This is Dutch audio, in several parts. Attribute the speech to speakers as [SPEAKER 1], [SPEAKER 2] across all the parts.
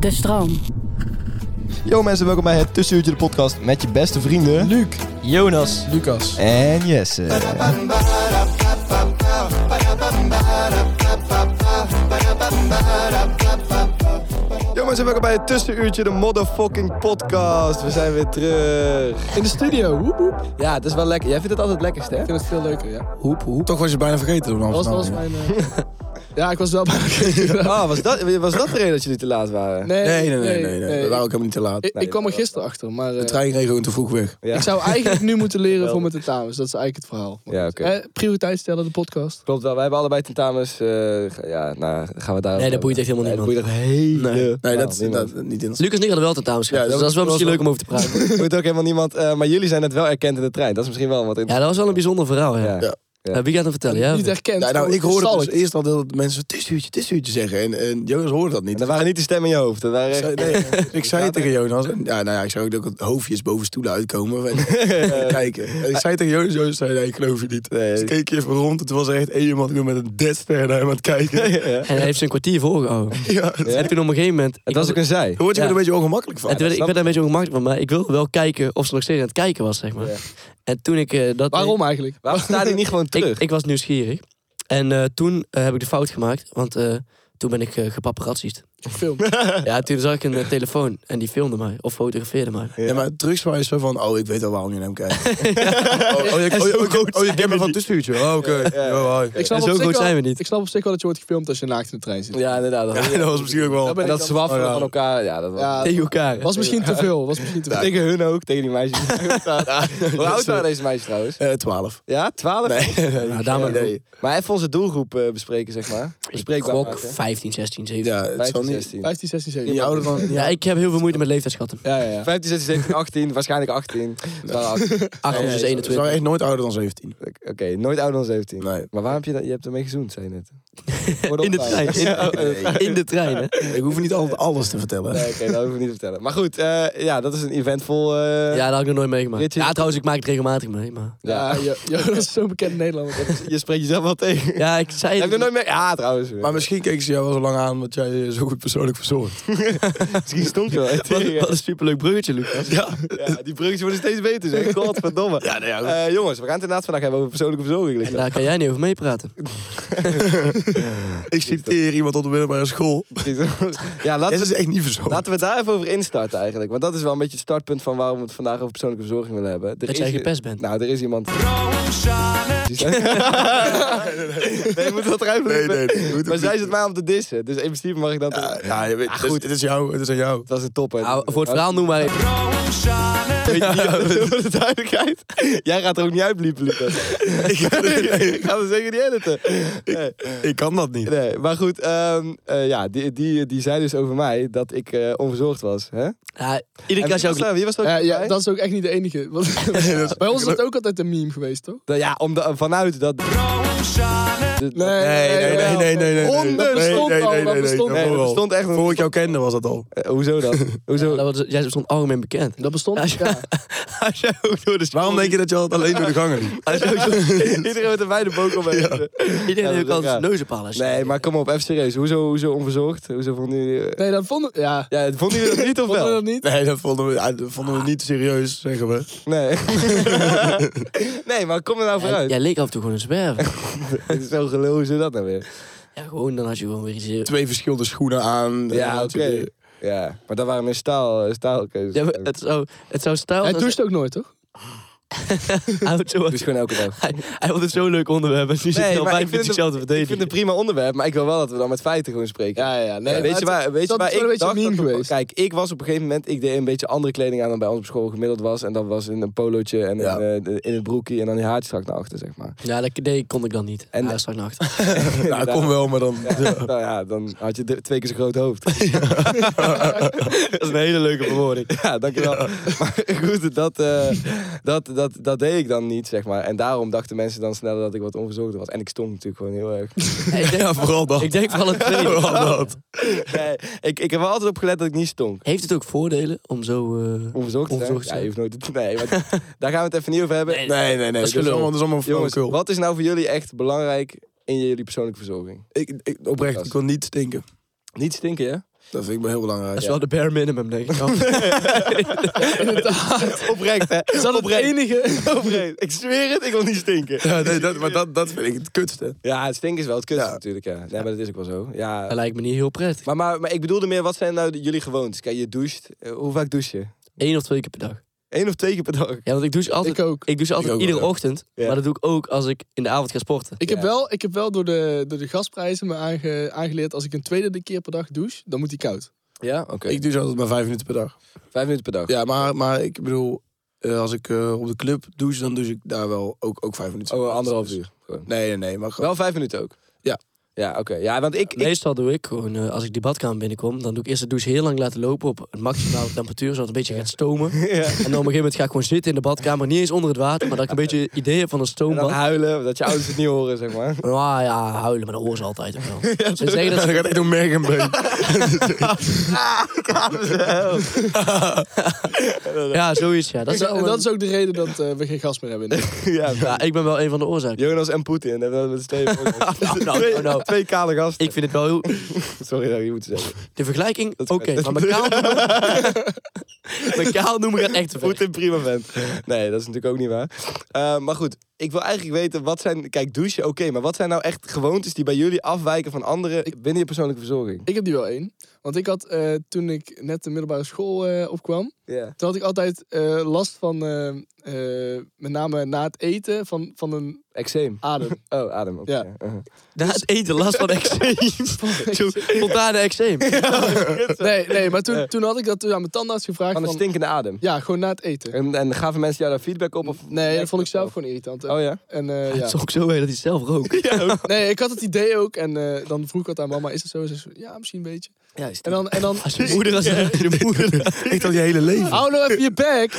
[SPEAKER 1] De stroom.
[SPEAKER 2] Yo mensen, welkom bij het Tussenuurtje de podcast met je beste vrienden... Luc, Jonas
[SPEAKER 3] Lucas.
[SPEAKER 2] en Jesse. Yo mensen, welkom bij het Tussenuurtje de motherfucking podcast. We zijn weer terug.
[SPEAKER 3] In de studio. Woep, woep. Ik
[SPEAKER 2] Ja, het is wel lekker. Jij vindt het altijd lekkerst, hè?
[SPEAKER 3] vind het veel leuker, ja.
[SPEAKER 2] Hoep, hoep.
[SPEAKER 4] Toch was je bijna vergeten toen
[SPEAKER 3] Dat was, was mijn... eh, ja, ik was wel bijna vergeten.
[SPEAKER 2] Ah, was dat, was dat de reden dat jullie te laat waren?
[SPEAKER 3] Nee,
[SPEAKER 4] Nee, nee, nee, nee, nee. We waren ook helemaal niet te laat.
[SPEAKER 3] Ik, ik kwam er gisteren achter, maar eh,
[SPEAKER 4] De trein reed gewoon te vroeg weg.
[SPEAKER 2] Ja.
[SPEAKER 3] ik zou eigenlijk nu moeten leren voor mijn tentamens. Dat is eigenlijk het verhaal. Maar
[SPEAKER 2] Ja,
[SPEAKER 3] goed.
[SPEAKER 2] oké.
[SPEAKER 3] Eh, prioriteit stellen, de podcast.
[SPEAKER 2] Klopt wel, wij hebben allebei tentamens. eh, ga- ja, nou, gaan we daar...
[SPEAKER 5] Nee, dat boeit echt helemaal
[SPEAKER 2] niet. Dat
[SPEAKER 5] niemand.
[SPEAKER 2] boeit echt Nou, helemaal
[SPEAKER 4] Nee, nee dat is dat, niet in ons.
[SPEAKER 5] Lucas en ik hadden wel tentamens gehad,
[SPEAKER 4] Ja, dat
[SPEAKER 5] dus dat is wel
[SPEAKER 4] was
[SPEAKER 5] misschien leuk om
[SPEAKER 4] wel-
[SPEAKER 5] over te praten.
[SPEAKER 2] Moet ook helemaal niemand. eh, maar jullie zijn het wel erkend in de trein. Dat is misschien wel wat. In...
[SPEAKER 5] ja, dat was wel een bijzonder verhaal, ja.
[SPEAKER 2] Ja.
[SPEAKER 5] Ja. wie gaat dat vertellen? Ja?
[SPEAKER 3] Niet herkend.
[SPEAKER 4] Ja, nou,
[SPEAKER 3] gewoon
[SPEAKER 4] ik hoorde
[SPEAKER 3] kristallen.
[SPEAKER 4] dus eerst al dat mensen tissuutje, tissuutje zeggen. En, en Jonas hoorde dat niet.
[SPEAKER 2] Dat waren niet de stemmen in je hoofd. Dat waren
[SPEAKER 4] Ik
[SPEAKER 2] echt-
[SPEAKER 4] zei- nee, ik zei het tegen Jonas. En, ja, nou ja, ik zag ook dat het hoofdjes boven stoelen uitkomen. En, en kijken. En ik zei tegen Jonas, Jonas zei, nee, ik geloof je niet.
[SPEAKER 2] Nee.
[SPEAKER 4] Dus ik keek even rond. Het was er echt één iemand met een deadster naar hem aan het kijken. Ja,
[SPEAKER 5] En hij heeft zijn kwartier volgehouden.
[SPEAKER 4] het-
[SPEAKER 5] En toen op een gegeven moment...
[SPEAKER 2] Het was ook een zij.
[SPEAKER 4] Daar word je
[SPEAKER 5] Ja.
[SPEAKER 4] er een beetje ongemakkelijk van.
[SPEAKER 5] en toen werd- ik
[SPEAKER 2] snap
[SPEAKER 5] werd daar een beetje ongemakkelijk van, maar ik wilde wel kijken of ze nog steeds aan het kijken was, zeg maar. En toen ik eh, dat...
[SPEAKER 3] Waarom eigenlijk?
[SPEAKER 2] Waarom staat hij niet gewoon terug?
[SPEAKER 5] Ik, ik was nieuwsgierig. En eh, toen eh, heb ik de fout gemaakt, want eh, toen ben ik eh gepaparazzist.
[SPEAKER 3] Film.
[SPEAKER 5] Ja, toen zag ik een eh, telefoon en die filmde mij, of fotografeerde mij.
[SPEAKER 4] Ja, maar drugs waren zo van, oh, ik weet al waarom je naar hem kijkt. Oh, oh, je- oh, je- oh, je- oh, je kent me van het tussenuurtje. Oh, oké. Oh, hi.
[SPEAKER 3] Ik snap
[SPEAKER 5] En
[SPEAKER 3] op
[SPEAKER 5] zo
[SPEAKER 3] zich
[SPEAKER 5] goed
[SPEAKER 3] wel-
[SPEAKER 5] zijn we niet.
[SPEAKER 3] Ik snap op zich wel dat je wordt gefilmd als je naakt in de trein zit.
[SPEAKER 2] Ja, inderdaad. Dat
[SPEAKER 4] Oh, Ja, dat was misschien ook wel...
[SPEAKER 3] ben
[SPEAKER 2] en
[SPEAKER 3] ik
[SPEAKER 2] dat
[SPEAKER 3] dan-
[SPEAKER 2] zwaffen
[SPEAKER 4] Oh, ja.
[SPEAKER 2] van elkaar. Ja, dat was...
[SPEAKER 3] Ja,
[SPEAKER 5] Tegen elkaar. hè.
[SPEAKER 3] was misschien te veel. Was misschien te veel.
[SPEAKER 2] Tegen hun ook, tegen die meisjes. Hoe oud waren deze meisjes trouwens?
[SPEAKER 4] Eh, 12.
[SPEAKER 2] Ja, 12?
[SPEAKER 5] Nou, daar maar
[SPEAKER 4] Nee.
[SPEAKER 2] Maar even onze doelgroep eh, bespreken, zeg maar.
[SPEAKER 5] Ik
[SPEAKER 2] Bespreekbaar
[SPEAKER 5] gok
[SPEAKER 2] maken.
[SPEAKER 5] 15, 16, 17.
[SPEAKER 4] Ja, het zal
[SPEAKER 2] 15,
[SPEAKER 4] niet...
[SPEAKER 2] 16.
[SPEAKER 3] 15, 16,
[SPEAKER 4] niet
[SPEAKER 3] 17.
[SPEAKER 4] ouder dan...
[SPEAKER 5] Ja, ik heb heel veel moeite met leeftijdschatten.
[SPEAKER 3] Ja, ja, ja.
[SPEAKER 2] 15, 16, 17, 18. Waarschijnlijk 18. Het waren 18.
[SPEAKER 5] 8
[SPEAKER 4] Nee,
[SPEAKER 5] is
[SPEAKER 4] ze- Ze
[SPEAKER 5] 21.
[SPEAKER 4] waren echt nooit ouder dan 17.
[SPEAKER 2] Oké, nooit ouder dan 17.
[SPEAKER 4] Nee.
[SPEAKER 2] Maar waarom heb je dat? Je hebt ermee gezoend, zei je net.
[SPEAKER 5] In de trein.
[SPEAKER 2] Ja, oh,
[SPEAKER 5] In, in de trein, hè?
[SPEAKER 4] Ik hoef niet altijd alles te vertellen.
[SPEAKER 2] Nee, oké, dat hoeven we niet te vertellen. Maar goed, eh, ja, dat is een eventvol... eh,
[SPEAKER 5] Ja, dat had ik nog nooit meegemaakt.
[SPEAKER 2] Ritje-
[SPEAKER 5] Ja, trouwens, ik maak het regelmatig mee. Maar...
[SPEAKER 2] ja.
[SPEAKER 3] Ja, Jo- Jonas is zo'n bekend Nederlander.
[SPEAKER 2] Je spreekt jezelf wel tegen.
[SPEAKER 5] Ja, ik zei
[SPEAKER 2] Heb
[SPEAKER 5] het.
[SPEAKER 2] je nooit meer... Ja, trouwens.
[SPEAKER 4] Maar misschien keken ze jou wel zo lang aan omdat jij je zo goed persoonlijk verzorgt.
[SPEAKER 2] misschien stonk je wel. echt
[SPEAKER 5] Wat,
[SPEAKER 2] tegen.
[SPEAKER 5] wat een superleuk bruggetje, Lucas.
[SPEAKER 4] Ja.
[SPEAKER 2] Ja, die bruggetjes worden steeds beter, zeg. Godverdomme.
[SPEAKER 4] Ja, nou ja. goed.
[SPEAKER 2] Eh, jongens, we gaan het inderdaad vandaag hebben over persoonlijke verzorging.
[SPEAKER 5] En
[SPEAKER 2] Lucas.
[SPEAKER 5] daar kan jij niet over meepraten.
[SPEAKER 4] ik citeer iemand op de middelbare school.
[SPEAKER 2] Ja,
[SPEAKER 4] Dat
[SPEAKER 2] laten
[SPEAKER 4] is
[SPEAKER 2] we,
[SPEAKER 4] echt niet verzorgd.
[SPEAKER 2] laten we daar even over instarten eigenlijk. Want dat is wel een beetje het startpunt van waarom we het vandaag over persoonlijke verzorging willen hebben. Er
[SPEAKER 5] Dat
[SPEAKER 2] is
[SPEAKER 5] jij
[SPEAKER 2] i-
[SPEAKER 5] gepest bent.
[SPEAKER 2] Nou, er is iemand... nee, moet dat eruit
[SPEAKER 4] Nee, nee, nee. Goed,
[SPEAKER 2] Maar
[SPEAKER 4] goed.
[SPEAKER 2] zij zit mij om te dissen. Dus in principe mag ik dat...
[SPEAKER 4] Ja, ja, je weet, dus-
[SPEAKER 2] Ah,
[SPEAKER 4] goed.
[SPEAKER 2] goed.
[SPEAKER 4] Dit is jou, dit is aan jou.
[SPEAKER 2] Het was een topper.
[SPEAKER 5] Nou, voor het verhaal noem maar even.
[SPEAKER 2] Weet je, niet, voor de duidelijkheid. Jij gaat er ook niet uitbliepen, Lucas. ik, ga er zeker niet editen. Nee,
[SPEAKER 4] Ik kan dat niet.
[SPEAKER 2] nee. maar goed. ehm, eh, ja, die, die, die zei dus over mij dat ik eh, onverzorgd was. Hè?
[SPEAKER 5] Ja,
[SPEAKER 2] En
[SPEAKER 5] iedere keer als
[SPEAKER 2] wie,
[SPEAKER 5] je
[SPEAKER 2] was
[SPEAKER 5] ook...
[SPEAKER 2] daar, wie was daar?
[SPEAKER 3] Ja, ja,
[SPEAKER 2] bij?
[SPEAKER 3] dat is ook echt niet de enige. Want- bij ons is dat ook altijd een meme geweest, toch?
[SPEAKER 2] Dat- ja om de- vanuit dat... Nee,
[SPEAKER 4] Nee, nee, nee, nee, nee. nee, nee.
[SPEAKER 3] Onder bestond
[SPEAKER 4] Nee, nee,
[SPEAKER 3] al,
[SPEAKER 4] nee,
[SPEAKER 3] dat
[SPEAKER 4] nee,
[SPEAKER 3] bestond
[SPEAKER 4] nee,
[SPEAKER 2] al.
[SPEAKER 4] nee,
[SPEAKER 2] Dat bestond echt nog-
[SPEAKER 4] Voor ik jou kende was dat al.
[SPEAKER 2] Eh, hoezo dan? Hoezo?
[SPEAKER 5] dat was, jij stond algemeen bekend.
[SPEAKER 3] Dat bestond. Ja.
[SPEAKER 5] Als jij ook door de school-
[SPEAKER 4] Waarom denk je dat je altijd alleen door de gangen liep?
[SPEAKER 5] Als jij ook door-
[SPEAKER 2] Iedereen met een wijde boek om heeft. Ja,
[SPEAKER 5] Iedereen heeft ook
[SPEAKER 2] dat is
[SPEAKER 5] altijd
[SPEAKER 2] raar.
[SPEAKER 5] neuzenpalen.
[SPEAKER 2] Nee, maar kom op, even serieus. Hoezo, hoezo onverzorgd? Hoezo vonden jullie...
[SPEAKER 3] Nee, dat vonden we. Ja,
[SPEAKER 2] Ja, vonden jullie dat niet of
[SPEAKER 3] vonden we
[SPEAKER 2] wel?
[SPEAKER 3] dat niet?
[SPEAKER 4] Nee, dat vonden we, ja, dat vonden we niet serieus, zeggen we.
[SPEAKER 2] Nee. nee, maar kom er nou
[SPEAKER 5] Jij,
[SPEAKER 2] vooruit.
[SPEAKER 5] jij leek af en toe gewoon een zwerver.
[SPEAKER 2] Dit is zo gelul, hoe is dat nou weer?
[SPEAKER 5] Ja, gewoon, dan had je gewoon weer iets...
[SPEAKER 4] Twee verschillende schoenen aan.
[SPEAKER 2] Ja, oké. Ja, maar dat waren meer staal, eh, staalkeuzes.
[SPEAKER 5] Ja, maar het zou, het zou stijl...
[SPEAKER 3] Hij
[SPEAKER 5] zijn-
[SPEAKER 3] doucht ook nooit, toch?
[SPEAKER 5] Hij houdt zo-
[SPEAKER 2] Dus gewoon elke dag.
[SPEAKER 5] Hij, hij vond het zo'n leuk onderwerp. En nu zit hij al
[SPEAKER 2] maar
[SPEAKER 5] bij
[SPEAKER 2] ik vind
[SPEAKER 5] met
[SPEAKER 2] het-
[SPEAKER 5] zichzelf te
[SPEAKER 2] Ik vind
[SPEAKER 5] verdedigen.
[SPEAKER 2] het een prima onderwerp, maar ik wil wel dat we dan met feiten gewoon spreken.
[SPEAKER 3] Ja, ja.
[SPEAKER 2] Ja,
[SPEAKER 3] Nee,
[SPEAKER 2] weet je waar, weet je
[SPEAKER 3] dat
[SPEAKER 2] waar
[SPEAKER 3] is
[SPEAKER 2] ik
[SPEAKER 3] wel een
[SPEAKER 2] dacht
[SPEAKER 3] beetje meme
[SPEAKER 2] dat-
[SPEAKER 3] geweest.
[SPEAKER 2] Kijk, ik was op een gegeven moment, ik deed een beetje andere kleding aan dan bij ons op school gemiddeld was. En dat was in een polootje en
[SPEAKER 4] Ja.
[SPEAKER 2] een, eh, in het broekje en dan die haartjes strak naar achter, zeg maar.
[SPEAKER 5] Ja, dat nee, kon ik dan niet.
[SPEAKER 2] En-
[SPEAKER 5] En hij strak nacht.
[SPEAKER 3] Nou,
[SPEAKER 4] Ja, kom wel, maar dan...
[SPEAKER 2] Nou ja, dan had je de- twee keer zo'n groot hoofd.
[SPEAKER 5] dat is een hele leuke verwoording.
[SPEAKER 2] Ja, dankjewel. Maar goed, dat, eh, dat, dat, dat deed ik dan niet, zeg maar. En daarom dachten mensen dan sneller dat ik wat onverzorgd was. En ik stonk natuurlijk gewoon heel erg.
[SPEAKER 5] ik, denk,
[SPEAKER 4] Ja, vooral dat.
[SPEAKER 5] ik denk vooral het tweede.
[SPEAKER 4] Vooral dat.
[SPEAKER 2] Nee, ik, ik heb er altijd op gelet dat ik niet stonk.
[SPEAKER 5] Heeft het ook voordelen om zo... eh,
[SPEAKER 2] Onverzorgd, hè?
[SPEAKER 5] Onverzorgd,
[SPEAKER 2] Ja,
[SPEAKER 5] ja.
[SPEAKER 2] je hoeft nooit... het- Nee, maar daar gaan we het even niet over hebben.
[SPEAKER 5] Nee,
[SPEAKER 4] Nee, nee, nee. Dat is,
[SPEAKER 5] gelul.
[SPEAKER 4] allemaal, dat is allemaal
[SPEAKER 2] Jongens,
[SPEAKER 4] flauwekul.
[SPEAKER 2] wat is nou voor jullie echt belangrijk in jullie persoonlijke verzorging?
[SPEAKER 4] Ik, ik, oprecht, ik wil niet stinken.
[SPEAKER 2] Niet stinken, hè?
[SPEAKER 4] Dat vind ik me heel belangrijk.
[SPEAKER 5] Dat is wel de bare minimum, denk ik.
[SPEAKER 2] Oprecht, hè?
[SPEAKER 3] Is dat het enige?
[SPEAKER 2] Oprecht. Ik zweer het, ik wil niet stinken.
[SPEAKER 4] Ja, nee, dat, maar dat, dat vind ik het kutste.
[SPEAKER 2] Ja, het stinken is wel het kut
[SPEAKER 4] Ja.
[SPEAKER 2] natuurlijk, ja. Nee, maar dat is ook wel zo.
[SPEAKER 5] Dat
[SPEAKER 2] Ja.
[SPEAKER 5] lijkt me niet heel prettig.
[SPEAKER 2] Maar, maar, maar ik bedoelde meer, wat zijn nou de- jullie gewoontes? Kijk, je doucht. Eh, Hoe vaak douche je?
[SPEAKER 5] Eén of twee keer per dag.
[SPEAKER 2] Eén of twee keer per dag.
[SPEAKER 5] Ja, want ik douche altijd,
[SPEAKER 3] Ik ook.
[SPEAKER 5] ik douche altijd
[SPEAKER 4] ook wel,
[SPEAKER 5] iedere
[SPEAKER 4] ja.
[SPEAKER 5] ochtend.
[SPEAKER 2] Ja.
[SPEAKER 5] Maar dat doe ik ook als ik in de avond ga sporten.
[SPEAKER 3] Ik heb wel, ik heb wel door, de, door de gasprijzen me aange- aangeleerd... als ik een tweede keer per dag douche, dan moet die koud.
[SPEAKER 2] Ja, oké.
[SPEAKER 4] Ik doe ze altijd maar vijf minuten per dag.
[SPEAKER 2] Vijf minuten per dag.
[SPEAKER 4] Ja, maar, maar ik bedoel, eh, als ik eh, op de club douche, dan douche ik daar wel ook, ook vijf minuten.
[SPEAKER 2] Oh, anderhalf uur. Gewoon.
[SPEAKER 4] Nee, nee, nee. Maar gewoon.
[SPEAKER 2] Wel vijf minuten ook?
[SPEAKER 4] Ja.
[SPEAKER 2] Ja, oké. Ja, want ik... ik
[SPEAKER 5] Meestal doe ik gewoon, eh, als ik die badkamer binnenkom, dan doe ik eerst de douche heel lang laten lopen op een maximale temperatuur, zodat het een beetje gaat stomen. En dan op een gegeven moment ga ik gewoon zitten in de badkamer, niet eens onder het water, maar dat ik een beetje idee heb van een
[SPEAKER 2] en dan
[SPEAKER 5] stoombad.
[SPEAKER 2] huilen, dat je ouders het niet horen, zeg maar.
[SPEAKER 5] Ah ja, huilen, maar dat horen ze altijd ook wel. Ze zeggen dat
[SPEAKER 4] Dan
[SPEAKER 5] ze-
[SPEAKER 4] gaat echt door merg en been.
[SPEAKER 5] ja, zoiets ja. Dat is,
[SPEAKER 3] En
[SPEAKER 5] wel een-
[SPEAKER 3] dat is ook de reden dat eh, we geen gas meer hebben. in de-
[SPEAKER 2] ja,
[SPEAKER 5] ja, ik ben wel een van de oorzaken.
[SPEAKER 2] Jonas en Poetin. Dat hebben we met twee, Oh,
[SPEAKER 5] Nou, nou, nou.
[SPEAKER 2] twee kale gasten.
[SPEAKER 5] Ik vind het wel heel...
[SPEAKER 2] Sorry dat ik je moet zeggen.
[SPEAKER 5] De vergelijking,
[SPEAKER 2] Dat-
[SPEAKER 5] oké, maar mijn kaal noemen... mijn kaal noemen gaat echt te ver.
[SPEAKER 2] Goed in prima vent. Nee, dat is natuurlijk ook niet waar. Eh, maar goed, ik wil eigenlijk weten, wat zijn... Kijk, douchen, oké. maar wat zijn nou echt gewoontes die bij jullie afwijken van anderen binnen je persoonlijke verzorging?
[SPEAKER 3] Ik heb die wel één. Want ik had eh, toen ik net de middelbare school eh, opkwam...
[SPEAKER 2] Ja.
[SPEAKER 3] toen had ik altijd eh, last van, eh, eh, met name na het eten, van, van een
[SPEAKER 2] Eczeem.
[SPEAKER 3] adem.
[SPEAKER 2] Oh, adem. oké.
[SPEAKER 3] Ja.
[SPEAKER 2] Uh-huh.
[SPEAKER 5] Na het eten last van eczeem. Zo, Spontane eczeem.
[SPEAKER 3] Nee, nee maar toen, toen had ik dat toen aan mijn tandarts gevraagd.
[SPEAKER 2] Van een
[SPEAKER 3] van-
[SPEAKER 2] stinkende adem.
[SPEAKER 3] Ja, gewoon na het eten.
[SPEAKER 2] En, en gaven mensen jou daar feedback op? Of...
[SPEAKER 3] Nee, dat vond ik zelf gewoon irritant.
[SPEAKER 2] Oh ja?
[SPEAKER 3] En, eh,
[SPEAKER 5] Het
[SPEAKER 3] ja.
[SPEAKER 5] is ook zo heen dat hij zelf rookt.
[SPEAKER 3] Nee, ik had het idee ook. En eh, dan vroeg ik wat aan mama, is dat zo? Ze zei, ja, misschien een beetje.
[SPEAKER 2] Ja,
[SPEAKER 3] En dan... En dan
[SPEAKER 5] Als je moeder als je moeder.
[SPEAKER 4] Ik dat je hele leven.
[SPEAKER 3] Hou nou even je bek!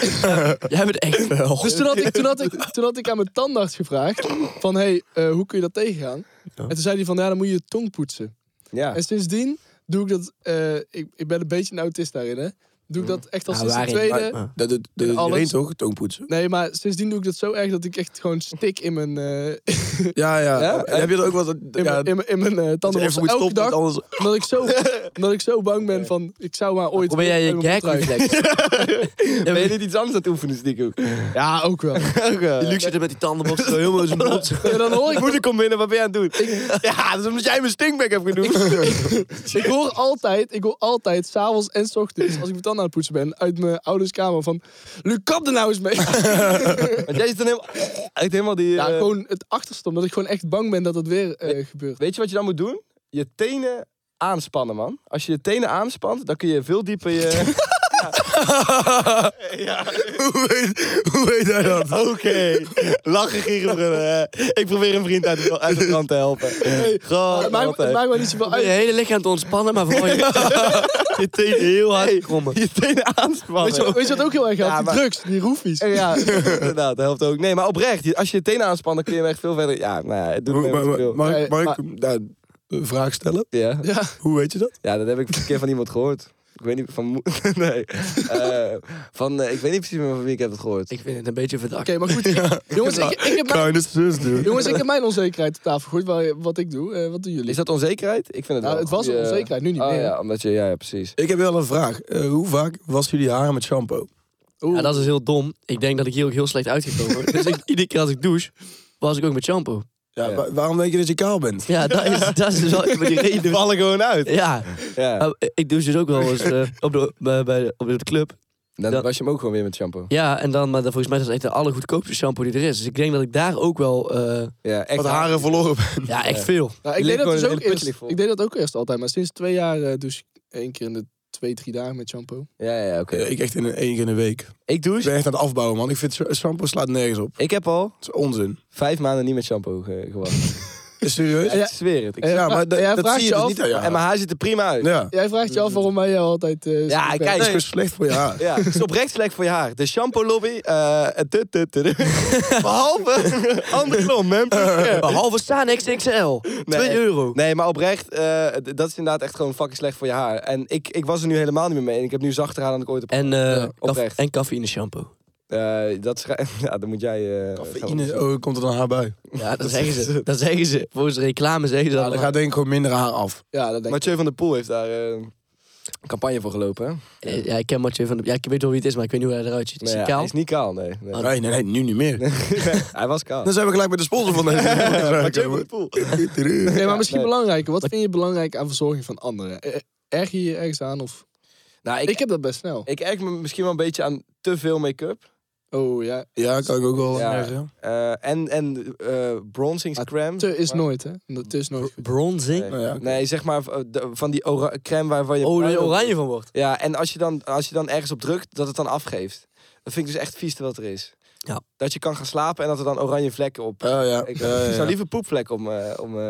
[SPEAKER 5] Jij bent echt wel.
[SPEAKER 3] Dus toen had, ik, toen, had ik, toen had ik aan mijn tandarts gevraagd van, hé, hey, eh, hoe kun je dat tegengaan? En toen zei hij van, ja, dan moet je je tong poetsen.
[SPEAKER 2] Ja.
[SPEAKER 3] En sindsdien doe ik dat. eh, ik, ik ben een beetje een autist daarin, hè? Doe ik dat echt al
[SPEAKER 5] Ja,
[SPEAKER 3] sinds Dus de
[SPEAKER 5] waarin?
[SPEAKER 3] tweede.
[SPEAKER 5] Waar-
[SPEAKER 4] Dat doet dat doet
[SPEAKER 3] Alles.
[SPEAKER 4] iedereen toch? Toonpoetsen.
[SPEAKER 3] Nee, maar sindsdien doe ik dat zo erg dat ik echt gewoon stik in mijn, eh in,
[SPEAKER 4] Ja, ja.
[SPEAKER 2] Ja?
[SPEAKER 4] En Heb je er ook wat... dat- Ja,
[SPEAKER 3] mijn- in, mijn- in mijn eh,
[SPEAKER 4] dat je
[SPEAKER 3] tandenborstel
[SPEAKER 4] even moet
[SPEAKER 3] elke
[SPEAKER 4] stoppen,
[SPEAKER 3] dag.
[SPEAKER 4] want anders...
[SPEAKER 3] Omdat ik, zo, omdat ik zo bang ben van, ik zou maar ooit...
[SPEAKER 5] Probeer jij je
[SPEAKER 3] uit mijn mond
[SPEAKER 5] gag reflex.
[SPEAKER 2] Ben je niet iets anders aan het oefenen, stiekem?
[SPEAKER 3] ruiken. Ja, ook wel.
[SPEAKER 5] Die Luc zit er met die tandenborstel zo helemaal in zijn mond.
[SPEAKER 3] Ja, dan hoor ik,
[SPEAKER 2] Moeder, kom binnen, wat ben je aan het doen? Ja, dat is omdat jij mijn stinkback hebt genoemd.
[SPEAKER 3] ik hoor altijd, ik hoor altijd, s'avonds en 's ochtends, als ik mijn tanden aan het poetsen ben, uit mijn ouders kamer van, Luc, kap er nou eens mee.
[SPEAKER 2] Want jij zit dan helemaal... Echt helemaal die...
[SPEAKER 3] Ja,
[SPEAKER 2] eh,
[SPEAKER 3] gewoon het achterste, omdat ik gewoon echt bang ben dat dat weer eh, gebeurt.
[SPEAKER 2] Weet je wat je dan moet doen? Je tenen aanspannen, man. Als je je tenen aanspant, dan kun je veel dieper je...
[SPEAKER 4] Hoe weet, hoe weet hij dat?
[SPEAKER 2] Oké. Lachen, gieren, brullen. eh. Ik probeer een vriend uit de, uit de brand te helpen. Gewoon
[SPEAKER 3] Het maakt, het
[SPEAKER 2] altijd.
[SPEAKER 3] maakt me niet zoveel
[SPEAKER 5] Je
[SPEAKER 3] uit.
[SPEAKER 5] hele lichaam te ontspannen, maar vooral je, je tenen heel hard te krommen.
[SPEAKER 2] Je tenen
[SPEAKER 3] Weet je,
[SPEAKER 2] aanspannen.
[SPEAKER 3] weet je wat ook heel erg helpt?
[SPEAKER 2] Ja, maar-
[SPEAKER 3] Die drugs, die roefies.
[SPEAKER 2] Eh, Ja, inderdaad, dat helpt ook. Nee, maar oprecht, je- als je je tenen aanspant, dan kun je hem echt veel verder... Ja, nou ja, het doet me
[SPEAKER 4] Hoe-
[SPEAKER 2] niet
[SPEAKER 4] maar-
[SPEAKER 2] veel.
[SPEAKER 4] maar- Mag
[SPEAKER 3] Nee,
[SPEAKER 4] ik, mag
[SPEAKER 3] maar-
[SPEAKER 4] ik daar een vraag stellen?
[SPEAKER 2] Ja.
[SPEAKER 3] Ja,
[SPEAKER 4] Hoe weet je dat?
[SPEAKER 2] ja, dat heb ik een keer van iemand gehoord. Ik weet niet van... mo- Nee. Eh, van, eh, ik weet niet precies meer van wie ik heb het gehoord.
[SPEAKER 5] Ik vind het een beetje verdacht.
[SPEAKER 3] oké, maar goed. Jongens, ik, ik heb mijn,
[SPEAKER 4] Kleine zus, dude.
[SPEAKER 3] jongens, ik heb mijn onzekerheid op tafel gegooid, waar- wat ik doe. Eh, wat doen jullie?
[SPEAKER 2] Is dat onzekerheid? Ik vind het
[SPEAKER 3] Ja,
[SPEAKER 2] wel.
[SPEAKER 3] Nou, het was een
[SPEAKER 2] Ja.
[SPEAKER 3] onzekerheid, nu niet
[SPEAKER 2] Oh
[SPEAKER 3] meer.
[SPEAKER 2] ja, omdat je... Ja, ja, precies.
[SPEAKER 4] Ik heb wel een vraag. Eh, hoe vaak was jullie haren met shampoo?
[SPEAKER 3] Oeh.
[SPEAKER 5] Ja, dat is heel dom. Ik denk dat ik hier ook heel slecht uitgekomen. Dus ik, iedere keer als ik douche, was ik ook met shampoo.
[SPEAKER 4] Ja,
[SPEAKER 2] Ja.
[SPEAKER 4] wa- waarom denk je dat je kaal bent?
[SPEAKER 5] Ja, dat is, dat is dus wel maar die reden.
[SPEAKER 2] Die vallen gewoon uit.
[SPEAKER 5] Ja,
[SPEAKER 2] Ja.
[SPEAKER 5] Maar ik doe ze dus ook wel eens eh, op, de, bij, bij de, op de club.
[SPEAKER 2] Dan
[SPEAKER 5] dat-
[SPEAKER 2] was je hem ook gewoon weer met shampoo.
[SPEAKER 5] Ja, en dan, maar dan, volgens mij is dat echt de allergoedkoopste shampoo die er is. Dus ik denk dat ik daar ook wel, eh,
[SPEAKER 2] Ja, echt.
[SPEAKER 4] Wat haren verloren bent.
[SPEAKER 5] ja, echt veel.
[SPEAKER 3] Nou, ik,
[SPEAKER 2] Ligt
[SPEAKER 3] deed dat
[SPEAKER 2] gewoon
[SPEAKER 3] dus
[SPEAKER 2] in het
[SPEAKER 3] ook
[SPEAKER 2] putje
[SPEAKER 3] eerst,
[SPEAKER 2] ligt vol.
[SPEAKER 3] ik deed dat ook eerst altijd. Maar sinds twee jaar eh douche ik één keer in de twee, drie dagen met shampoo.
[SPEAKER 2] Ja, ja, oké.
[SPEAKER 4] Eh, Ik echt in een, één keer in de week.
[SPEAKER 2] Ik
[SPEAKER 4] Ik
[SPEAKER 2] douche.
[SPEAKER 4] ben echt aan het afbouwen, man. Ik vind s- shampoo slaat nergens op.
[SPEAKER 2] Ik heb al
[SPEAKER 4] Het is onzin.
[SPEAKER 2] vijf maanden niet met shampoo ge gewacht.
[SPEAKER 4] Is serieus?
[SPEAKER 2] Ik zweer het. Ik
[SPEAKER 3] Eh,
[SPEAKER 2] zweer
[SPEAKER 4] Ja, maar dat-
[SPEAKER 3] jij
[SPEAKER 4] dat
[SPEAKER 3] vraagt
[SPEAKER 4] zie je
[SPEAKER 3] je
[SPEAKER 4] dus
[SPEAKER 3] af-
[SPEAKER 4] niet aan je
[SPEAKER 2] En
[SPEAKER 4] haren.
[SPEAKER 2] mijn haar ziet er prima uit.
[SPEAKER 4] Ja.
[SPEAKER 3] Jij vraagt je af waarom wij jou altijd... eh,
[SPEAKER 2] Mm. Ja,
[SPEAKER 3] zo-
[SPEAKER 2] kijk.
[SPEAKER 4] Nee,
[SPEAKER 2] Nee.
[SPEAKER 4] het is slecht voor je haar.
[SPEAKER 2] Ja, het is oprecht slecht voor je haar. De shampoo lobby. eh, tut, tut, tut. Behalve andere klom, man.
[SPEAKER 5] Behalve Staan XXL. 2 euro.
[SPEAKER 2] Nee, maar oprecht, eh, d- dat is inderdaad echt gewoon fucking slecht voor je haar. En ik, ik was er nu helemaal niet meer mee. En ik heb nu zachter haar dan ik ooit heb.
[SPEAKER 5] En, eh kaf-
[SPEAKER 2] oprecht.
[SPEAKER 5] en cafeïne shampoo.
[SPEAKER 2] Eh, dat is, ja, dan moet jij... eh gaan-
[SPEAKER 4] Cafeïne, oh, komt er dan haar bij.
[SPEAKER 5] Ja, dat zeggen ze. Dat zeggen ze. Volgens de reclame zeggen ze
[SPEAKER 4] Ja,
[SPEAKER 5] dat.
[SPEAKER 4] dan gaat denk ik gewoon minder haar af.
[SPEAKER 3] Ja, dat denk ik.
[SPEAKER 2] Mathieu van der Poel heeft daar eh, een campagne voor gelopen, hè?
[SPEAKER 5] Eh, Ja, ik ken Mathieu van de... Ja, ik weet wel wie het is, maar ik weet niet hoe hij eruit ziet. Is
[SPEAKER 2] Nee,
[SPEAKER 5] hij
[SPEAKER 2] ja,
[SPEAKER 5] kaal?
[SPEAKER 2] Hij is niet kaal, nee. nee.
[SPEAKER 5] Oh,
[SPEAKER 4] Nee, nee, nee, nu niet meer.
[SPEAKER 2] hij was kaal.
[SPEAKER 4] Dan zijn we gelijk met de sponsor van deze. podcast
[SPEAKER 2] Mathieu van
[SPEAKER 4] aankomen.
[SPEAKER 2] der Poel.
[SPEAKER 3] Nee, maar misschien
[SPEAKER 2] nee.
[SPEAKER 3] belangrijker. Wat vind je belangrijk aan verzorging van anderen? Eh, Erg je je ergens aan? Of...
[SPEAKER 2] Nou,
[SPEAKER 3] Ik,
[SPEAKER 2] ik, ik,
[SPEAKER 3] heb dat best snel.
[SPEAKER 2] erg me misschien wel een beetje aan te veel make-up.
[SPEAKER 3] Oh ja,
[SPEAKER 4] Ja, kan ik ook wel.
[SPEAKER 2] Ja.
[SPEAKER 4] ergens.
[SPEAKER 2] Eh, en en eh bronzingscrème.
[SPEAKER 3] te is
[SPEAKER 2] Maar-
[SPEAKER 3] nooit hè. Dat is nooit goed.
[SPEAKER 5] Bronzing?
[SPEAKER 2] Nee.
[SPEAKER 4] Nou ja, oké.
[SPEAKER 2] Nee, zeg maar eh, de- van die ora- crème waarvan je...
[SPEAKER 5] Oh, daar
[SPEAKER 2] bruin
[SPEAKER 5] je
[SPEAKER 2] op-
[SPEAKER 5] oranje van wordt.
[SPEAKER 2] Ja, en als je, dan, als je dan ergens op drukt, dat het dan afgeeft. Dat vind ik dus echt vies wat er is.
[SPEAKER 5] Ja.
[SPEAKER 2] Dat je kan gaan slapen en dat er dan oranje vlekken op... eh,
[SPEAKER 4] Oh ja.
[SPEAKER 2] Ik,
[SPEAKER 4] Ja, ja,
[SPEAKER 2] ik
[SPEAKER 4] ja.
[SPEAKER 2] zou liever poepvlek om... eh, om eh,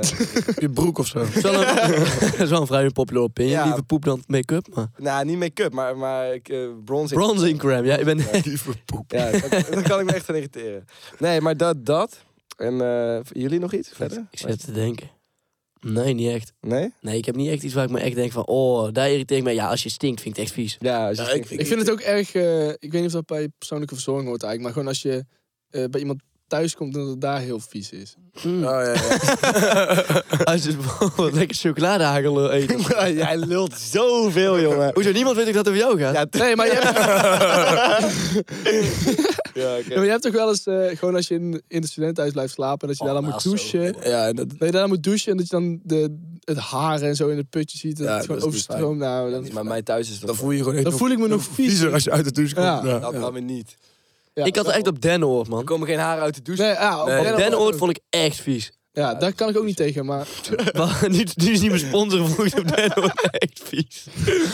[SPEAKER 4] Op je broek of zo.
[SPEAKER 5] Dat is wel een, dat is wel een vrij populair opinie.
[SPEAKER 2] Ja.
[SPEAKER 5] Liever poep dan make-up, maar...
[SPEAKER 2] nou, niet make-up, maar, maar ik, eh, bronzing.
[SPEAKER 5] Bronzing crème, ja. Ik ben...
[SPEAKER 4] Lieve poep.
[SPEAKER 2] Ja, dat, dat kan ik me echt aan irriteren. Nee, maar dat, dat. En eh, jullie nog iets verder?
[SPEAKER 5] Ik zit te denken. Nee, niet echt.
[SPEAKER 2] Nee?
[SPEAKER 5] Nee, ik heb niet echt iets waar ik me echt denk van... Oh, daar irriteer ik me. Ja, als je stinkt vind ik het echt vies.
[SPEAKER 2] Ja, als je
[SPEAKER 4] Ja,
[SPEAKER 2] stinkt-
[SPEAKER 4] ik-
[SPEAKER 3] Ik vind het ook erg, eh, ik weet niet of dat bij persoonlijke verzorging hoort eigenlijk, maar gewoon als je eh, bij iemand thuis komt en dat het daar heel vies is.
[SPEAKER 5] Mm.
[SPEAKER 4] Oh, ja, ja.
[SPEAKER 5] Als je bijvoorbeeld lekker chocoladehagel eet.
[SPEAKER 2] Jij lult zoveel, jongen.
[SPEAKER 5] Hoezo, niemand weet ook dat het over jou gaat?
[SPEAKER 2] Ja,
[SPEAKER 3] Nee, maar je hebt,
[SPEAKER 2] ja,
[SPEAKER 3] maar je hebt toch wel eens, eh, gewoon als je in, in het studentenhuis blijft slapen, en dat je
[SPEAKER 5] Oh,
[SPEAKER 3] daar dan
[SPEAKER 5] nou,
[SPEAKER 3] moet
[SPEAKER 5] zo.
[SPEAKER 3] douchen.
[SPEAKER 4] Ja, en dat,
[SPEAKER 3] Dat je daar dan moet douchen en dat je dan de, het haar en zo in het putje ziet. En
[SPEAKER 4] Ja,
[SPEAKER 3] dat het gewoon
[SPEAKER 4] dat is niet
[SPEAKER 3] overstroomt. Nou, dat,
[SPEAKER 2] Maar mij thuis is dat...
[SPEAKER 4] dan voel je je gewoon echt
[SPEAKER 3] dan
[SPEAKER 4] nog
[SPEAKER 3] voel ik me nog
[SPEAKER 4] nog
[SPEAKER 3] vies.
[SPEAKER 4] viezer als je uit de douche komt.
[SPEAKER 3] Ja.
[SPEAKER 4] Ja.
[SPEAKER 2] Dat dan weer niet.
[SPEAKER 3] Ja,
[SPEAKER 5] ik had er echt op Dennenoord, man.
[SPEAKER 2] Er komen geen haren uit de douche.
[SPEAKER 3] Nee, ja, op
[SPEAKER 4] Nee.
[SPEAKER 3] Den-
[SPEAKER 5] Dennenoord vond ik echt vies.
[SPEAKER 3] ja, daar kan ik ook niet tegen, maar
[SPEAKER 5] Maar nu, nu is niet mijn sponsor vroeg op Dennenoord echt vies.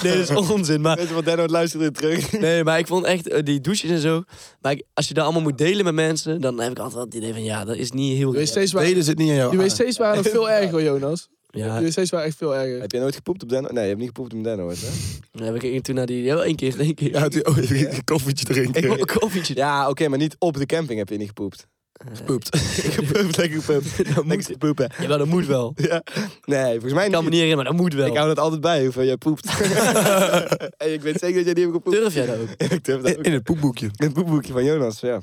[SPEAKER 5] Nee, dat is onzin. Maar,
[SPEAKER 2] Weet je wat, Denno, luister dit terug.
[SPEAKER 5] nee, maar ik vond echt eh, die douches en zo... Maar ik- als je dat allemaal moet delen met mensen... dan heb ik altijd wel het idee van... ja, dat is niet heel...
[SPEAKER 3] de wc's waren,
[SPEAKER 4] Delen zit niet in jouw
[SPEAKER 3] die
[SPEAKER 4] haar.
[SPEAKER 3] wc's waren nog veel erger, Jonas.
[SPEAKER 5] Ja,
[SPEAKER 3] De wc's waren echt veel erger.
[SPEAKER 2] Heb jij nooit gepoept op Denno? Nee, je hebt niet gepoept op Denno, hè?
[SPEAKER 5] dan heb ik er toen naar die... Ja, één keer, één keer.
[SPEAKER 4] Ja, die, oh, je- je koffietje drinken.
[SPEAKER 5] Een koffietje.
[SPEAKER 2] Ja, oké, maar niet op de camping heb je niet gepoept.
[SPEAKER 4] Gepoept.
[SPEAKER 2] gepoept, lekker gepoept. dat moet poepen.
[SPEAKER 5] Ja, maar dat moet wel. Ik
[SPEAKER 2] Nee, volgens mij
[SPEAKER 5] kan me
[SPEAKER 2] niet.
[SPEAKER 5] niet herinneren, maar dat moet wel.
[SPEAKER 2] Ik hou dat altijd bij, hoeveel jij poept. en ik weet zeker dat jij niet hebt gepoept.
[SPEAKER 5] Durf jij dat ook?
[SPEAKER 2] ik durf dat ook.
[SPEAKER 4] In het poepboekje.
[SPEAKER 2] In het poepboekje van Jonas, ja.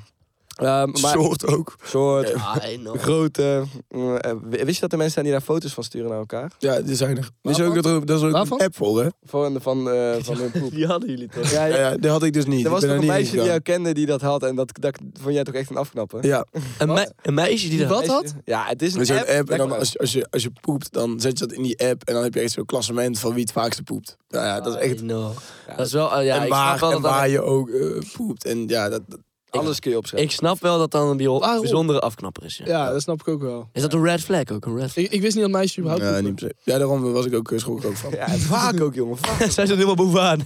[SPEAKER 2] Ehm, maar,
[SPEAKER 4] Soort ook.
[SPEAKER 2] soort,
[SPEAKER 5] Ah, enorm.
[SPEAKER 2] grote... eh, eh, wist je dat er mensen zijn die daar foto's van sturen naar elkaar?
[SPEAKER 4] Ja, die zijn er. Wist je ook
[SPEAKER 3] Waarvan?
[SPEAKER 4] dat er, dat is ook
[SPEAKER 3] Waarvan?
[SPEAKER 4] een app voor, hè?
[SPEAKER 2] Van, van, eh, van hun poep.
[SPEAKER 5] Die hadden jullie toch?
[SPEAKER 2] Ja,
[SPEAKER 4] Ja,
[SPEAKER 2] ja.
[SPEAKER 4] ja, die had ik dus niet.
[SPEAKER 2] Er was
[SPEAKER 4] ik
[SPEAKER 2] toch
[SPEAKER 4] ben
[SPEAKER 2] een
[SPEAKER 4] daar
[SPEAKER 2] meisje die jou
[SPEAKER 4] niet
[SPEAKER 2] kende die dat had en dat, dat vond jij toch echt een afknapper?
[SPEAKER 4] ingegaan. Ja,
[SPEAKER 5] Een, me- een meisje die dat...
[SPEAKER 3] Wat
[SPEAKER 2] Meisje-
[SPEAKER 3] had?
[SPEAKER 2] Ja, het is een
[SPEAKER 4] dat is
[SPEAKER 2] app.
[SPEAKER 4] een app. En
[SPEAKER 2] Lekker
[SPEAKER 4] dan als, je- als, je, als je poept, dan zet je dat in die app. En dan heb je echt zo'n klassement van wie het vaakste poept. Nou ja, dat is
[SPEAKER 2] Ah,
[SPEAKER 4] echt...
[SPEAKER 5] Enorm. Dat is wel... eh, ja,
[SPEAKER 4] en
[SPEAKER 5] ik snap
[SPEAKER 4] waar,
[SPEAKER 5] wel
[SPEAKER 4] en
[SPEAKER 5] dat dat-
[SPEAKER 4] waar je ook eh, poept. En ja, dat, dat-
[SPEAKER 2] Alles kun je opschrijven.
[SPEAKER 5] Ik snap wel dat dan een bio-
[SPEAKER 3] Waarom?
[SPEAKER 5] bijzondere afknapper is. Ja.
[SPEAKER 3] Ja, dat snap ik ook wel.
[SPEAKER 5] Is dat een red flag ook? Een red flag?
[SPEAKER 3] Ik, ik wist niet dat meisjes überhaupt
[SPEAKER 4] ja,
[SPEAKER 3] poepen.
[SPEAKER 4] niet per se. Ja, daarom was ik ook, eh, schrok ik ook van.
[SPEAKER 2] Ja, vaak ook, jongen. Vaak.
[SPEAKER 5] Zij zit helemaal bovenaan.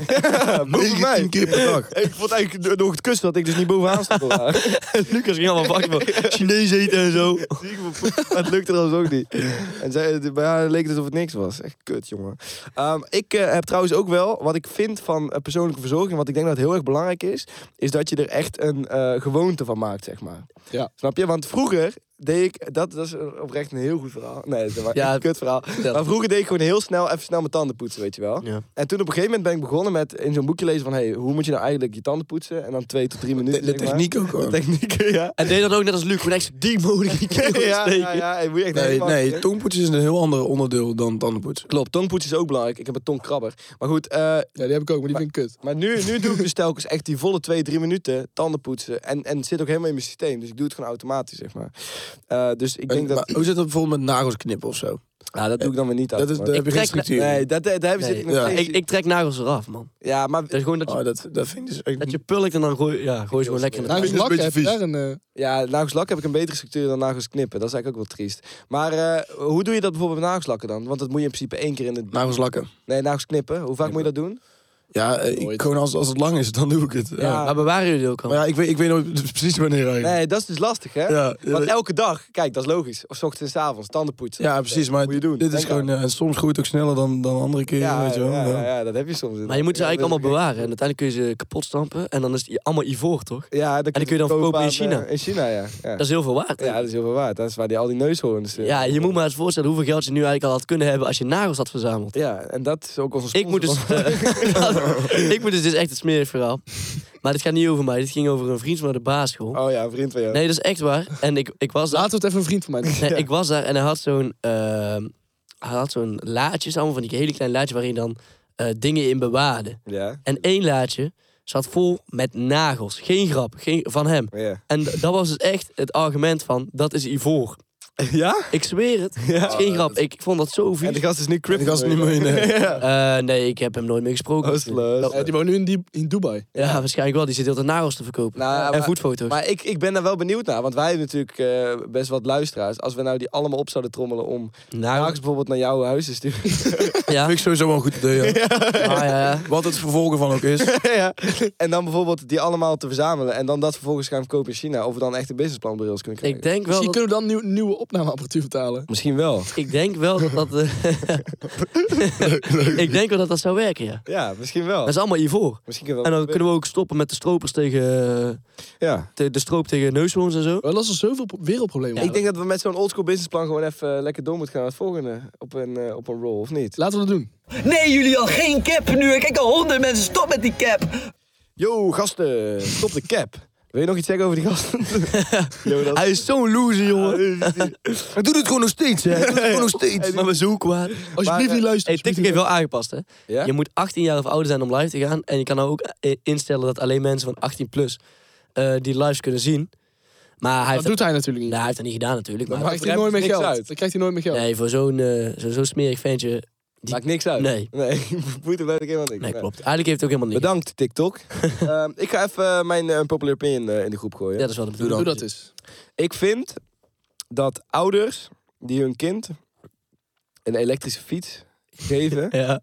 [SPEAKER 2] boven mij.
[SPEAKER 4] 19 keer per dag.
[SPEAKER 2] Ik vond eigenlijk door het kussen dat ik dus niet bovenaan stond.
[SPEAKER 5] Lucas ging allemaal bakken van Chinees eten en zo.
[SPEAKER 2] maar het lukte trouwens ook niet. En zij, bij haar leek het alsof het niks was. Echt kut, jongen. Ehm, ik eh, heb trouwens ook wel, wat ik vind van eh, persoonlijke verzorging, wat ik denk dat heel erg belangrijk is, is dat je er echt een eh, gewoonte van maakt, zeg maar.
[SPEAKER 3] Ja.
[SPEAKER 2] Snap je? Want vroeger deed ik, dat, dat is oprecht een heel goed verhaal. Nee, dat was
[SPEAKER 5] Ja,
[SPEAKER 2] een kut verhaal. Maar vroeger deed ik gewoon heel snel, even snel mijn tanden poetsen, weet je wel.
[SPEAKER 5] Ja.
[SPEAKER 2] En toen op een gegeven moment ben ik begonnen met in zo'n boekje lezen van... hey, hoe moet je nou eigenlijk je tanden poetsen? En dan twee tot drie
[SPEAKER 4] De,
[SPEAKER 2] minuten.
[SPEAKER 4] de
[SPEAKER 2] zeg maar.
[SPEAKER 4] techniek ook
[SPEAKER 2] De
[SPEAKER 4] gewoon.
[SPEAKER 2] technieken, ja.
[SPEAKER 5] En deed dat ook net als Luc, gewoon echt zo diep mogelijk in je keel
[SPEAKER 2] ja,
[SPEAKER 5] steken.
[SPEAKER 2] ja, ja. en moet je echt
[SPEAKER 4] Nee,
[SPEAKER 2] helemaal-
[SPEAKER 4] nee, tongpoetsen is een heel ander onderdeel dan tandenpoetsen.
[SPEAKER 2] Klopt, tongpoetsen is ook belangrijk. Ik heb een tongkrabber. Maar goed, eh,
[SPEAKER 3] Ja, die heb ik ook, maar die vind ik kut.
[SPEAKER 2] maar nu, nu doe ik dus telkens echt die volle twee, drie minuten tanden poetsen. En, en het zit ook helemaal in mijn systeem. Dus ik doe het gewoon automatisch, zeg maar. Eh, dus ik denk
[SPEAKER 4] En-
[SPEAKER 2] dat...
[SPEAKER 4] maar hoe zit dat bijvoorbeeld met nagels knippen of zo?
[SPEAKER 2] Nou, dat doe ik dan weer niet aan.
[SPEAKER 4] Dat is, daar
[SPEAKER 2] man.
[SPEAKER 4] heb je geen
[SPEAKER 5] trek-
[SPEAKER 4] structuur.
[SPEAKER 2] Nee, dat, dat, daar heb je
[SPEAKER 5] Nee,
[SPEAKER 2] zit ik nog
[SPEAKER 4] ja.
[SPEAKER 2] steeds-
[SPEAKER 5] Ik, ik trek nagels eraf, man.
[SPEAKER 2] Ja, maar...
[SPEAKER 5] Dat is gewoon dat je,
[SPEAKER 4] Oh, dat, dat vind ik dus echt
[SPEAKER 5] dat je pulkt en dan gooi, ja, gooi je gewoon lekker in de
[SPEAKER 4] Nou,
[SPEAKER 3] Langs
[SPEAKER 4] vind ik dus een
[SPEAKER 3] lakken heb je
[SPEAKER 4] beetje
[SPEAKER 3] daar een... eh,
[SPEAKER 2] Ja, nagelslak heb ik een betere structuur dan nagels knippen. Dat is eigenlijk ook wel triest. Maar eh, hoe doe je dat bijvoorbeeld met nagelslakken dan? Want dat moet je in principe één keer in de...
[SPEAKER 4] nagels lakken.
[SPEAKER 2] Nee, nagels knippen. Hoe vaak moet je dat doen?
[SPEAKER 4] Ja, eh, ik,
[SPEAKER 3] Nooit.
[SPEAKER 4] gewoon als, als het lang is, dan doe ik het. Ja.
[SPEAKER 2] Ja.
[SPEAKER 5] Maar bewaren jullie ook al?
[SPEAKER 4] Maar ja, ik weet, ik weet nooit precies wanneer eigenlijk.
[SPEAKER 2] Nee, dat is dus lastig, hè?
[SPEAKER 4] Ja,
[SPEAKER 2] Want
[SPEAKER 4] ja,
[SPEAKER 2] elke dag, kijk, dat is logisch. Of 's ochtends en 's avonds, tanden poetsen.
[SPEAKER 4] ja, precies. Maar
[SPEAKER 2] Moet je doen.
[SPEAKER 4] dit is
[SPEAKER 2] Denk
[SPEAKER 4] gewoon... ja, en soms groeit het ook sneller dan, dan andere keren,
[SPEAKER 2] Ja,
[SPEAKER 4] weet je wel.
[SPEAKER 2] ja,
[SPEAKER 4] Ja,
[SPEAKER 2] ja, ja, dat heb je soms.
[SPEAKER 5] Maar je moet ze
[SPEAKER 2] Ja, dat
[SPEAKER 5] eigenlijk
[SPEAKER 2] is
[SPEAKER 5] allemaal bewaren. En uiteindelijk kun je ze kapot stampen. En dan is het i- allemaal ivoor, toch?
[SPEAKER 2] gek. Ja,
[SPEAKER 5] En die kun je dan verkopen in
[SPEAKER 2] aan, eh,
[SPEAKER 5] China.
[SPEAKER 2] In China, ja. Ja,
[SPEAKER 5] Dat is heel veel waard.
[SPEAKER 2] ja dat is heel veel waard. Dat is waar die al die neushoorns... eh,
[SPEAKER 5] Ja, je moet maar eens voorstellen hoeveel geld je nu eigenlijk al had kunnen hebben als je nagels had verzameld.
[SPEAKER 2] Ja, en dat is ook onze sponsor.
[SPEAKER 5] Ik moet dus...
[SPEAKER 2] van-
[SPEAKER 5] eh, ik moet dus, dit is echt het smerig verhaal. Maar dit gaat niet over mij. Dit ging over een vriend van de basisschool.
[SPEAKER 2] Oh ja, een vriend van jou.
[SPEAKER 5] dus- Nee, dat is echt waar. En ik, ik was daar.
[SPEAKER 3] Laten we het even een vriend van mij doen.
[SPEAKER 5] Nee, ik was daar en hij had zo'n... ehm, hij had zo'n laadjes, allemaal van die hele kleine laadjes waarin dan eh, dingen in bewaarde.
[SPEAKER 2] Ja,
[SPEAKER 5] En één laadje zat vol met nagels. Geen grap, geen, van hem.
[SPEAKER 2] Oh ja.
[SPEAKER 5] En d- dat was dus echt het argument van, dat is ivoor.
[SPEAKER 2] Ja? Oh,
[SPEAKER 5] Ik zweer het. Het is geen grap. Ik vond dat zo vies.
[SPEAKER 2] En de gast is nu
[SPEAKER 4] En
[SPEAKER 2] crippled.
[SPEAKER 4] ik was het niet meer in... eh,
[SPEAKER 5] Eh, nee, ik heb hem nooit meer gesproken.
[SPEAKER 2] Oh, slus.
[SPEAKER 3] Eh, die woont nu in, die, in Dubai.
[SPEAKER 5] ja, waarschijnlijk wel. Die zit heel de nagels te verkopen.
[SPEAKER 2] Nou,
[SPEAKER 5] en
[SPEAKER 2] maar-
[SPEAKER 5] voetfoto's.
[SPEAKER 2] Maar ik, ik ben daar wel benieuwd naar, want wij hebben natuurlijk eh, best wat luisteraars. Als we nou die allemaal op zouden trommelen om
[SPEAKER 5] nagels.
[SPEAKER 2] nagels bijvoorbeeld naar jouw huis te sturen.
[SPEAKER 5] Ja.
[SPEAKER 4] Vind
[SPEAKER 5] Ah,
[SPEAKER 4] ik sowieso wel een goed idee, ja.
[SPEAKER 5] ja.
[SPEAKER 4] Wat het vervolgen van ook is.
[SPEAKER 2] ja. En dan bijvoorbeeld die allemaal te verzamelen en dan dat vervolgens gaan verkopen in China. Of we dan echt een businessplan bij ons kunnen krijgen.
[SPEAKER 5] Ik denk wel
[SPEAKER 3] Misschien
[SPEAKER 5] dat,
[SPEAKER 3] kunnen we dan nieuw, nieuwe opnameapparatuur vertalen.
[SPEAKER 2] Misschien wel.
[SPEAKER 5] ik denk wel dat, dat eh, ik denk wel dat dat zou werken, ja.
[SPEAKER 2] Ja, misschien wel.
[SPEAKER 5] Dat is allemaal ivoor.
[SPEAKER 2] Misschien kunnen we
[SPEAKER 5] En dan kunnen we ook stoppen met de stropers tegen... eh,
[SPEAKER 2] Ja.
[SPEAKER 5] te- de stroop tegen neushoorns en zo.
[SPEAKER 3] We lossen zoveel pro- wereldproblemen op.
[SPEAKER 2] Ik denk dat we met zo'n oldschool businessplan gewoon even eh, lekker door moeten gaan naar het volgende. Op een, eh, op een roll, of niet?
[SPEAKER 3] Laten we dat doen.
[SPEAKER 6] Nee, jullie al geen cap nu. Ik kijk al honderd mensen. Stop met die cap.
[SPEAKER 2] Yo, gasten, stop de cap. Wil je nog iets zeggen over die gasten? Yo, dat-
[SPEAKER 5] Hij is zo'n loser, jongen.
[SPEAKER 4] Hij doet het gewoon nog steeds, hè. Hij doet het gewoon nog steeds.
[SPEAKER 5] Maar we zo kwaad.
[SPEAKER 3] Alsjeblieft
[SPEAKER 2] eh,
[SPEAKER 3] niet
[SPEAKER 5] Hey,
[SPEAKER 3] luisteren.
[SPEAKER 5] TikTok heeft wel aangepast, hè?
[SPEAKER 2] Ja?
[SPEAKER 5] Je moet 18 jaar of ouder zijn om live te gaan. En je kan nou ook eh, instellen dat alleen mensen van 18 plus eh, die lives kunnen zien. Maar hij
[SPEAKER 3] Dat
[SPEAKER 5] heeft,
[SPEAKER 3] doet hij natuurlijk niet.
[SPEAKER 5] nou, hij heeft dat niet gedaan natuurlijk.
[SPEAKER 3] Dan
[SPEAKER 5] Maar
[SPEAKER 3] krijgt hij
[SPEAKER 2] brengt
[SPEAKER 3] nooit meer
[SPEAKER 2] niks
[SPEAKER 3] geld.
[SPEAKER 2] uit.
[SPEAKER 3] Dan krijgt hij nooit meer geld.
[SPEAKER 5] nee, voor zo'n eh, zo- zo'n smerig ventje.
[SPEAKER 2] Maakt niks uit.
[SPEAKER 5] Nee.
[SPEAKER 2] Nee, boeit er letterlijk helemaal niks.
[SPEAKER 5] Nee, klopt. Eigenlijk heeft het ook helemaal niks.
[SPEAKER 2] Bedankt, TikTok. Ehm, ik ga even eh, mijn eh, unpopular opinion eh, in de groep gooien.
[SPEAKER 5] Ja, dat is wel de
[SPEAKER 3] Doe
[SPEAKER 5] bedoeling.
[SPEAKER 3] dat eens.
[SPEAKER 2] Ik vind dat ouders die hun kind een elektrische fiets geven...
[SPEAKER 5] Ja.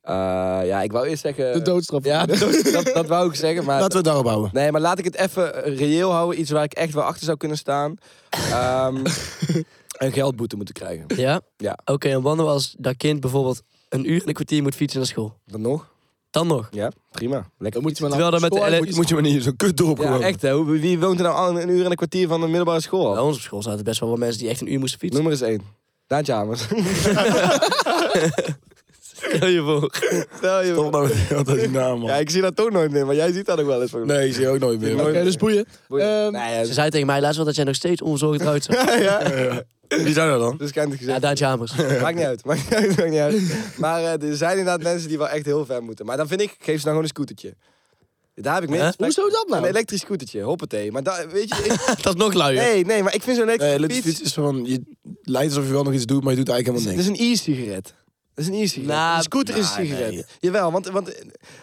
[SPEAKER 2] eh, ja, ik wou eerst zeggen...
[SPEAKER 3] De doodstraf.
[SPEAKER 2] Ja, de dood- dat, dat wou ik zeggen, maar...
[SPEAKER 4] Laten we het daarop houden.
[SPEAKER 2] Nee, maar laat ik het even reëel houden. Iets waar ik echt wel achter zou kunnen staan. Ehm, een geldboete moeten krijgen.
[SPEAKER 5] Ja?
[SPEAKER 2] Ja.
[SPEAKER 5] Oké, en wanneer als dat kind bijvoorbeeld een uur en een kwartier moet fietsen naar school?
[SPEAKER 2] Dan nog?
[SPEAKER 5] Dan nog.
[SPEAKER 2] Ja, prima. Lekker.
[SPEAKER 3] Dan moet je maar
[SPEAKER 5] Terwijl dat met de
[SPEAKER 3] School-
[SPEAKER 5] LR
[SPEAKER 4] Moet, moet je maar niet in zo'n kut dorp
[SPEAKER 2] Ja,
[SPEAKER 4] gewoon.
[SPEAKER 2] echt hè. Hoe- Wie woont er nou al een uur en een kwartier van de middelbare school? af?
[SPEAKER 5] Bij ons op school zaten best wel wat mensen die echt een uur moesten fietsen.
[SPEAKER 2] Nummer is één. Daantje Hamers.
[SPEAKER 5] Stel je voor.
[SPEAKER 2] Stel je
[SPEAKER 4] Stop nou met die- met die naam, man.
[SPEAKER 2] Ja, ik zie dat toch nooit meer, maar jij ziet dat ook wel eens. volgens mij.
[SPEAKER 4] Nee, ik zie je ook nooit meer.
[SPEAKER 3] Oké, dus boeien. Ehm,
[SPEAKER 2] Nee, ja,
[SPEAKER 5] Ze zei tegen mij laatst wel dat jij nog steeds onverzorgd eruit zag.
[SPEAKER 4] Wie zijn er dan?
[SPEAKER 2] dus kan het
[SPEAKER 5] Ja,
[SPEAKER 2] gezegd.
[SPEAKER 5] Daantje Hamers.
[SPEAKER 2] Maakt niet uit, maakt niet uit, maakt niet uit. Maar eh, er zijn inderdaad mensen die wel echt heel ver moeten. Maar dan vind ik, geef ze nou gewoon een scootertje. Daar heb ik meer
[SPEAKER 5] Hè?
[SPEAKER 2] respect
[SPEAKER 3] Hoezo dat
[SPEAKER 2] voor. Een
[SPEAKER 3] nou?
[SPEAKER 2] elektrisch scootertje, hoppatee. Maar da- weet je, ik-
[SPEAKER 5] dat is nog luier.
[SPEAKER 2] nee, nee, maar ik vind zo'n
[SPEAKER 4] Nee,
[SPEAKER 2] elektrische
[SPEAKER 4] elektrische
[SPEAKER 2] fiets,
[SPEAKER 4] fiets is van... Je lijkt alsof je wel nog iets doet, maar je doet eigenlijk
[SPEAKER 2] dat
[SPEAKER 4] helemaal
[SPEAKER 2] is
[SPEAKER 4] niks.
[SPEAKER 2] een e-sigaret. Dat is een e-sigaret.
[SPEAKER 5] Nou,
[SPEAKER 2] een scooter is een
[SPEAKER 4] nou,
[SPEAKER 2] sigaret.
[SPEAKER 4] nee.
[SPEAKER 2] Jawel, want, want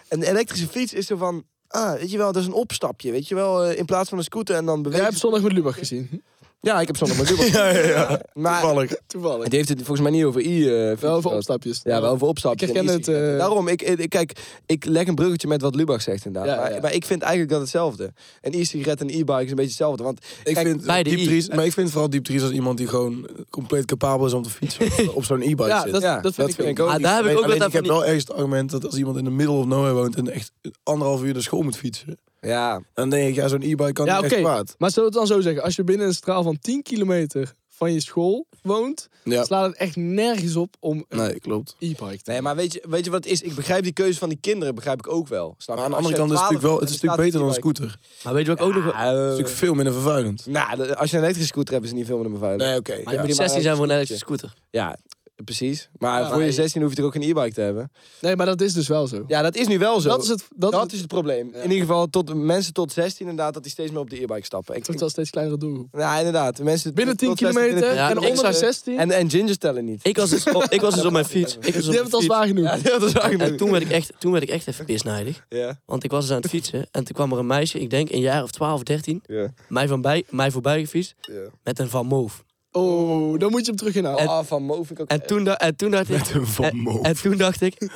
[SPEAKER 2] een elektrische fiets is zo van, ah, weet je wel, dat is een opstapje, weet je wel. eh, In plaats van een scooter en dan
[SPEAKER 3] Jij
[SPEAKER 2] bewegen.
[SPEAKER 3] hebt zondag met Lubach gezien.
[SPEAKER 2] Ja, ik heb zondag maar dubbel.
[SPEAKER 4] Ja, ja, ja.
[SPEAKER 2] Maar
[SPEAKER 4] Toevallig.
[SPEAKER 3] Toevallig.
[SPEAKER 2] Die heeft het volgens mij niet over i. eh, fiets
[SPEAKER 3] Wel voor
[SPEAKER 2] gehad.
[SPEAKER 3] opstapjes.
[SPEAKER 2] Ja, wel over
[SPEAKER 3] Ik
[SPEAKER 2] opstapjes.
[SPEAKER 3] herken
[SPEAKER 2] en
[SPEAKER 3] het,
[SPEAKER 2] e-sigaretten.
[SPEAKER 3] eh.
[SPEAKER 2] Daarom, ik, ik, kijk, ik leg een bruggetje met wat Lubach zegt inderdaad.
[SPEAKER 3] Ja,
[SPEAKER 2] maar,
[SPEAKER 3] ja.
[SPEAKER 2] maar ik vind eigenlijk dat hetzelfde. Een e-sigaret en een e-bike is een beetje hetzelfde. Want
[SPEAKER 4] Ik
[SPEAKER 2] Kijk,
[SPEAKER 4] vind
[SPEAKER 5] beide
[SPEAKER 4] Deep
[SPEAKER 5] i.
[SPEAKER 4] Dries- maar ik vind vooral Deep Dries als iemand die gewoon compleet capabel is om te fietsen op zo'n e-bike
[SPEAKER 3] Ja,
[SPEAKER 4] zit.
[SPEAKER 3] dat,
[SPEAKER 2] Ja,
[SPEAKER 3] dat vind ik ook.
[SPEAKER 2] ook.
[SPEAKER 5] Ah, daar heb ik
[SPEAKER 4] Alleen-
[SPEAKER 5] ook
[SPEAKER 4] alleen
[SPEAKER 5] wat aan
[SPEAKER 4] ik heb wel ergens het argument dat als iemand in de middle of nowhere woont en echt anderhalf uur naar school moet fietsen,
[SPEAKER 2] ja,
[SPEAKER 4] dan denk ik, ja, zo'n e-bike kan
[SPEAKER 3] Ja,
[SPEAKER 4] niet
[SPEAKER 3] oké.
[SPEAKER 4] echt kwaad.
[SPEAKER 3] Maar zullen we het dan zo zeggen? Als je binnen een straal van 10 kilometer van je school woont,
[SPEAKER 4] Ja.
[SPEAKER 3] slaat het echt nergens op om een
[SPEAKER 4] Nee, klopt.
[SPEAKER 3] e-bike te
[SPEAKER 2] nee, maar weet je, weet je wat het is? Ik begrijp die keuze van die kinderen, begrijp ik ook wel. Snap
[SPEAKER 4] Maar
[SPEAKER 2] je?
[SPEAKER 4] aan de
[SPEAKER 2] Als
[SPEAKER 4] andere
[SPEAKER 2] je
[SPEAKER 4] kant is het
[SPEAKER 2] 12
[SPEAKER 4] natuurlijk wel
[SPEAKER 2] bent
[SPEAKER 4] het
[SPEAKER 2] en je
[SPEAKER 4] is natuurlijk beter dan een
[SPEAKER 2] staat op
[SPEAKER 4] scooter. Het
[SPEAKER 5] Maar weet je wat ik ook nog... Ah,
[SPEAKER 2] e-bike.
[SPEAKER 4] is
[SPEAKER 2] Eh,
[SPEAKER 4] natuurlijk veel minder vervuilend.
[SPEAKER 2] nou, de- als je een elektrische scooter hebt, is het niet veel meer beveiligd.
[SPEAKER 4] Nee, oké.
[SPEAKER 5] Maar je
[SPEAKER 4] ja.
[SPEAKER 5] moet
[SPEAKER 2] Ja.
[SPEAKER 5] 16 zijn voor een elektrische scooter.
[SPEAKER 2] Ja, Precies. Maar
[SPEAKER 3] Ja,
[SPEAKER 2] voor je
[SPEAKER 3] maar-
[SPEAKER 2] 16 hoef je toch ook geen e-bike te hebben?
[SPEAKER 3] Nee, maar dat is dus wel zo.
[SPEAKER 2] Ja, dat is nu wel zo.
[SPEAKER 3] Dat is het, dat
[SPEAKER 2] Dat,
[SPEAKER 3] is het,
[SPEAKER 2] is het probleem. In ieder geval tot, mensen tot 16 inderdaad, dat die steeds meer op de e-bike stappen. Ik,
[SPEAKER 3] het wordt wel steeds kleinere doelgroep.
[SPEAKER 2] ja, inderdaad. Mensen
[SPEAKER 3] Binnen
[SPEAKER 2] tot
[SPEAKER 3] 10
[SPEAKER 2] 16 binnen
[SPEAKER 3] kilometer
[SPEAKER 5] Ja,
[SPEAKER 3] en
[SPEAKER 5] ik
[SPEAKER 3] onder de
[SPEAKER 5] zou-
[SPEAKER 3] 16.
[SPEAKER 2] En, en gingers tellen niet.
[SPEAKER 5] Ik was dus op, ik was dus op mijn fiets.
[SPEAKER 3] die
[SPEAKER 5] Ik was op
[SPEAKER 3] hebben het al
[SPEAKER 5] mijn
[SPEAKER 3] zwaar genoeg.
[SPEAKER 2] Ja, dat is waar
[SPEAKER 5] fiets. En
[SPEAKER 2] genoeg.
[SPEAKER 5] toen werd ik echt, toen werd ik echt even pisnijdig.
[SPEAKER 2] Ja.
[SPEAKER 5] Want ik was dus aan het fietsen. En toen kwam er een meisje, ik denk een jaar of 12, 13.
[SPEAKER 2] Ja.
[SPEAKER 5] Mij, van bij, mij voorbij gefietst.
[SPEAKER 2] Ja.
[SPEAKER 5] Met een Van Moof.
[SPEAKER 3] Oh, dan moet je hem terug inhalen.
[SPEAKER 2] Ah, van Mo vind ik ook...
[SPEAKER 5] En toen, da- en toen dacht ik...
[SPEAKER 4] Met een Van
[SPEAKER 5] en-
[SPEAKER 4] Moof.
[SPEAKER 5] En, toen dacht ik...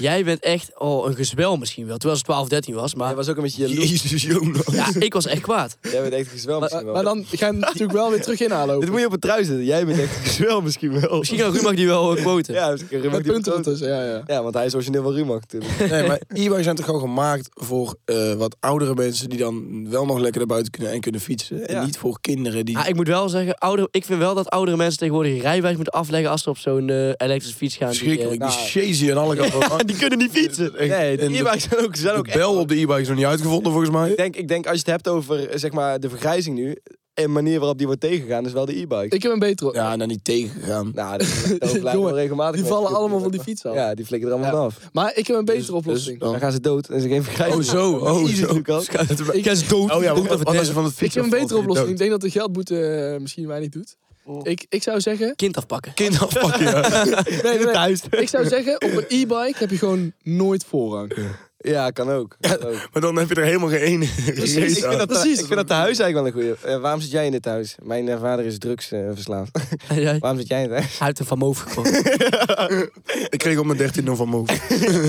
[SPEAKER 5] Jij bent echt oh, een gezwel misschien wel. Terwijl ze 12, 13 was. Maar
[SPEAKER 2] Jij was ook een beetje jaloers.
[SPEAKER 4] Jezus, Jonas.
[SPEAKER 5] ja, ik was echt kwaad.
[SPEAKER 2] Jij bent echt gezwel misschien wel.
[SPEAKER 3] Maar dan ga je hem natuurlijk wel weer terug inhalen.
[SPEAKER 2] Dit
[SPEAKER 3] hopelijk.
[SPEAKER 2] moet je op een trui zetten. Jij bent echt gezwel misschien wel.
[SPEAKER 5] Misschien kan Rumach die wel eh, quoten.
[SPEAKER 2] Ja, misschien Rumach
[SPEAKER 3] Met
[SPEAKER 2] die
[SPEAKER 3] punten
[SPEAKER 2] betoont.
[SPEAKER 3] ertussen, dus, ja, ja.
[SPEAKER 2] Ja, want hij is origineel wel Rumach natuurlijk.
[SPEAKER 4] Nee, maar e-bikes zijn toch gewoon gemaakt voor eh, wat oudere mensen die dan wel nog lekker naar buiten kunnen en kunnen fietsen.
[SPEAKER 2] Ja.
[SPEAKER 4] En niet voor kinderen die...
[SPEAKER 5] Ah, ik moet wel zeggen, ouder, ik vind wel dat oudere mensen tegenwoordig een rijwijs moeten afleggen als ze op zo'n eh, elektrische fiets gaan. die, eh,
[SPEAKER 4] Schrikkelijk, die
[SPEAKER 2] nou-
[SPEAKER 4] cheesy en alle kanten.
[SPEAKER 5] die kunnen niet fietsen.
[SPEAKER 2] Nee,
[SPEAKER 4] Echt,
[SPEAKER 2] de
[SPEAKER 4] en de-
[SPEAKER 2] e-bikes zijn ook, zijn ook
[SPEAKER 4] de bel op de e-bike is nog niet uitgevonden volgens mij.
[SPEAKER 2] Ik denk, ik denk als je het hebt over eh, zeg maar, de vergrijzing nu, en manier waarop die wordt tegengegaan, is wel de e-bike.
[SPEAKER 3] Ik heb een betere.
[SPEAKER 4] Ja, en dan niet tegengegaan.
[SPEAKER 2] Nou, dat dat blijven we
[SPEAKER 3] Jongen,
[SPEAKER 2] regelmatig.
[SPEAKER 3] die
[SPEAKER 2] mee.
[SPEAKER 3] vallen allemaal van die fiets af.
[SPEAKER 2] Ja, die flikken er allemaal vanaf.
[SPEAKER 3] Maar ik heb een betere oplossing.
[SPEAKER 2] Dus Dan gaan ze dood en ze geen vergrijzing.
[SPEAKER 4] Oh zo, oh
[SPEAKER 2] Easy,
[SPEAKER 4] zo.
[SPEAKER 2] Lucas.
[SPEAKER 5] Ik is dood.
[SPEAKER 4] Oh ja,
[SPEAKER 5] Dood
[SPEAKER 4] wat,
[SPEAKER 5] of
[SPEAKER 4] wat
[SPEAKER 5] dead.
[SPEAKER 4] als je van het
[SPEAKER 3] ik
[SPEAKER 4] fietsen
[SPEAKER 3] heb een betere
[SPEAKER 4] afvalt,
[SPEAKER 3] oplossing.
[SPEAKER 4] ben je
[SPEAKER 3] Ik denk dat de geldboete eh, misschien weinig doet. Ik, ik zou zeggen...
[SPEAKER 5] Kind afpakken.
[SPEAKER 4] dood. Kind afpakken, ja.
[SPEAKER 3] Nee, nee, nee. Ik zou zeggen, op een e-bike heb je gewoon nooit voorrang.
[SPEAKER 2] Ja, kan ook. Kan ook.
[SPEAKER 4] Maar dan heb je er helemaal geen ene
[SPEAKER 2] Ik
[SPEAKER 4] reet
[SPEAKER 2] vind,
[SPEAKER 4] aan.
[SPEAKER 2] dat,
[SPEAKER 3] Precies.
[SPEAKER 2] ik vind dat de huis eigenlijk wel een goede. waarom zit jij in dit huis? Mijn eh, vader is drugs eh, verslaafd.
[SPEAKER 5] En jij
[SPEAKER 2] waarom zit jij in het huis?
[SPEAKER 5] uit een Van Moof gekomen.
[SPEAKER 4] Ik kreeg op mijn 13 nog van Move.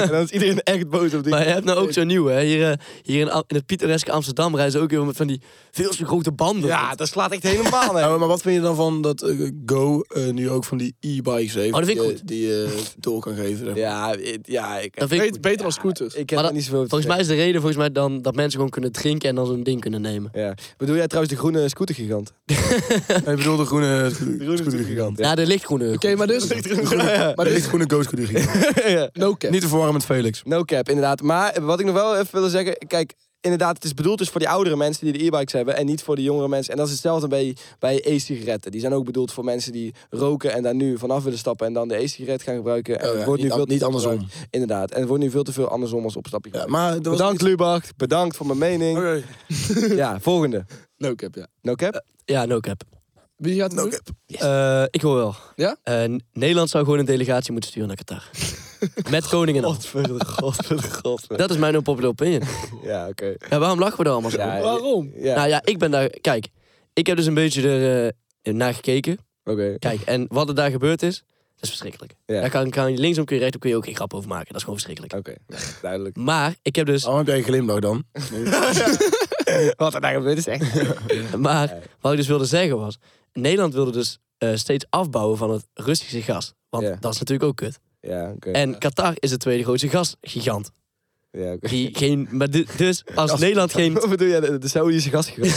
[SPEAKER 2] en dan is iedereen echt boos op die.
[SPEAKER 5] Maar je hebt nou ook zo'n nieuw, hè. Hier, eh, hier in, Am- in het pittoreske Amsterdam rijden ze ook weer met van die veel te grote banden.
[SPEAKER 2] ja, dat slaat echt helemaal
[SPEAKER 4] Ja,
[SPEAKER 2] naar.
[SPEAKER 4] maar- maar wat vind je dan van dat eh, Go eh, nu ook van die e-bikes heeft?
[SPEAKER 5] Oh, dat vind ik
[SPEAKER 4] die, eh,
[SPEAKER 5] goed.
[SPEAKER 4] Die je door kan geven. zeg maar.
[SPEAKER 2] Ja, ik- ja, ik,
[SPEAKER 5] Dat vind ik
[SPEAKER 3] Beter,
[SPEAKER 5] goed.
[SPEAKER 3] beter dan scooters.
[SPEAKER 2] ik heb
[SPEAKER 5] Maar
[SPEAKER 2] daar
[SPEAKER 5] dat-
[SPEAKER 2] niet zoveel over te
[SPEAKER 5] Volgens mij is de reden volgens mij dan dat mensen gewoon kunnen drinken en dan zo'n ding kunnen nemen.
[SPEAKER 2] zeggen. Ja. Bedoel jij trouwens de groene scootergigant?
[SPEAKER 4] Hij bedoelde groene scootergigant.
[SPEAKER 2] scootergigant.
[SPEAKER 5] Ja, de lichtgroene.
[SPEAKER 3] Oké, maar dus... Maar
[SPEAKER 4] Maar dit
[SPEAKER 3] dus,
[SPEAKER 4] is groene Go scootergigant.
[SPEAKER 3] no cap.
[SPEAKER 4] Niet te verwarren met Felix.
[SPEAKER 2] No cap, inderdaad. Maar wat ik nog wel even wil zeggen, kijk, inderdaad, het is bedoeld dus voor die oudere mensen die de e-bikes hebben en niet voor de jongere mensen. En dat is hetzelfde bij, bij e-sigaretten. Die zijn ook bedoeld voor mensen die roken en daar nu vanaf willen stappen en dan de e-sigaret gaan gebruiken. En
[SPEAKER 4] Oh ja,
[SPEAKER 2] het wordt
[SPEAKER 4] niet
[SPEAKER 2] nu veel
[SPEAKER 4] an-
[SPEAKER 2] te
[SPEAKER 4] niet
[SPEAKER 2] veel
[SPEAKER 4] andersom.
[SPEAKER 2] gebruikt. Inderdaad. En het wordt nu veel te veel andersom als opstapje.
[SPEAKER 4] Ja, maar dat was Oh,
[SPEAKER 2] bedankt
[SPEAKER 4] niet-
[SPEAKER 2] Lubach, bedankt voor mijn mening.
[SPEAKER 4] Oké.
[SPEAKER 2] Ja, volgende.
[SPEAKER 3] No cap, ja.
[SPEAKER 2] No cap?
[SPEAKER 5] Ja, no cap.
[SPEAKER 3] Wie gaat het
[SPEAKER 4] No
[SPEAKER 3] doen?
[SPEAKER 4] cap.
[SPEAKER 5] Eh, ik hoor wel.
[SPEAKER 3] Ja?
[SPEAKER 5] Eh, N- Nederland zou gewoon een delegatie moeten sturen naar Qatar. Met koningen al.
[SPEAKER 2] Godverdomme, godverdomme, godverdomme.
[SPEAKER 5] Dat is mijn unpopular opinion.
[SPEAKER 2] Ja, oké.
[SPEAKER 5] Ja, waarom lachen we daar allemaal zo?
[SPEAKER 2] Ja,
[SPEAKER 3] Waarom?
[SPEAKER 2] Ja,
[SPEAKER 5] Nou ja, ik ben daar... Kijk, ik heb dus een beetje er eh, naar gekeken.
[SPEAKER 2] oké.
[SPEAKER 5] Kijk, en wat er daar gebeurd is, dat is verschrikkelijk.
[SPEAKER 2] Ja.
[SPEAKER 5] Daar kan, kan je linksom, kun je rechtop, kun je ook geen grap over maken. Dat is gewoon verschrikkelijk.
[SPEAKER 2] Oké, duidelijk.
[SPEAKER 5] Maar ik heb
[SPEAKER 2] Oh,
[SPEAKER 5] dus...
[SPEAKER 4] Waarom heb jij een glimlach dan?
[SPEAKER 2] Wat er daar gebeurd is echt...
[SPEAKER 5] Maar wat ik dus wilde zeggen was... Nederland wilde dus eh, steeds afbouwen van het Russische gas. Want
[SPEAKER 2] Ja.
[SPEAKER 5] dat is natuurlijk ook kut.
[SPEAKER 2] Ja, oké.
[SPEAKER 4] Eh.
[SPEAKER 5] En Qatar is de tweede grootste gasgigant.
[SPEAKER 2] Ja, oké.
[SPEAKER 5] Die geen, maar du- dus als Nederland geen
[SPEAKER 2] Wat bedoel jij? De, de Saoedische gastgever?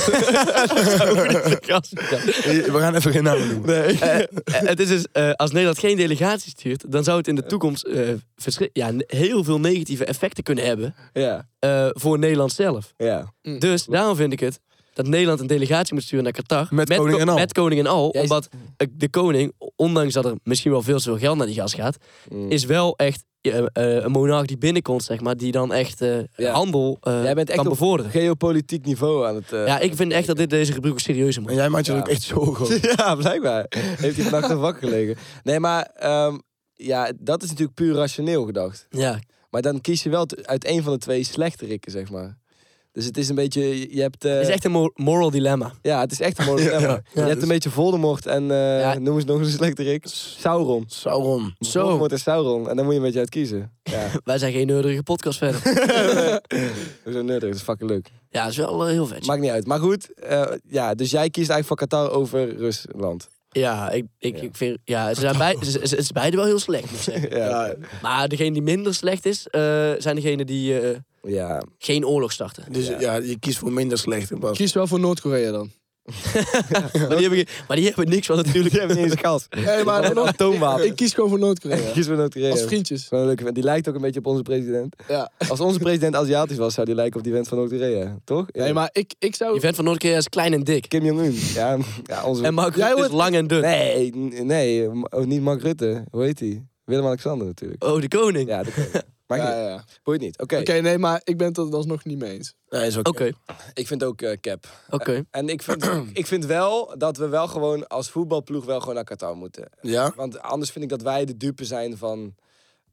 [SPEAKER 5] gas...
[SPEAKER 4] We gaan even geen namen noemen.
[SPEAKER 2] Nee.
[SPEAKER 5] Eh, het is dus, eh, als Nederland geen delegatie stuurt, dan zou het in de toekomst eh, verschri- ja, ne- heel veel negatieve effecten kunnen hebben
[SPEAKER 2] ja,
[SPEAKER 5] eh, voor Nederland zelf.
[SPEAKER 2] ja.
[SPEAKER 5] Dus daarom vind ik het dat Nederland een delegatie moet sturen naar Qatar.
[SPEAKER 4] Met koning en al.
[SPEAKER 5] Met koning en al.
[SPEAKER 2] Jij-
[SPEAKER 5] Omdat eh, de koning, ondanks dat er misschien wel veel te veel geld naar die gas gaat,
[SPEAKER 2] Mm.
[SPEAKER 5] is wel echt eh, eh, een monarch die binnenkomt, zeg maar, die dan echt eh,
[SPEAKER 2] Ja.
[SPEAKER 5] handel eh,
[SPEAKER 2] Jij bent echt
[SPEAKER 5] kan
[SPEAKER 2] op
[SPEAKER 5] bevorderen.
[SPEAKER 2] Geopolitiek niveau aan het... eh,
[SPEAKER 5] Ja, ik vind echt dat dit deze rubriek ook serieus moet.
[SPEAKER 4] En jij maakt je er
[SPEAKER 2] Ja.
[SPEAKER 4] ook echt zorgen over.
[SPEAKER 2] ja, blijkbaar. Heeft hij vannacht nog wakker gelegen. Nee, maar... ehm, ja, dat is natuurlijk puur rationeel gedacht.
[SPEAKER 5] Ja,
[SPEAKER 2] Maar dan kies je wel t- uit één van de twee slechterikken, zeg maar. Dus het is een beetje... Je hebt... eh,
[SPEAKER 5] het is echt een mo- moral dilemma.
[SPEAKER 2] Ja, het is echt een mooi dilemma. Je hebt een beetje Voldemort en... eh,
[SPEAKER 5] Ja.
[SPEAKER 2] Noem eens nog eens een slechterik. Sauron.
[SPEAKER 4] Sauron.
[SPEAKER 5] Zo,
[SPEAKER 2] Voldemort en Sauron. En dan moet je een beetje uit kiezen. Ja,
[SPEAKER 5] wij zijn geen nerdige podcast verder.
[SPEAKER 2] we zijn nerdig. Dat is fucking leuk.
[SPEAKER 5] Ja, dat is wel eh, heel vet.
[SPEAKER 2] Maakt niet uit. Maar goed, eh, ja, dus jij kiest eigenlijk voor Qatar over Rusland.
[SPEAKER 5] ja, ik, ik,
[SPEAKER 2] Ja.
[SPEAKER 5] ik vind... Ja, ze zijn bij, ze- ze- ze- het is beide wel heel slecht, moet ik zeggen.
[SPEAKER 2] Ja,
[SPEAKER 4] Ja,
[SPEAKER 5] Maar degene die minder slecht is, eh, zijn degenen die eh,
[SPEAKER 2] ja.
[SPEAKER 5] geen oorlog starten.
[SPEAKER 4] dus ja. je kiest voor minder slecht in plaats
[SPEAKER 3] Kies wel voor Noord-Korea dan.
[SPEAKER 5] Maar die hebben, ge- maar die hebben niks van natuurlijk.
[SPEAKER 2] Die hebben niet eens gas.
[SPEAKER 3] Hey, maar
[SPEAKER 2] Een
[SPEAKER 3] dan nog-
[SPEAKER 2] atoomwapen.
[SPEAKER 3] ik kies gewoon voor Noord-Korea.
[SPEAKER 2] Kies voor Noord-Korea.
[SPEAKER 3] Als vriendjes.
[SPEAKER 2] Wel een leuke vent. Die lijkt ook een beetje op onze president.
[SPEAKER 3] Ja.
[SPEAKER 2] Als onze president Aziatisch was, zou die lijken op die vent van Noord-Korea. Toch?
[SPEAKER 3] Nee, maar ik, ik
[SPEAKER 5] Die
[SPEAKER 3] zou...
[SPEAKER 5] vent van Noord-Korea is klein en dik.
[SPEAKER 2] Kim Jong-un. Ja, ja, onze...
[SPEAKER 5] En Mark
[SPEAKER 3] Jij
[SPEAKER 5] Rutte is
[SPEAKER 3] wordt-
[SPEAKER 5] lang en dun.
[SPEAKER 2] Nee, n- nee, m- oh, niet Mark Rutte. Hoe heet hij? Willem-Alexander natuurlijk.
[SPEAKER 5] Oh, de koning.
[SPEAKER 2] Ja, dat kan. Maakt
[SPEAKER 3] Ja,
[SPEAKER 2] niet.
[SPEAKER 3] ja. Oké,
[SPEAKER 2] Boeit niet. Oké,
[SPEAKER 3] nee, maar ik ben het er alsnog niet mee eens.
[SPEAKER 4] Nee, is ook
[SPEAKER 5] Oké,
[SPEAKER 2] ik vind ook eh, cap.
[SPEAKER 5] oké.
[SPEAKER 2] En ik vind, ik vind wel dat we wel gewoon als voetbalploeg wel gewoon naar Qatar moeten.
[SPEAKER 4] Ja?
[SPEAKER 2] Want anders vind ik dat wij de dupe zijn van,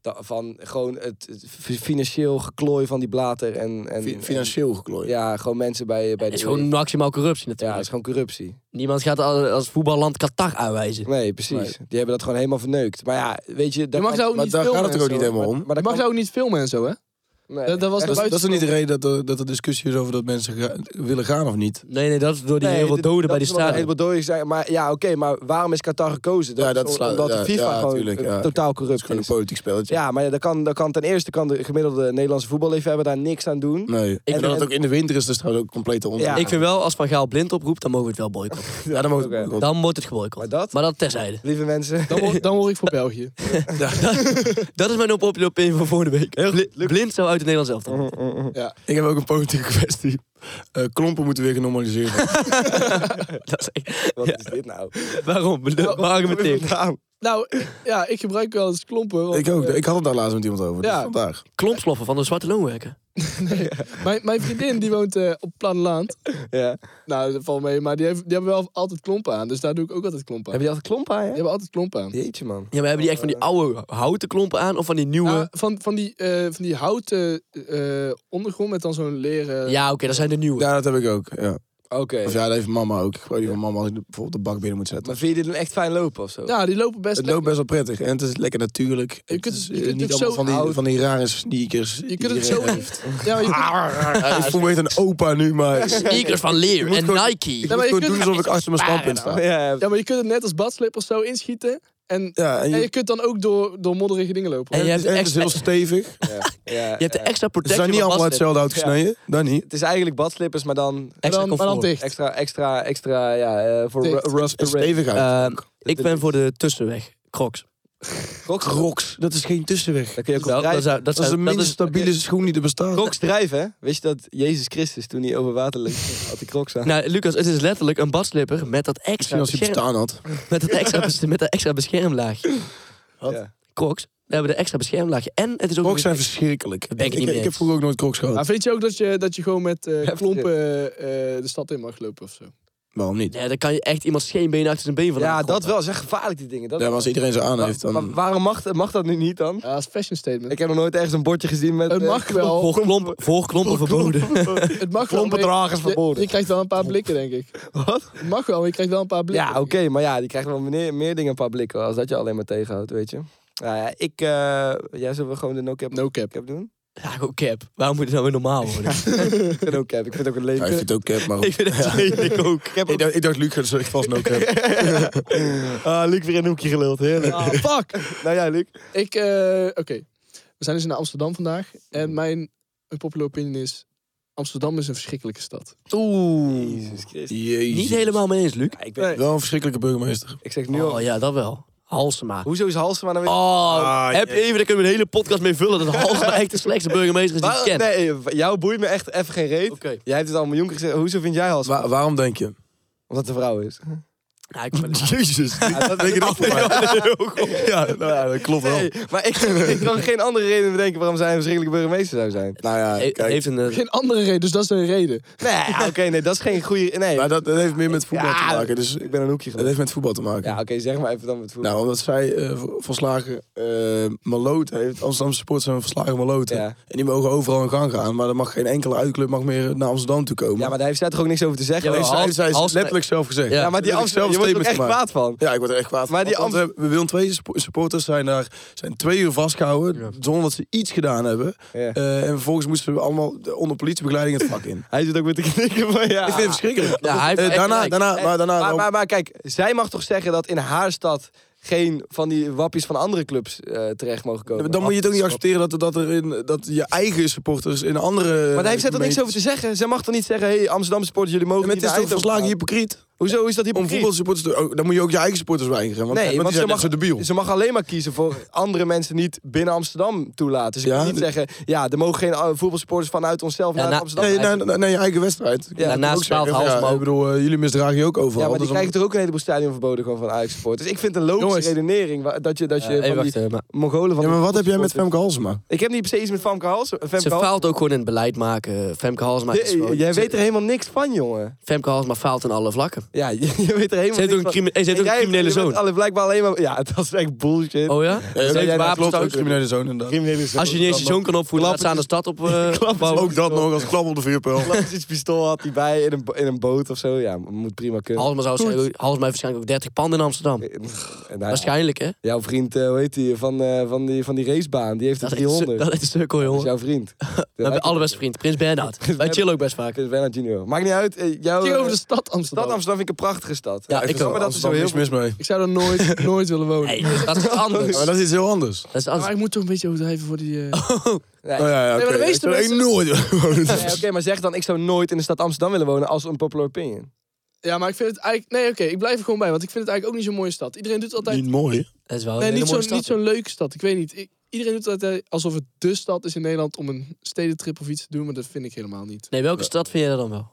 [SPEAKER 2] da- van gewoon het, het fi- financieel geklooi van die blater. En, en,
[SPEAKER 4] Fi- Financieel geklooid.
[SPEAKER 2] en- ja, gewoon mensen bij, bij
[SPEAKER 5] Het is
[SPEAKER 2] de... E
[SPEAKER 5] gewoon maximaal corruptie
[SPEAKER 2] ja, het
[SPEAKER 5] natuurlijk.
[SPEAKER 2] is gewoon corruptie.
[SPEAKER 5] Niemand gaat al- als voetballand Qatar aanwijzen.
[SPEAKER 2] Nee, precies.
[SPEAKER 4] Nee.
[SPEAKER 2] Die hebben dat gewoon helemaal verneukt. Maar ja, weet je...
[SPEAKER 3] Je
[SPEAKER 2] dat
[SPEAKER 3] mag
[SPEAKER 2] kan-
[SPEAKER 3] daar ook
[SPEAKER 4] Maar
[SPEAKER 3] niet
[SPEAKER 4] daar gaat
[SPEAKER 3] filmen
[SPEAKER 4] het er
[SPEAKER 3] en
[SPEAKER 4] ook niet
[SPEAKER 3] zo.
[SPEAKER 4] helemaal om.
[SPEAKER 2] maar
[SPEAKER 3] Je
[SPEAKER 2] dat
[SPEAKER 3] mag
[SPEAKER 2] kan-
[SPEAKER 3] daar ook niet filmen en zo, hè?
[SPEAKER 2] nee.
[SPEAKER 3] Dat, dat was
[SPEAKER 4] Dat
[SPEAKER 3] de
[SPEAKER 4] is, dat is toch niet de
[SPEAKER 3] buitenspel.
[SPEAKER 4] reden dat er, dat er discussie is over dat mensen ga- willen gaan of niet?
[SPEAKER 5] Nee, nee, dat is door die
[SPEAKER 2] Nee,
[SPEAKER 5] heel veel
[SPEAKER 2] dit-
[SPEAKER 5] doden
[SPEAKER 2] dat
[SPEAKER 5] bij die
[SPEAKER 2] is wel een
[SPEAKER 5] straat.
[SPEAKER 2] heleboel doden zijn. Maar ja, oké, maar waarom is Qatar gekozen?
[SPEAKER 4] Ja, dat
[SPEAKER 2] is
[SPEAKER 4] slaat-
[SPEAKER 2] omdat
[SPEAKER 4] ja,
[SPEAKER 2] de FIFA
[SPEAKER 4] ja,
[SPEAKER 2] gewoon
[SPEAKER 4] tuurlijk,
[SPEAKER 2] eh,
[SPEAKER 4] ja.
[SPEAKER 2] totaal
[SPEAKER 4] Het is
[SPEAKER 2] corrupt
[SPEAKER 4] gewoon een
[SPEAKER 2] is.
[SPEAKER 4] politiek spelletje.
[SPEAKER 2] Ja, maar dat kan, dat kan ten eerste kan de gemiddelde Nederlandse voetballiefhebber daar niks aan doen.
[SPEAKER 4] Nee. Ik
[SPEAKER 2] en-
[SPEAKER 4] en dat het
[SPEAKER 3] eh,
[SPEAKER 2] en-
[SPEAKER 4] ook in de winter is, dus trouwens ook compleet onzin.
[SPEAKER 2] Ja.
[SPEAKER 5] Ik vind wel, als Van Gaal blind oproept, dan mogen we het wel boycotten.
[SPEAKER 4] Ja, dan mogen we
[SPEAKER 2] Oké.
[SPEAKER 5] Dan wordt het geboycott.
[SPEAKER 2] Maar dat?
[SPEAKER 5] Maar dat terzijde.
[SPEAKER 2] Lieve mensen.
[SPEAKER 3] Dan hoor, dan hoor ik voor België.
[SPEAKER 5] Dat is mijn op opinion van volgende week. Bli- blind zou uit het Nederlands elftal.
[SPEAKER 4] Oh. Ik heb ook een politieke kwestie. Eh, klompen moeten weer genormaliseerd
[SPEAKER 5] Dat is echt-
[SPEAKER 2] Wat
[SPEAKER 5] Ja.
[SPEAKER 2] is dit nou?
[SPEAKER 5] Waarom?
[SPEAKER 4] Oh,
[SPEAKER 5] Argumenteer.
[SPEAKER 3] Nou, ik- ja, ik gebruik wel eens klompen. want,
[SPEAKER 4] ik ook.
[SPEAKER 3] eh,
[SPEAKER 4] Ik had het daar laatst met iemand over. Dus
[SPEAKER 3] Ja.
[SPEAKER 4] vandaag.
[SPEAKER 5] Klompsloffen van de zwarte loonwerker.
[SPEAKER 3] mijn, mijn vriendin die woont eh, op platteland.
[SPEAKER 2] Ja.
[SPEAKER 3] Nou, dat valt mee. Maar die, heeft, die hebben wel altijd klompen aan. Dus daar doe ik ook altijd klompen aan.
[SPEAKER 2] Heb je altijd klompen aan,
[SPEAKER 3] Die
[SPEAKER 2] hè?
[SPEAKER 3] hebben altijd klompen aan.
[SPEAKER 2] Jeetje, man.
[SPEAKER 5] Ja, maar hebben die echt van die oude houten klompen aan of van die nieuwe?
[SPEAKER 3] Nou, van, van, die, eh, van die houten eh, ondergrond met dan zo'n leren...
[SPEAKER 5] ja, oké, dat zijn de nieuwe.
[SPEAKER 4] Ja, dat heb ik ook. Ja.
[SPEAKER 2] Oké.
[SPEAKER 4] Of ja, dat heeft mama ook. Ik gebruik die van mama als ik de- bijvoorbeeld de bak binnen moet zetten.
[SPEAKER 2] Maar vind je dit een echt fijn lopen of zo?
[SPEAKER 3] Ja, die lopen
[SPEAKER 4] Het
[SPEAKER 3] best lekker.
[SPEAKER 4] loopt best wel prettig. En het is lekker natuurlijk. Je
[SPEAKER 3] kunt
[SPEAKER 4] het is
[SPEAKER 3] het- je
[SPEAKER 4] eh,
[SPEAKER 3] kunt
[SPEAKER 4] niet
[SPEAKER 3] het
[SPEAKER 4] allemaal
[SPEAKER 3] zo
[SPEAKER 4] van die,
[SPEAKER 2] oud-
[SPEAKER 4] van die rare sneakers.
[SPEAKER 3] Je kunt het zo...
[SPEAKER 4] iedereen
[SPEAKER 3] in-
[SPEAKER 4] heeft.
[SPEAKER 3] Ja, maar je kunt-
[SPEAKER 4] Ja, ik voel me echt een opa nu, maar...
[SPEAKER 5] Sneakers van leer en
[SPEAKER 4] gewoon-
[SPEAKER 5] Nike.
[SPEAKER 4] Ik
[SPEAKER 3] maar
[SPEAKER 4] moet
[SPEAKER 3] je
[SPEAKER 4] gewoon
[SPEAKER 3] kunt-
[SPEAKER 4] doen alsof ik achter mijn standpunt sta.
[SPEAKER 2] Ja,
[SPEAKER 3] Ja, maar je kunt het net als badslippers zo inschieten. En,
[SPEAKER 4] Ja, en
[SPEAKER 3] en je
[SPEAKER 4] je,
[SPEAKER 3] kunt dan ook door, door modderige dingen lopen.
[SPEAKER 5] En je hebt,
[SPEAKER 4] en het is
[SPEAKER 5] extra,
[SPEAKER 4] heel stevig.
[SPEAKER 2] ja,
[SPEAKER 5] je hebt de
[SPEAKER 2] ja.
[SPEAKER 5] extra
[SPEAKER 4] Ze
[SPEAKER 5] protectie
[SPEAKER 4] zijn niet
[SPEAKER 5] van
[SPEAKER 4] allemaal
[SPEAKER 5] Basten.
[SPEAKER 4] hetzelfde hout gesneden. Dan niet.
[SPEAKER 2] Het is eigenlijk badslippers, maar dan
[SPEAKER 3] Maar
[SPEAKER 5] Extra
[SPEAKER 3] dan, maar dan
[SPEAKER 5] comfort.
[SPEAKER 3] dicht.
[SPEAKER 2] extra, extra, extra, ja, eh, voor
[SPEAKER 3] Dit.
[SPEAKER 2] ru- rust
[SPEAKER 4] Het is stevig hout.
[SPEAKER 5] Ehm, ik ben voor de tussenweg. Crocs.
[SPEAKER 2] Crocs.
[SPEAKER 4] Crocs, dat is geen tussenweg.
[SPEAKER 2] Dan kun je ook
[SPEAKER 5] Wel,
[SPEAKER 2] op
[SPEAKER 5] dat,
[SPEAKER 2] drijven.
[SPEAKER 5] zou, dat,
[SPEAKER 4] Dat is
[SPEAKER 5] zou-
[SPEAKER 4] de
[SPEAKER 5] dat
[SPEAKER 4] minst
[SPEAKER 5] is-
[SPEAKER 4] stabiele schoen die er bestaat.
[SPEAKER 2] Crocs drijven, hè? Wist je dat Jezus Christus, toen hij over water liep, had die Crocs aan?
[SPEAKER 5] Nou, Lucas, het is letterlijk een badslipper met dat
[SPEAKER 4] Misschien
[SPEAKER 5] extra,
[SPEAKER 4] als hij
[SPEAKER 5] bescherm-
[SPEAKER 4] bestaan had.
[SPEAKER 5] met dat extra, bes- met dat extra beschermlaag.
[SPEAKER 2] Wat?
[SPEAKER 5] Crocs, daar hebben we de extra beschermlaagje. En het is
[SPEAKER 4] Crocs
[SPEAKER 5] ook... nog-
[SPEAKER 4] zijn verschrikkelijk.
[SPEAKER 5] ben ik niet mee
[SPEAKER 4] ik
[SPEAKER 5] eens.
[SPEAKER 4] heb vroeger ook nooit crocs gehad.
[SPEAKER 3] Maar vind je ook dat je, dat je gewoon met eh,
[SPEAKER 2] Heftig.
[SPEAKER 3] klompen eh, de stad in mag lopen of zo?
[SPEAKER 4] Waarom niet?
[SPEAKER 5] Nee, dan kan je echt iemand geen been achter zijn been van
[SPEAKER 2] Ja, dat wel. Zeg gevaarlijk, die dingen. Dat
[SPEAKER 4] Ja, maar als iedereen ze aan heeft,
[SPEAKER 2] Maar
[SPEAKER 4] dan...
[SPEAKER 2] waarom mag, dat- mag dat nu niet dan?
[SPEAKER 3] Ja, dat is een fashion statement.
[SPEAKER 2] Ik heb nog nooit ergens een bordje gezien met...
[SPEAKER 3] het
[SPEAKER 2] eh,
[SPEAKER 3] mag wel.
[SPEAKER 5] Voor klompen, voor klompen verboden.
[SPEAKER 3] Het mag wel. maar
[SPEAKER 2] Klompendragers
[SPEAKER 3] je- Je,
[SPEAKER 2] verboden.
[SPEAKER 3] krijgt wel een paar blikken, denk ik.
[SPEAKER 2] Wat?
[SPEAKER 3] Het mag wel, maar je krijgt wel een paar blikken.
[SPEAKER 2] Ja, oké, maar ja, die krijgt wel meer, meer dingen een paar blikken als dat je alleen maar tegenhoudt, weet je. Nou ja, ik... eh, jij zullen we gewoon de no-cap
[SPEAKER 3] No cap.
[SPEAKER 2] cap doen?
[SPEAKER 5] Ja, gewoon cap. Waarom moet het nou weer normaal worden?
[SPEAKER 2] Ik vind no-cap, ik vind het ook een
[SPEAKER 4] Ja, ik
[SPEAKER 2] lelijk.
[SPEAKER 4] vind het ook cap, maar...
[SPEAKER 5] ik vind het lelijk ook.
[SPEAKER 2] Ik heb
[SPEAKER 4] Ik
[SPEAKER 2] ook...
[SPEAKER 4] dacht, ik dacht Luc gaat zo echt vast no cap.
[SPEAKER 2] Ah, Luc weer in een hoekje geluld, heerlijk.
[SPEAKER 3] Ah, fuck!
[SPEAKER 2] Nou ja, Luc.
[SPEAKER 3] Ik, eh, oké. We zijn dus naar Amsterdam vandaag. En mijn popular opinion is... Amsterdam is een verschrikkelijke stad.
[SPEAKER 5] Oeh.
[SPEAKER 2] Jezus Christus.
[SPEAKER 4] Jezus.
[SPEAKER 5] Niet helemaal mee eens, Luc.
[SPEAKER 2] Ja, ik, ben,
[SPEAKER 4] Wel een verschrikkelijke burgemeester.
[SPEAKER 2] ik zeg nu al...
[SPEAKER 5] Oh ja, dat wel. Halsema.
[SPEAKER 2] Hoezo is Halsema nou weer...
[SPEAKER 5] Oh,
[SPEAKER 4] Ah,
[SPEAKER 5] heb
[SPEAKER 4] ja.
[SPEAKER 5] even, daar kunnen we een hele podcast mee vullen. Dat Halsema echt de slechtste burgemeester is die ik
[SPEAKER 2] Waar-
[SPEAKER 5] ken.
[SPEAKER 2] nee, jou boeit me echt even geen reet.
[SPEAKER 5] Oké.
[SPEAKER 2] Jij hebt het al een miljoen keer gezegd. Hoezo vind jij Halsema?
[SPEAKER 4] Wa- waarom denk je?
[SPEAKER 2] Omdat het een vrouw is.
[SPEAKER 5] Ja, Nou, ik eh, ben-
[SPEAKER 4] Jezus.
[SPEAKER 2] dat denk ik ook.
[SPEAKER 4] Ja, nou ja, dat klopt wel.
[SPEAKER 2] maar ik, ik kan geen andere reden bedenken waarom zij een verschrikkelijke burgemeester zou zijn.
[SPEAKER 4] Nou ja,
[SPEAKER 5] He-
[SPEAKER 4] kijk.
[SPEAKER 5] heeft een... eh,
[SPEAKER 3] Geen andere reden, dus dat is een reden.
[SPEAKER 2] Nee, ja, oké, nee, dat is geen goede... Nee,
[SPEAKER 4] Maar dat, dat heeft meer met voetbal
[SPEAKER 2] Ja,
[SPEAKER 4] te maken. Dus
[SPEAKER 2] ik ben een hoekje
[SPEAKER 4] dat
[SPEAKER 2] gelopen.
[SPEAKER 4] heeft met voetbal te maken.
[SPEAKER 2] Ja, oké, zeg maar even dan met voetbal.
[SPEAKER 4] Nou, omdat zij eh, v- verslagen eh Maloot heeft. Amsterdamse supporters zijn verslagen Maloot.
[SPEAKER 2] Ja.
[SPEAKER 4] En die mogen overal in gang gaan. Maar er mag geen enkele uitclub mag meer naar Amsterdam toe komen.
[SPEAKER 2] ja, maar daar heeft zij toch ook niks over te zeggen?
[SPEAKER 5] Ja,
[SPEAKER 4] Nee,
[SPEAKER 2] Ja,
[SPEAKER 5] maar-
[SPEAKER 4] zij-
[SPEAKER 5] als-
[SPEAKER 4] zij is
[SPEAKER 5] als-
[SPEAKER 4] letterlijk zelf gezegd.
[SPEAKER 5] Ja,
[SPEAKER 2] maar die
[SPEAKER 4] Letterlijk zelf
[SPEAKER 2] Amsterdam, je wordt er ook echt
[SPEAKER 4] statements gemaakt.
[SPEAKER 2] kwaad van.
[SPEAKER 4] Ja, ik word er echt kwaad van.
[SPEAKER 2] Maar die
[SPEAKER 4] Want eh, we hebben- Willem II spo- supporters zijn daar zijn twee uur vastgehouden zonder dat ze iets gedaan hebben.
[SPEAKER 2] Ja.
[SPEAKER 4] Eh, en vervolgens moesten we allemaal de- onder politiebegeleiding het vak in.
[SPEAKER 2] Hij zit ook weer te knikken van ja.
[SPEAKER 4] Ik vind het verschrikkelijk.
[SPEAKER 5] Ja, hij heeft
[SPEAKER 4] Eh,
[SPEAKER 5] echt
[SPEAKER 4] daarna,
[SPEAKER 5] gelijk.
[SPEAKER 4] daarna, maar daarna,
[SPEAKER 2] maar, maar, maar kijk, zij mag toch zeggen dat in haar stad geen van die wappies van andere clubs eh, terecht mogen komen.
[SPEAKER 4] dan moet je het ook niet accepteren dat, er- dat, er in, dat je eigen supporters in andere.
[SPEAKER 2] Maar daar heeft zij toch niks over te zeggen? Zij mag toch niet zeggen, hey, Amsterdam supporters, jullie mogen
[SPEAKER 4] En het
[SPEAKER 2] niet
[SPEAKER 4] is
[SPEAKER 2] naar
[SPEAKER 4] toch
[SPEAKER 2] Eindhoven
[SPEAKER 4] verslagen hypocriet?
[SPEAKER 2] Hoezo is dat
[SPEAKER 4] Om
[SPEAKER 2] hypocriet?
[SPEAKER 4] voetbalsupporters te... oh, dan moet je ook je eigen supporters weigeren. Want, want die
[SPEAKER 2] ze
[SPEAKER 4] zijn
[SPEAKER 2] mag,
[SPEAKER 4] echt zo debiel.
[SPEAKER 2] ze mag alleen maar kiezen voor andere mensen niet binnen Amsterdam toelaten. Dus je
[SPEAKER 4] Ja,
[SPEAKER 2] kan niet
[SPEAKER 4] de-
[SPEAKER 2] zeggen, ja, er mogen geen eh, voetbalsupporters vanuit onszelf naar
[SPEAKER 5] na-
[SPEAKER 2] Amsterdam.
[SPEAKER 4] Nee,
[SPEAKER 2] rijden.
[SPEAKER 4] naar, naar- naar je eigen wedstrijd. Ja,
[SPEAKER 5] naast Paalt Hals, maar ook-
[SPEAKER 4] ik bedoel, eh, jullie misdragen je ook overal.
[SPEAKER 2] ja, maar die
[SPEAKER 4] dus
[SPEAKER 2] krijgen toch ook een heleboel stadionverboden gewoon van Ajax supporters. Ik vind het een logische
[SPEAKER 4] Jongens.
[SPEAKER 2] redenering wa- dat je, dat je
[SPEAKER 5] Eh,
[SPEAKER 2] van
[SPEAKER 5] even
[SPEAKER 2] die
[SPEAKER 5] wachten, maar
[SPEAKER 2] Mongolen van
[SPEAKER 4] ja, maar
[SPEAKER 2] de
[SPEAKER 4] wat heb jij met
[SPEAKER 2] supporters-
[SPEAKER 4] Femke Halsema?
[SPEAKER 2] Ik heb niet per se iets met Femke Hals. Femke
[SPEAKER 5] Ze
[SPEAKER 2] Hals-
[SPEAKER 5] faalt ook gewoon in het beleid maken. Femke Halsma is
[SPEAKER 2] J-
[SPEAKER 5] gewoon-
[SPEAKER 2] Jij
[SPEAKER 5] ze-
[SPEAKER 2] weet er helemaal niks van, jongen.
[SPEAKER 5] Femke Halsma faalt in alle vlakken.
[SPEAKER 2] Ja, je, je weet er helemaal
[SPEAKER 5] Ze heeft ook
[SPEAKER 2] niks
[SPEAKER 5] een,
[SPEAKER 2] van.
[SPEAKER 5] crimi- eh, ze heeft ook een
[SPEAKER 2] Jij-
[SPEAKER 5] criminele
[SPEAKER 2] je bent
[SPEAKER 5] zoon.
[SPEAKER 2] alle- blijkbaar alleen maar... Ja, dat is echt bullshit.
[SPEAKER 5] Oh ja?
[SPEAKER 4] Ja,
[SPEAKER 5] Ze heeft
[SPEAKER 2] dat
[SPEAKER 4] klopt, ook
[SPEAKER 5] wapens
[SPEAKER 4] criminele zoon inderdaad.
[SPEAKER 2] Criminele zoon.
[SPEAKER 5] Als je niet eens je zoon kan opvoeden, laat
[SPEAKER 2] Klappen
[SPEAKER 5] staan de stad op... eh, bouwen.
[SPEAKER 4] Ook dat nog als klap op de vuurpijl.
[SPEAKER 2] Klassisch pistool had hij bij in een, bo- in een boot of zo. Ja, moet prima kunnen.
[SPEAKER 5] Halsma zou zeggen, Halsma heeft waarschijnlijk ook 30 panden in Amsterdam.
[SPEAKER 2] En nou ja,
[SPEAKER 5] Waarschijnlijk, hè?
[SPEAKER 2] jouw vriend, eh, hoe heet die, van, eh, van, die, van die racebaan, die heeft er
[SPEAKER 5] Dat is, een
[SPEAKER 2] 300.
[SPEAKER 5] su- dat is een stuk hoor,
[SPEAKER 2] Dat is
[SPEAKER 5] jongen.
[SPEAKER 2] jouw vriend.
[SPEAKER 5] We hebben allerbeste vriend, Prins Bernhard. Wij
[SPEAKER 2] Bernhard.
[SPEAKER 5] chillen ook best vaak.
[SPEAKER 2] Ik ben junior. Maakt niet uit. eh, jouw,
[SPEAKER 3] Ging over de
[SPEAKER 2] eh,
[SPEAKER 3] stad Amsterdam.
[SPEAKER 2] stad Amsterdam vind ik een prachtige stad.
[SPEAKER 5] Ja, ik ook.
[SPEAKER 2] Maar dat is zo
[SPEAKER 4] Amsterdam,
[SPEAKER 2] heel...
[SPEAKER 4] niks mis mee.
[SPEAKER 3] Ik zou er nooit, nooit willen wonen.
[SPEAKER 5] Nee, dat is iets anders.
[SPEAKER 4] Maar dat is iets heel anders.
[SPEAKER 5] Dat is
[SPEAKER 3] Maar
[SPEAKER 5] anders.
[SPEAKER 3] ik moet toch een beetje overdrijven voor die... eh,
[SPEAKER 2] Nee.
[SPEAKER 4] Nou ja, ja,
[SPEAKER 3] Nee, maar de
[SPEAKER 4] oké.
[SPEAKER 3] meeste
[SPEAKER 4] Ik
[SPEAKER 3] mensen-
[SPEAKER 4] nooit
[SPEAKER 2] Nee, Oké, maar zeg dan, ik zou nooit in de stad Amsterdam willen wonen als een popular opinion.
[SPEAKER 3] Ja, maar ik vind het eigenlijk... Nee, oké, ik blijf er gewoon bij. Want ik vind het eigenlijk ook niet zo'n mooie stad. Iedereen doet altijd...
[SPEAKER 4] Niet mooi.
[SPEAKER 5] Dat is wel een
[SPEAKER 3] nee,
[SPEAKER 5] hele
[SPEAKER 3] niet zo'n
[SPEAKER 5] mooie stad.
[SPEAKER 3] niet zo'n leuke stad. Ik weet niet. Ik- iedereen doet altijd eh, alsof het dé stad is in Nederland om een stedentrip of iets te doen. Maar dat vind ik helemaal niet.
[SPEAKER 5] Nee, welke stad vind jij dan wel?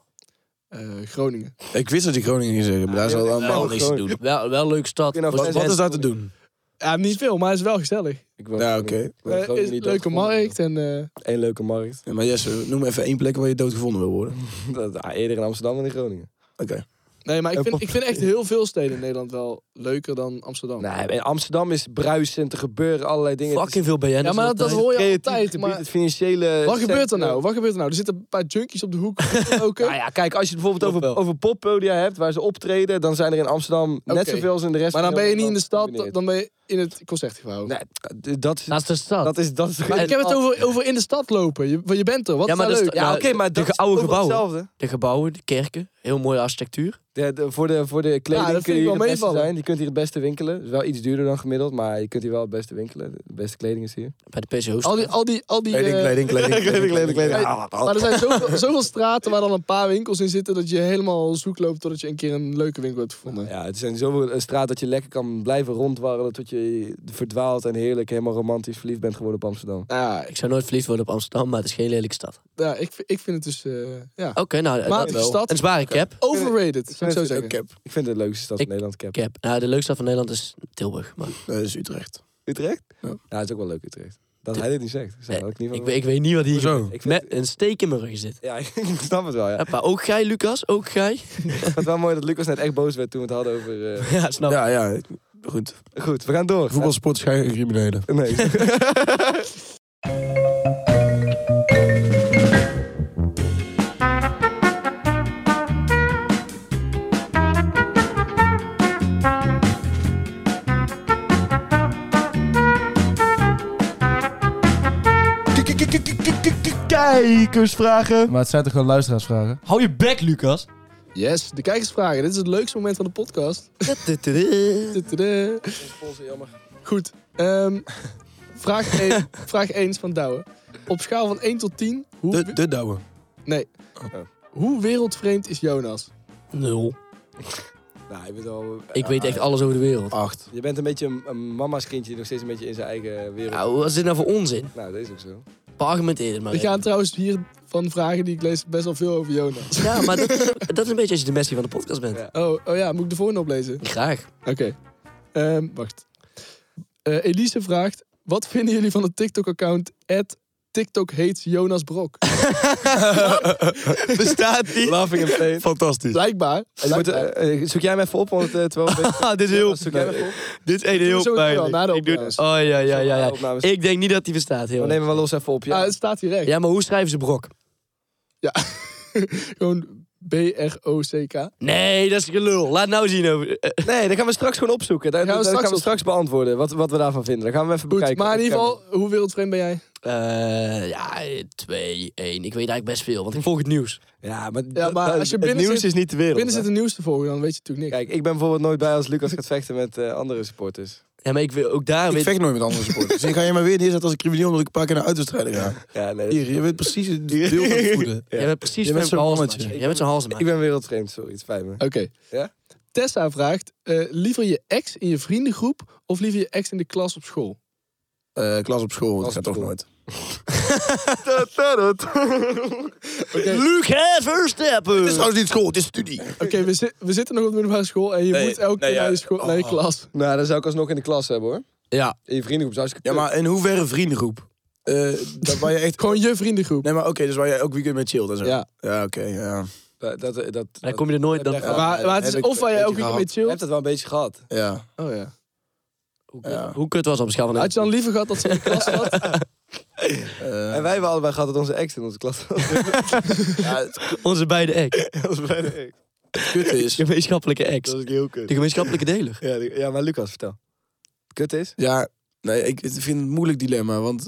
[SPEAKER 3] Eh, Groningen.
[SPEAKER 4] Ik wist dat die Groningen ging zeggen, maar daar zou allemaal
[SPEAKER 2] ook
[SPEAKER 4] niks te
[SPEAKER 2] gewoon.
[SPEAKER 4] doen.
[SPEAKER 5] Wel, wel een leuke stad.
[SPEAKER 2] Ik vind
[SPEAKER 4] Wat,
[SPEAKER 2] dat-
[SPEAKER 4] wat is daar te doen?
[SPEAKER 3] Ja, niet veel, maar het is wel gezellig.
[SPEAKER 2] Ik woon gewoon
[SPEAKER 4] Ja, Nou, oké.
[SPEAKER 2] niet- ik woon
[SPEAKER 3] Eh,
[SPEAKER 2] gewoon
[SPEAKER 3] is
[SPEAKER 2] niet
[SPEAKER 3] leuke
[SPEAKER 2] doodgevonden.
[SPEAKER 3] markt en... eh,
[SPEAKER 2] Eén leuke markt.
[SPEAKER 4] Ja, maar Jesse, noem even één plek waar je doodgevonden wil worden.
[SPEAKER 2] Dat- ah, eerder in Amsterdam dan in Groningen.
[SPEAKER 4] Oké.
[SPEAKER 3] nee, maar ik
[SPEAKER 2] En
[SPEAKER 3] vind, ik vind echt heel veel steden in Nederland wel leuker dan Amsterdam.
[SPEAKER 2] Nee, in Amsterdam is bruisend, er gebeuren allerlei dingen. Het is-
[SPEAKER 5] Fucking veel BN'ers.
[SPEAKER 3] ja, maar dat, dat
[SPEAKER 5] altijd.
[SPEAKER 3] hoor je
[SPEAKER 2] creatief
[SPEAKER 3] altijd.
[SPEAKER 2] gebied,
[SPEAKER 3] Maar
[SPEAKER 2] het financiële.
[SPEAKER 3] wat gebeurt er
[SPEAKER 2] centrum.
[SPEAKER 3] nou? Wat gebeurt er nou? Er zitten een paar junkies op de hoek. Ook,
[SPEAKER 2] Nou ja, kijk, als je het bijvoorbeeld
[SPEAKER 5] Klopt
[SPEAKER 2] over,
[SPEAKER 5] wel.
[SPEAKER 2] over poppodia hebt waar ze optreden, dan zijn er in Amsterdam net
[SPEAKER 3] Oké.
[SPEAKER 2] zoveel als in de rest.
[SPEAKER 3] maar dan
[SPEAKER 2] van
[SPEAKER 3] ben je
[SPEAKER 2] heel
[SPEAKER 3] niet in de stad,
[SPEAKER 2] Nederland
[SPEAKER 3] dan ben je in het concertgebouw.
[SPEAKER 2] gecombineerd. Nee, d- dat, is-
[SPEAKER 5] Dat is de stad.
[SPEAKER 2] dat is. Dat is
[SPEAKER 3] Maar ik heb het over, over in de stad lopen. Je, want je bent er. Wat
[SPEAKER 5] Ja,
[SPEAKER 3] is
[SPEAKER 5] maar
[SPEAKER 3] daar
[SPEAKER 5] dat is
[SPEAKER 3] leuk?
[SPEAKER 5] toch-
[SPEAKER 2] Ja,
[SPEAKER 5] nou,
[SPEAKER 2] oké, maar
[SPEAKER 5] de
[SPEAKER 2] dat is
[SPEAKER 5] oude
[SPEAKER 2] overal
[SPEAKER 5] gebouwen.
[SPEAKER 2] hetzelfde.
[SPEAKER 5] De gebouwen, de kerken, heel mooie architectuur.
[SPEAKER 2] De, de- voor, de, voor de kleding
[SPEAKER 3] Ja, dat vind
[SPEAKER 2] kun je
[SPEAKER 3] ik
[SPEAKER 2] hier
[SPEAKER 3] wel
[SPEAKER 2] het beste
[SPEAKER 3] meevallen.
[SPEAKER 2] zijn. Je kunt hier het beste winkelen. Het is wel iets duurder dan gemiddeld, maar je kunt hier wel het beste winkelen. De beste kleding is hier.
[SPEAKER 5] Bij de PCO's.
[SPEAKER 3] Al die, al die, al die
[SPEAKER 4] Kleding,
[SPEAKER 3] eh,
[SPEAKER 4] kleding, kleding. kleding, kleding,
[SPEAKER 3] Maar er zijn zoveel, zoveel straten waar dan een paar winkels in zitten dat je helemaal zoek loopt totdat je een keer een leuke winkel hebt gevonden.
[SPEAKER 2] Ja, het zijn zoveel eh, straat dat je lekker kan blijven rondwarrelen tot je verdwaalt en heerlijk helemaal romantisch verliefd bent geworden op Amsterdam.
[SPEAKER 3] Nou ja, ik,
[SPEAKER 5] Ik zou nooit verliefd worden op Amsterdam, maar het is geen lelijke stad.
[SPEAKER 3] ja, ik, vind- ik vind het dus eh, ja.
[SPEAKER 5] Oké, nou,
[SPEAKER 3] Maar
[SPEAKER 5] dat
[SPEAKER 3] de
[SPEAKER 5] wel.
[SPEAKER 3] stad-
[SPEAKER 5] Een zware cap.
[SPEAKER 3] overrated, zou ik zo
[SPEAKER 2] vind-
[SPEAKER 3] zeggen.
[SPEAKER 2] Ik vind het de leukste stad
[SPEAKER 5] Ik-
[SPEAKER 2] in Nederland, Cap.
[SPEAKER 5] cap. Nou, de leukste stad van Nederland is Tilburg. Maar
[SPEAKER 4] Eh, Dat is Utrecht.
[SPEAKER 2] Utrecht?
[SPEAKER 4] Ja.
[SPEAKER 2] Ja, het is ook wel leuk Utrecht. Dat hij dit niet zegt. Zou
[SPEAKER 5] Nee,
[SPEAKER 2] dat ik niet van
[SPEAKER 5] ik, weet- ik weet niet wat hier
[SPEAKER 4] Hoezo?
[SPEAKER 5] gebeurt.
[SPEAKER 2] Ik vind-
[SPEAKER 5] Met een steek in mijn rug zit.
[SPEAKER 2] Ja, ik snap het wel. Ja.
[SPEAKER 5] Ja, maar ook jij, Lucas, ook jij.
[SPEAKER 2] Ik vond het wel mooi dat Lucas net echt boos werd toen we het hadden over... eh,
[SPEAKER 5] Ja, snap ik.
[SPEAKER 4] Ja, ja. Goed.
[SPEAKER 2] Goed, we gaan door.
[SPEAKER 4] Voetbalsport schijnen criminelen.
[SPEAKER 2] Nee. Kijkersvragen.
[SPEAKER 7] Maar het zijn toch gewoon luisteraarsvragen? Hou je bek, Lucas.
[SPEAKER 3] Yes, de kijkersvragen. Dit is het leukste moment van de podcast. Tududu. Goed. ehm, vraag 1 vraag één is van Douwe. Op schaal van 1 tot 10, hoe,
[SPEAKER 4] De, de Douwe. Oh.
[SPEAKER 3] hoe wereldvreemd is Jonas?
[SPEAKER 5] Nul.
[SPEAKER 2] Nou, je bent wel...
[SPEAKER 5] Ik weet echt alles over de wereld.
[SPEAKER 4] Acht.
[SPEAKER 2] Je bent een beetje een, een mama's kindje die nog steeds een beetje in zijn eigen wereld...
[SPEAKER 5] Nou, wat is dit nou voor onzin?
[SPEAKER 2] Nou, dat is ook zo.
[SPEAKER 5] Argumenteer het maar.
[SPEAKER 3] Er
[SPEAKER 5] even.
[SPEAKER 3] gaan trouwens hier van vragen die ik lees best wel veel over Jonas.
[SPEAKER 5] Ja, maar dat, dat is een beetje als je de Messi van de podcast bent.
[SPEAKER 2] Ja.
[SPEAKER 3] Oh, oh ja, moet ik de volgende oplezen?
[SPEAKER 5] Graag.
[SPEAKER 3] Oké. Ehm, wacht. Eh, Elise vraagt: Wat vinden jullie van het TikTok-account? TikTok heet Jonas Brok.
[SPEAKER 4] Bestaat die?
[SPEAKER 2] Laughing in pain.
[SPEAKER 4] Fantastisch.
[SPEAKER 3] Blijkbaar.
[SPEAKER 2] Je moet, eh, eh, zoek jij hem even op, want eh, terwijl...
[SPEAKER 5] Ah, dit is
[SPEAKER 2] heel Zoek jij hem even op?
[SPEAKER 5] Dit is echt
[SPEAKER 3] Doe zo
[SPEAKER 5] heel
[SPEAKER 3] wel,
[SPEAKER 5] pijnlijk.
[SPEAKER 3] na de
[SPEAKER 5] Ik doe-
[SPEAKER 3] opnames.
[SPEAKER 5] Oh ja, ja, ja,
[SPEAKER 2] Zo, na
[SPEAKER 5] ja.
[SPEAKER 2] de opnames.
[SPEAKER 5] Ik denk niet dat die bestaat,
[SPEAKER 2] We
[SPEAKER 5] heel erg.
[SPEAKER 2] nemen wel los even op, ja.
[SPEAKER 3] Ah, het staat hier recht.
[SPEAKER 5] Ja, maar hoe schrijven ze brok?
[SPEAKER 3] Gewoon B-R-O-C-K.
[SPEAKER 5] Nee, dat is gelul. Laat nou zien. Over, eh,
[SPEAKER 2] Nee, dat gaan we straks gewoon opzoeken. Dat,
[SPEAKER 3] Gaan we
[SPEAKER 2] dat
[SPEAKER 3] straks
[SPEAKER 2] gaan we
[SPEAKER 3] op-
[SPEAKER 2] straks beantwoorden, wat, wat we daarvan vinden. Dat gaan we even
[SPEAKER 3] Goed,
[SPEAKER 2] bekijken.
[SPEAKER 3] maar in ieder geval, hoe wereldvreemd ben jij?
[SPEAKER 5] eh, ja, 2, 1. Ik weet eigenlijk best veel, want ik volg het nieuws.
[SPEAKER 2] Ja, maar,
[SPEAKER 3] Ja, maar
[SPEAKER 2] dat-
[SPEAKER 3] als je
[SPEAKER 2] het
[SPEAKER 3] binnen
[SPEAKER 2] nieuws
[SPEAKER 3] zit-
[SPEAKER 2] is niet de wereld.
[SPEAKER 3] Binnen zit
[SPEAKER 2] hè?
[SPEAKER 3] het nieuws te volgen, dan weet je natuurlijk niks.
[SPEAKER 2] Kijk, ik ben bijvoorbeeld nooit bij als Lucas gaat vechten met eh, andere supporters.
[SPEAKER 5] Ja, maar ik wil ook daar...
[SPEAKER 4] Ik
[SPEAKER 5] weet-
[SPEAKER 4] vecht nooit met andere supporters. dus ik ga je maar weer neerzetten als een crimineel omdat ik een paar keer naar uitwedstrijden ga.
[SPEAKER 2] Ja, nee, dat-
[SPEAKER 4] Hier, je weet precies het deel van het voeden.
[SPEAKER 5] Jij bent precies
[SPEAKER 4] Je bent
[SPEAKER 5] Femke
[SPEAKER 4] zo'n
[SPEAKER 5] Halsema.
[SPEAKER 4] mannetje.
[SPEAKER 5] Jij bent zo'n halsema.
[SPEAKER 2] Ik ben wereldvreemd, sorry. Het spijt me.
[SPEAKER 3] Oké.
[SPEAKER 2] Ja?
[SPEAKER 3] Tessa vraagt, eh, liever je ex in je vriendengroep of liever je ex in de klas op school?
[SPEAKER 4] Eh, klas op school, dat
[SPEAKER 2] Klas
[SPEAKER 4] gaat
[SPEAKER 2] op
[SPEAKER 4] toch
[SPEAKER 2] school.
[SPEAKER 4] nooit.
[SPEAKER 5] Luc Verstappen!
[SPEAKER 4] Het is trouwens niet school, het is studie.
[SPEAKER 3] Oké, we, zi- we zitten nog op de middelbare school en je
[SPEAKER 4] Nee,
[SPEAKER 3] moet elke
[SPEAKER 4] nee,
[SPEAKER 3] keer naar,
[SPEAKER 4] ja.
[SPEAKER 3] je school- naar je
[SPEAKER 4] Oh.
[SPEAKER 3] klas.
[SPEAKER 2] Nou, dan zou ik alsnog in de klas hebben, hoor.
[SPEAKER 4] Ja.
[SPEAKER 2] In je vriendengroep zou ik...
[SPEAKER 4] Ja, maar in hoeverre vriendengroep? Eh, dat waar je echt...
[SPEAKER 3] Gewoon je vriendengroep.
[SPEAKER 4] Nee, maar oké, dus waar je elk weekend mee chillt en zo.
[SPEAKER 3] Ja.
[SPEAKER 4] Ja, oké, ja.
[SPEAKER 2] Dat, dat, dat,
[SPEAKER 5] Dan kom je er nooit... Dan...
[SPEAKER 2] Ja,
[SPEAKER 4] Ja,
[SPEAKER 3] maar, maar het is
[SPEAKER 4] heb ik
[SPEAKER 3] of waar je
[SPEAKER 4] een
[SPEAKER 3] elke
[SPEAKER 4] beetje
[SPEAKER 3] keer mee
[SPEAKER 2] Je
[SPEAKER 3] chillt.
[SPEAKER 2] hebt dat wel een beetje gehad.
[SPEAKER 4] Ja.
[SPEAKER 3] Oh ja.
[SPEAKER 5] Hoe,
[SPEAKER 4] Ja.
[SPEAKER 5] hoe kut was dat op schaal van
[SPEAKER 3] Had je dan liever gehad dat ze in de klas zat?
[SPEAKER 4] Eh,
[SPEAKER 2] En wij hebben allebei gehad dat onze ex in onze klas was.
[SPEAKER 4] ja, het
[SPEAKER 5] Onze beide ex.
[SPEAKER 4] kut is...
[SPEAKER 5] Gemeenschappelijke ex.
[SPEAKER 2] Dat is heel kut.
[SPEAKER 5] De gemeenschappelijke deler.
[SPEAKER 2] Ja, die- ja, maar Lucas, vertel. Het Kut is?
[SPEAKER 4] Ja, nee, ik ik vind het een moeilijk dilemma, want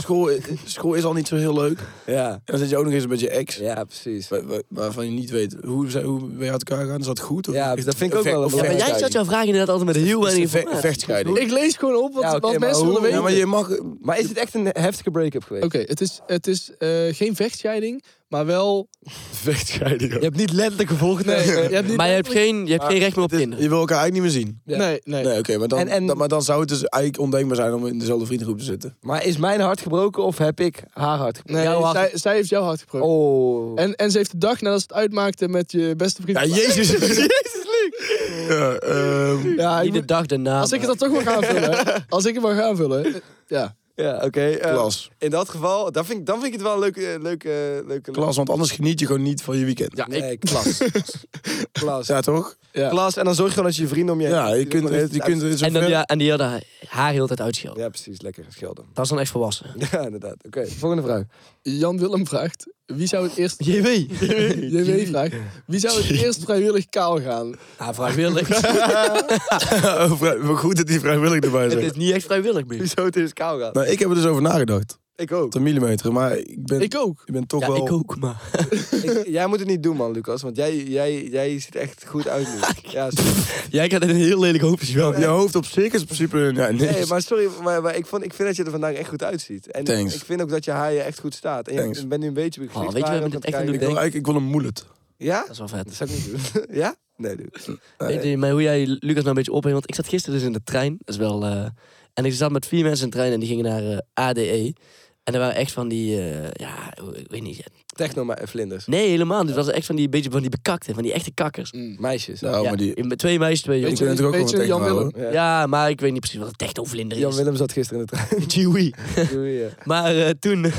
[SPEAKER 4] school, school is al niet zo heel leuk. En
[SPEAKER 2] Ja.
[SPEAKER 4] dan zit je ook nog eens met je ex.
[SPEAKER 2] Ja, precies.
[SPEAKER 4] Wa- wa- Waarvan je niet weet hoe, zij- hoe ben je uit elkaar gegaan? Is dat goed? Of
[SPEAKER 2] Ja,
[SPEAKER 4] is-
[SPEAKER 2] dat vind ik ook
[SPEAKER 4] of-
[SPEAKER 2] wel een
[SPEAKER 4] of-
[SPEAKER 2] mooie
[SPEAKER 5] Ja, maar jij stelt jouw vraag inderdaad altijd met heel
[SPEAKER 4] is
[SPEAKER 5] weinig
[SPEAKER 4] een ve-
[SPEAKER 5] informatie.
[SPEAKER 4] vechtscheiding.
[SPEAKER 3] Ik lees gewoon op wat,
[SPEAKER 2] Ja, oké,
[SPEAKER 3] wat
[SPEAKER 2] maar
[SPEAKER 3] mensen
[SPEAKER 2] hoe-
[SPEAKER 3] willen weten.
[SPEAKER 4] Ja, maar je mag...
[SPEAKER 2] Maar is het echt een heftige break-up geweest?
[SPEAKER 3] Oké, het is, het is eh, geen vechtscheiding, maar wel...
[SPEAKER 4] Vechtscheiding.
[SPEAKER 2] Je hebt niet letterlijk gevolgd.
[SPEAKER 3] Nee, je hebt niet...
[SPEAKER 5] Maar je hebt geen, je hebt geen recht meer op kinderen.
[SPEAKER 4] Je wil elkaar eigenlijk niet meer zien.
[SPEAKER 3] Nee, nee.
[SPEAKER 4] Nee, oké, maar, dan,
[SPEAKER 2] En- en-
[SPEAKER 4] dan- maar dan zou het dus eigenlijk ondenkbaar zijn om in dezelfde vriendengroep te zitten.
[SPEAKER 2] Maar is mijn hart gebroken of heb ik haar hart gebroken?
[SPEAKER 3] Nee,
[SPEAKER 5] Jouw hart-
[SPEAKER 3] zij, zij heeft jouw hart gebroken.
[SPEAKER 2] Oh.
[SPEAKER 3] En, en ze heeft de dag nadat ze het uitmaakte met je beste vriend.
[SPEAKER 4] Ja, jezus. jezus, Ja, ehm,
[SPEAKER 3] Ja, ik
[SPEAKER 5] Niet de
[SPEAKER 3] moet-
[SPEAKER 5] dag daarna.
[SPEAKER 3] als ik het
[SPEAKER 5] maar-
[SPEAKER 3] dan toch mag aanvullen. als ik het mag aanvullen. eh, Ja.
[SPEAKER 2] Ja, oké. eh,
[SPEAKER 4] klas.
[SPEAKER 2] in dat geval, dan vind, ik- dan vind ik het wel een leuke... eh, leuke, leuke
[SPEAKER 4] Klas, want anders geniet je gewoon niet van je weekend. Ja,
[SPEAKER 2] Nee, klas. klas.
[SPEAKER 4] ja toch?
[SPEAKER 3] ja.
[SPEAKER 2] Klas. En dan zorg je gewoon dat je je vrienden om je
[SPEAKER 4] Ja, je kunt,
[SPEAKER 2] het
[SPEAKER 4] je kunt
[SPEAKER 5] En, dan, ja, en die hadden haar heel de tijd uitschelden.
[SPEAKER 2] Ja, precies. Lekker schelden.
[SPEAKER 5] Dat is dan echt volwassen.
[SPEAKER 2] Ja, inderdaad. Oké, volgende vraag.
[SPEAKER 3] Jan Willem vraagt: wie zou het eerst.
[SPEAKER 5] JW.
[SPEAKER 3] JW vraagt: wie zou het eerst vrijwillig kaal gaan?
[SPEAKER 5] Ah, vrijwillig. het
[SPEAKER 4] maar goed dat die vrijwillig erbij zijn.
[SPEAKER 5] is niet echt vrijwillig meer.
[SPEAKER 2] Wieso het is koud gaat.
[SPEAKER 4] Nou, ik heb er dus over nagedacht.
[SPEAKER 2] Ik ook.
[SPEAKER 4] Tot een millimeter. Maar ik ben, ik,
[SPEAKER 3] Ik ook.
[SPEAKER 4] ben toch
[SPEAKER 5] Ja,
[SPEAKER 4] wel...
[SPEAKER 5] ik ook, maar...
[SPEAKER 2] Ik- jij moet het niet doen, man, Lucas. Want jij, jij, jij ziet er echt goed uit nu. Ja, sorry.
[SPEAKER 5] Jij gaat in een heel lelijk hoopje wel.
[SPEAKER 4] Je hoofd op zich is in principe... Ja, niks.
[SPEAKER 2] Nee, maar sorry, maar, maar ik, vond, ik vind dat je er vandaag echt goed uitziet. En
[SPEAKER 4] Thanks.
[SPEAKER 2] ik vind ook dat je haar je echt goed staat. En je
[SPEAKER 4] Thanks.
[SPEAKER 2] bent nu een beetje
[SPEAKER 5] Oh, weet je waar we
[SPEAKER 2] want
[SPEAKER 5] dit
[SPEAKER 2] dat
[SPEAKER 5] echt aan
[SPEAKER 2] krijg
[SPEAKER 4] ik,
[SPEAKER 2] ik-
[SPEAKER 4] wil, eigenlijk- ik wil een moelet.
[SPEAKER 2] Ja?
[SPEAKER 5] Dat is wel vet.
[SPEAKER 2] Dat zou ik niet doen. ja? Nee, doe.
[SPEAKER 5] Weet je maar hoe jij Lucas nou een beetje opheeft? Want ik zat gisteren dus in de trein. Dat is wel... eh, en ik zat met vier mensen in de trein en die gingen naar eh, ADE. En er waren echt van die... eh, ja, ik weet niet.
[SPEAKER 2] Techno maar vlinders.
[SPEAKER 5] Nee, helemaal niet. Het was echt van die, beetje van die bekakte, van die echte kakkers.
[SPEAKER 2] Meisjes.
[SPEAKER 4] Nou,
[SPEAKER 5] ja,
[SPEAKER 4] maar die...
[SPEAKER 5] in- met twee meisjes, twee
[SPEAKER 3] Weet
[SPEAKER 5] jongens.
[SPEAKER 3] je,
[SPEAKER 4] kunnen natuurlijk ook
[SPEAKER 3] weet
[SPEAKER 4] wel
[SPEAKER 3] je Jan
[SPEAKER 4] tegen
[SPEAKER 3] Willem?
[SPEAKER 4] houden.
[SPEAKER 2] Ja.
[SPEAKER 5] Ja, maar ik weet niet precies wat een technovlinder is.
[SPEAKER 2] Jan Willem zat gisteren in de trein.
[SPEAKER 5] Chewie.
[SPEAKER 2] Doe je.
[SPEAKER 5] Maar eh, toen, eh,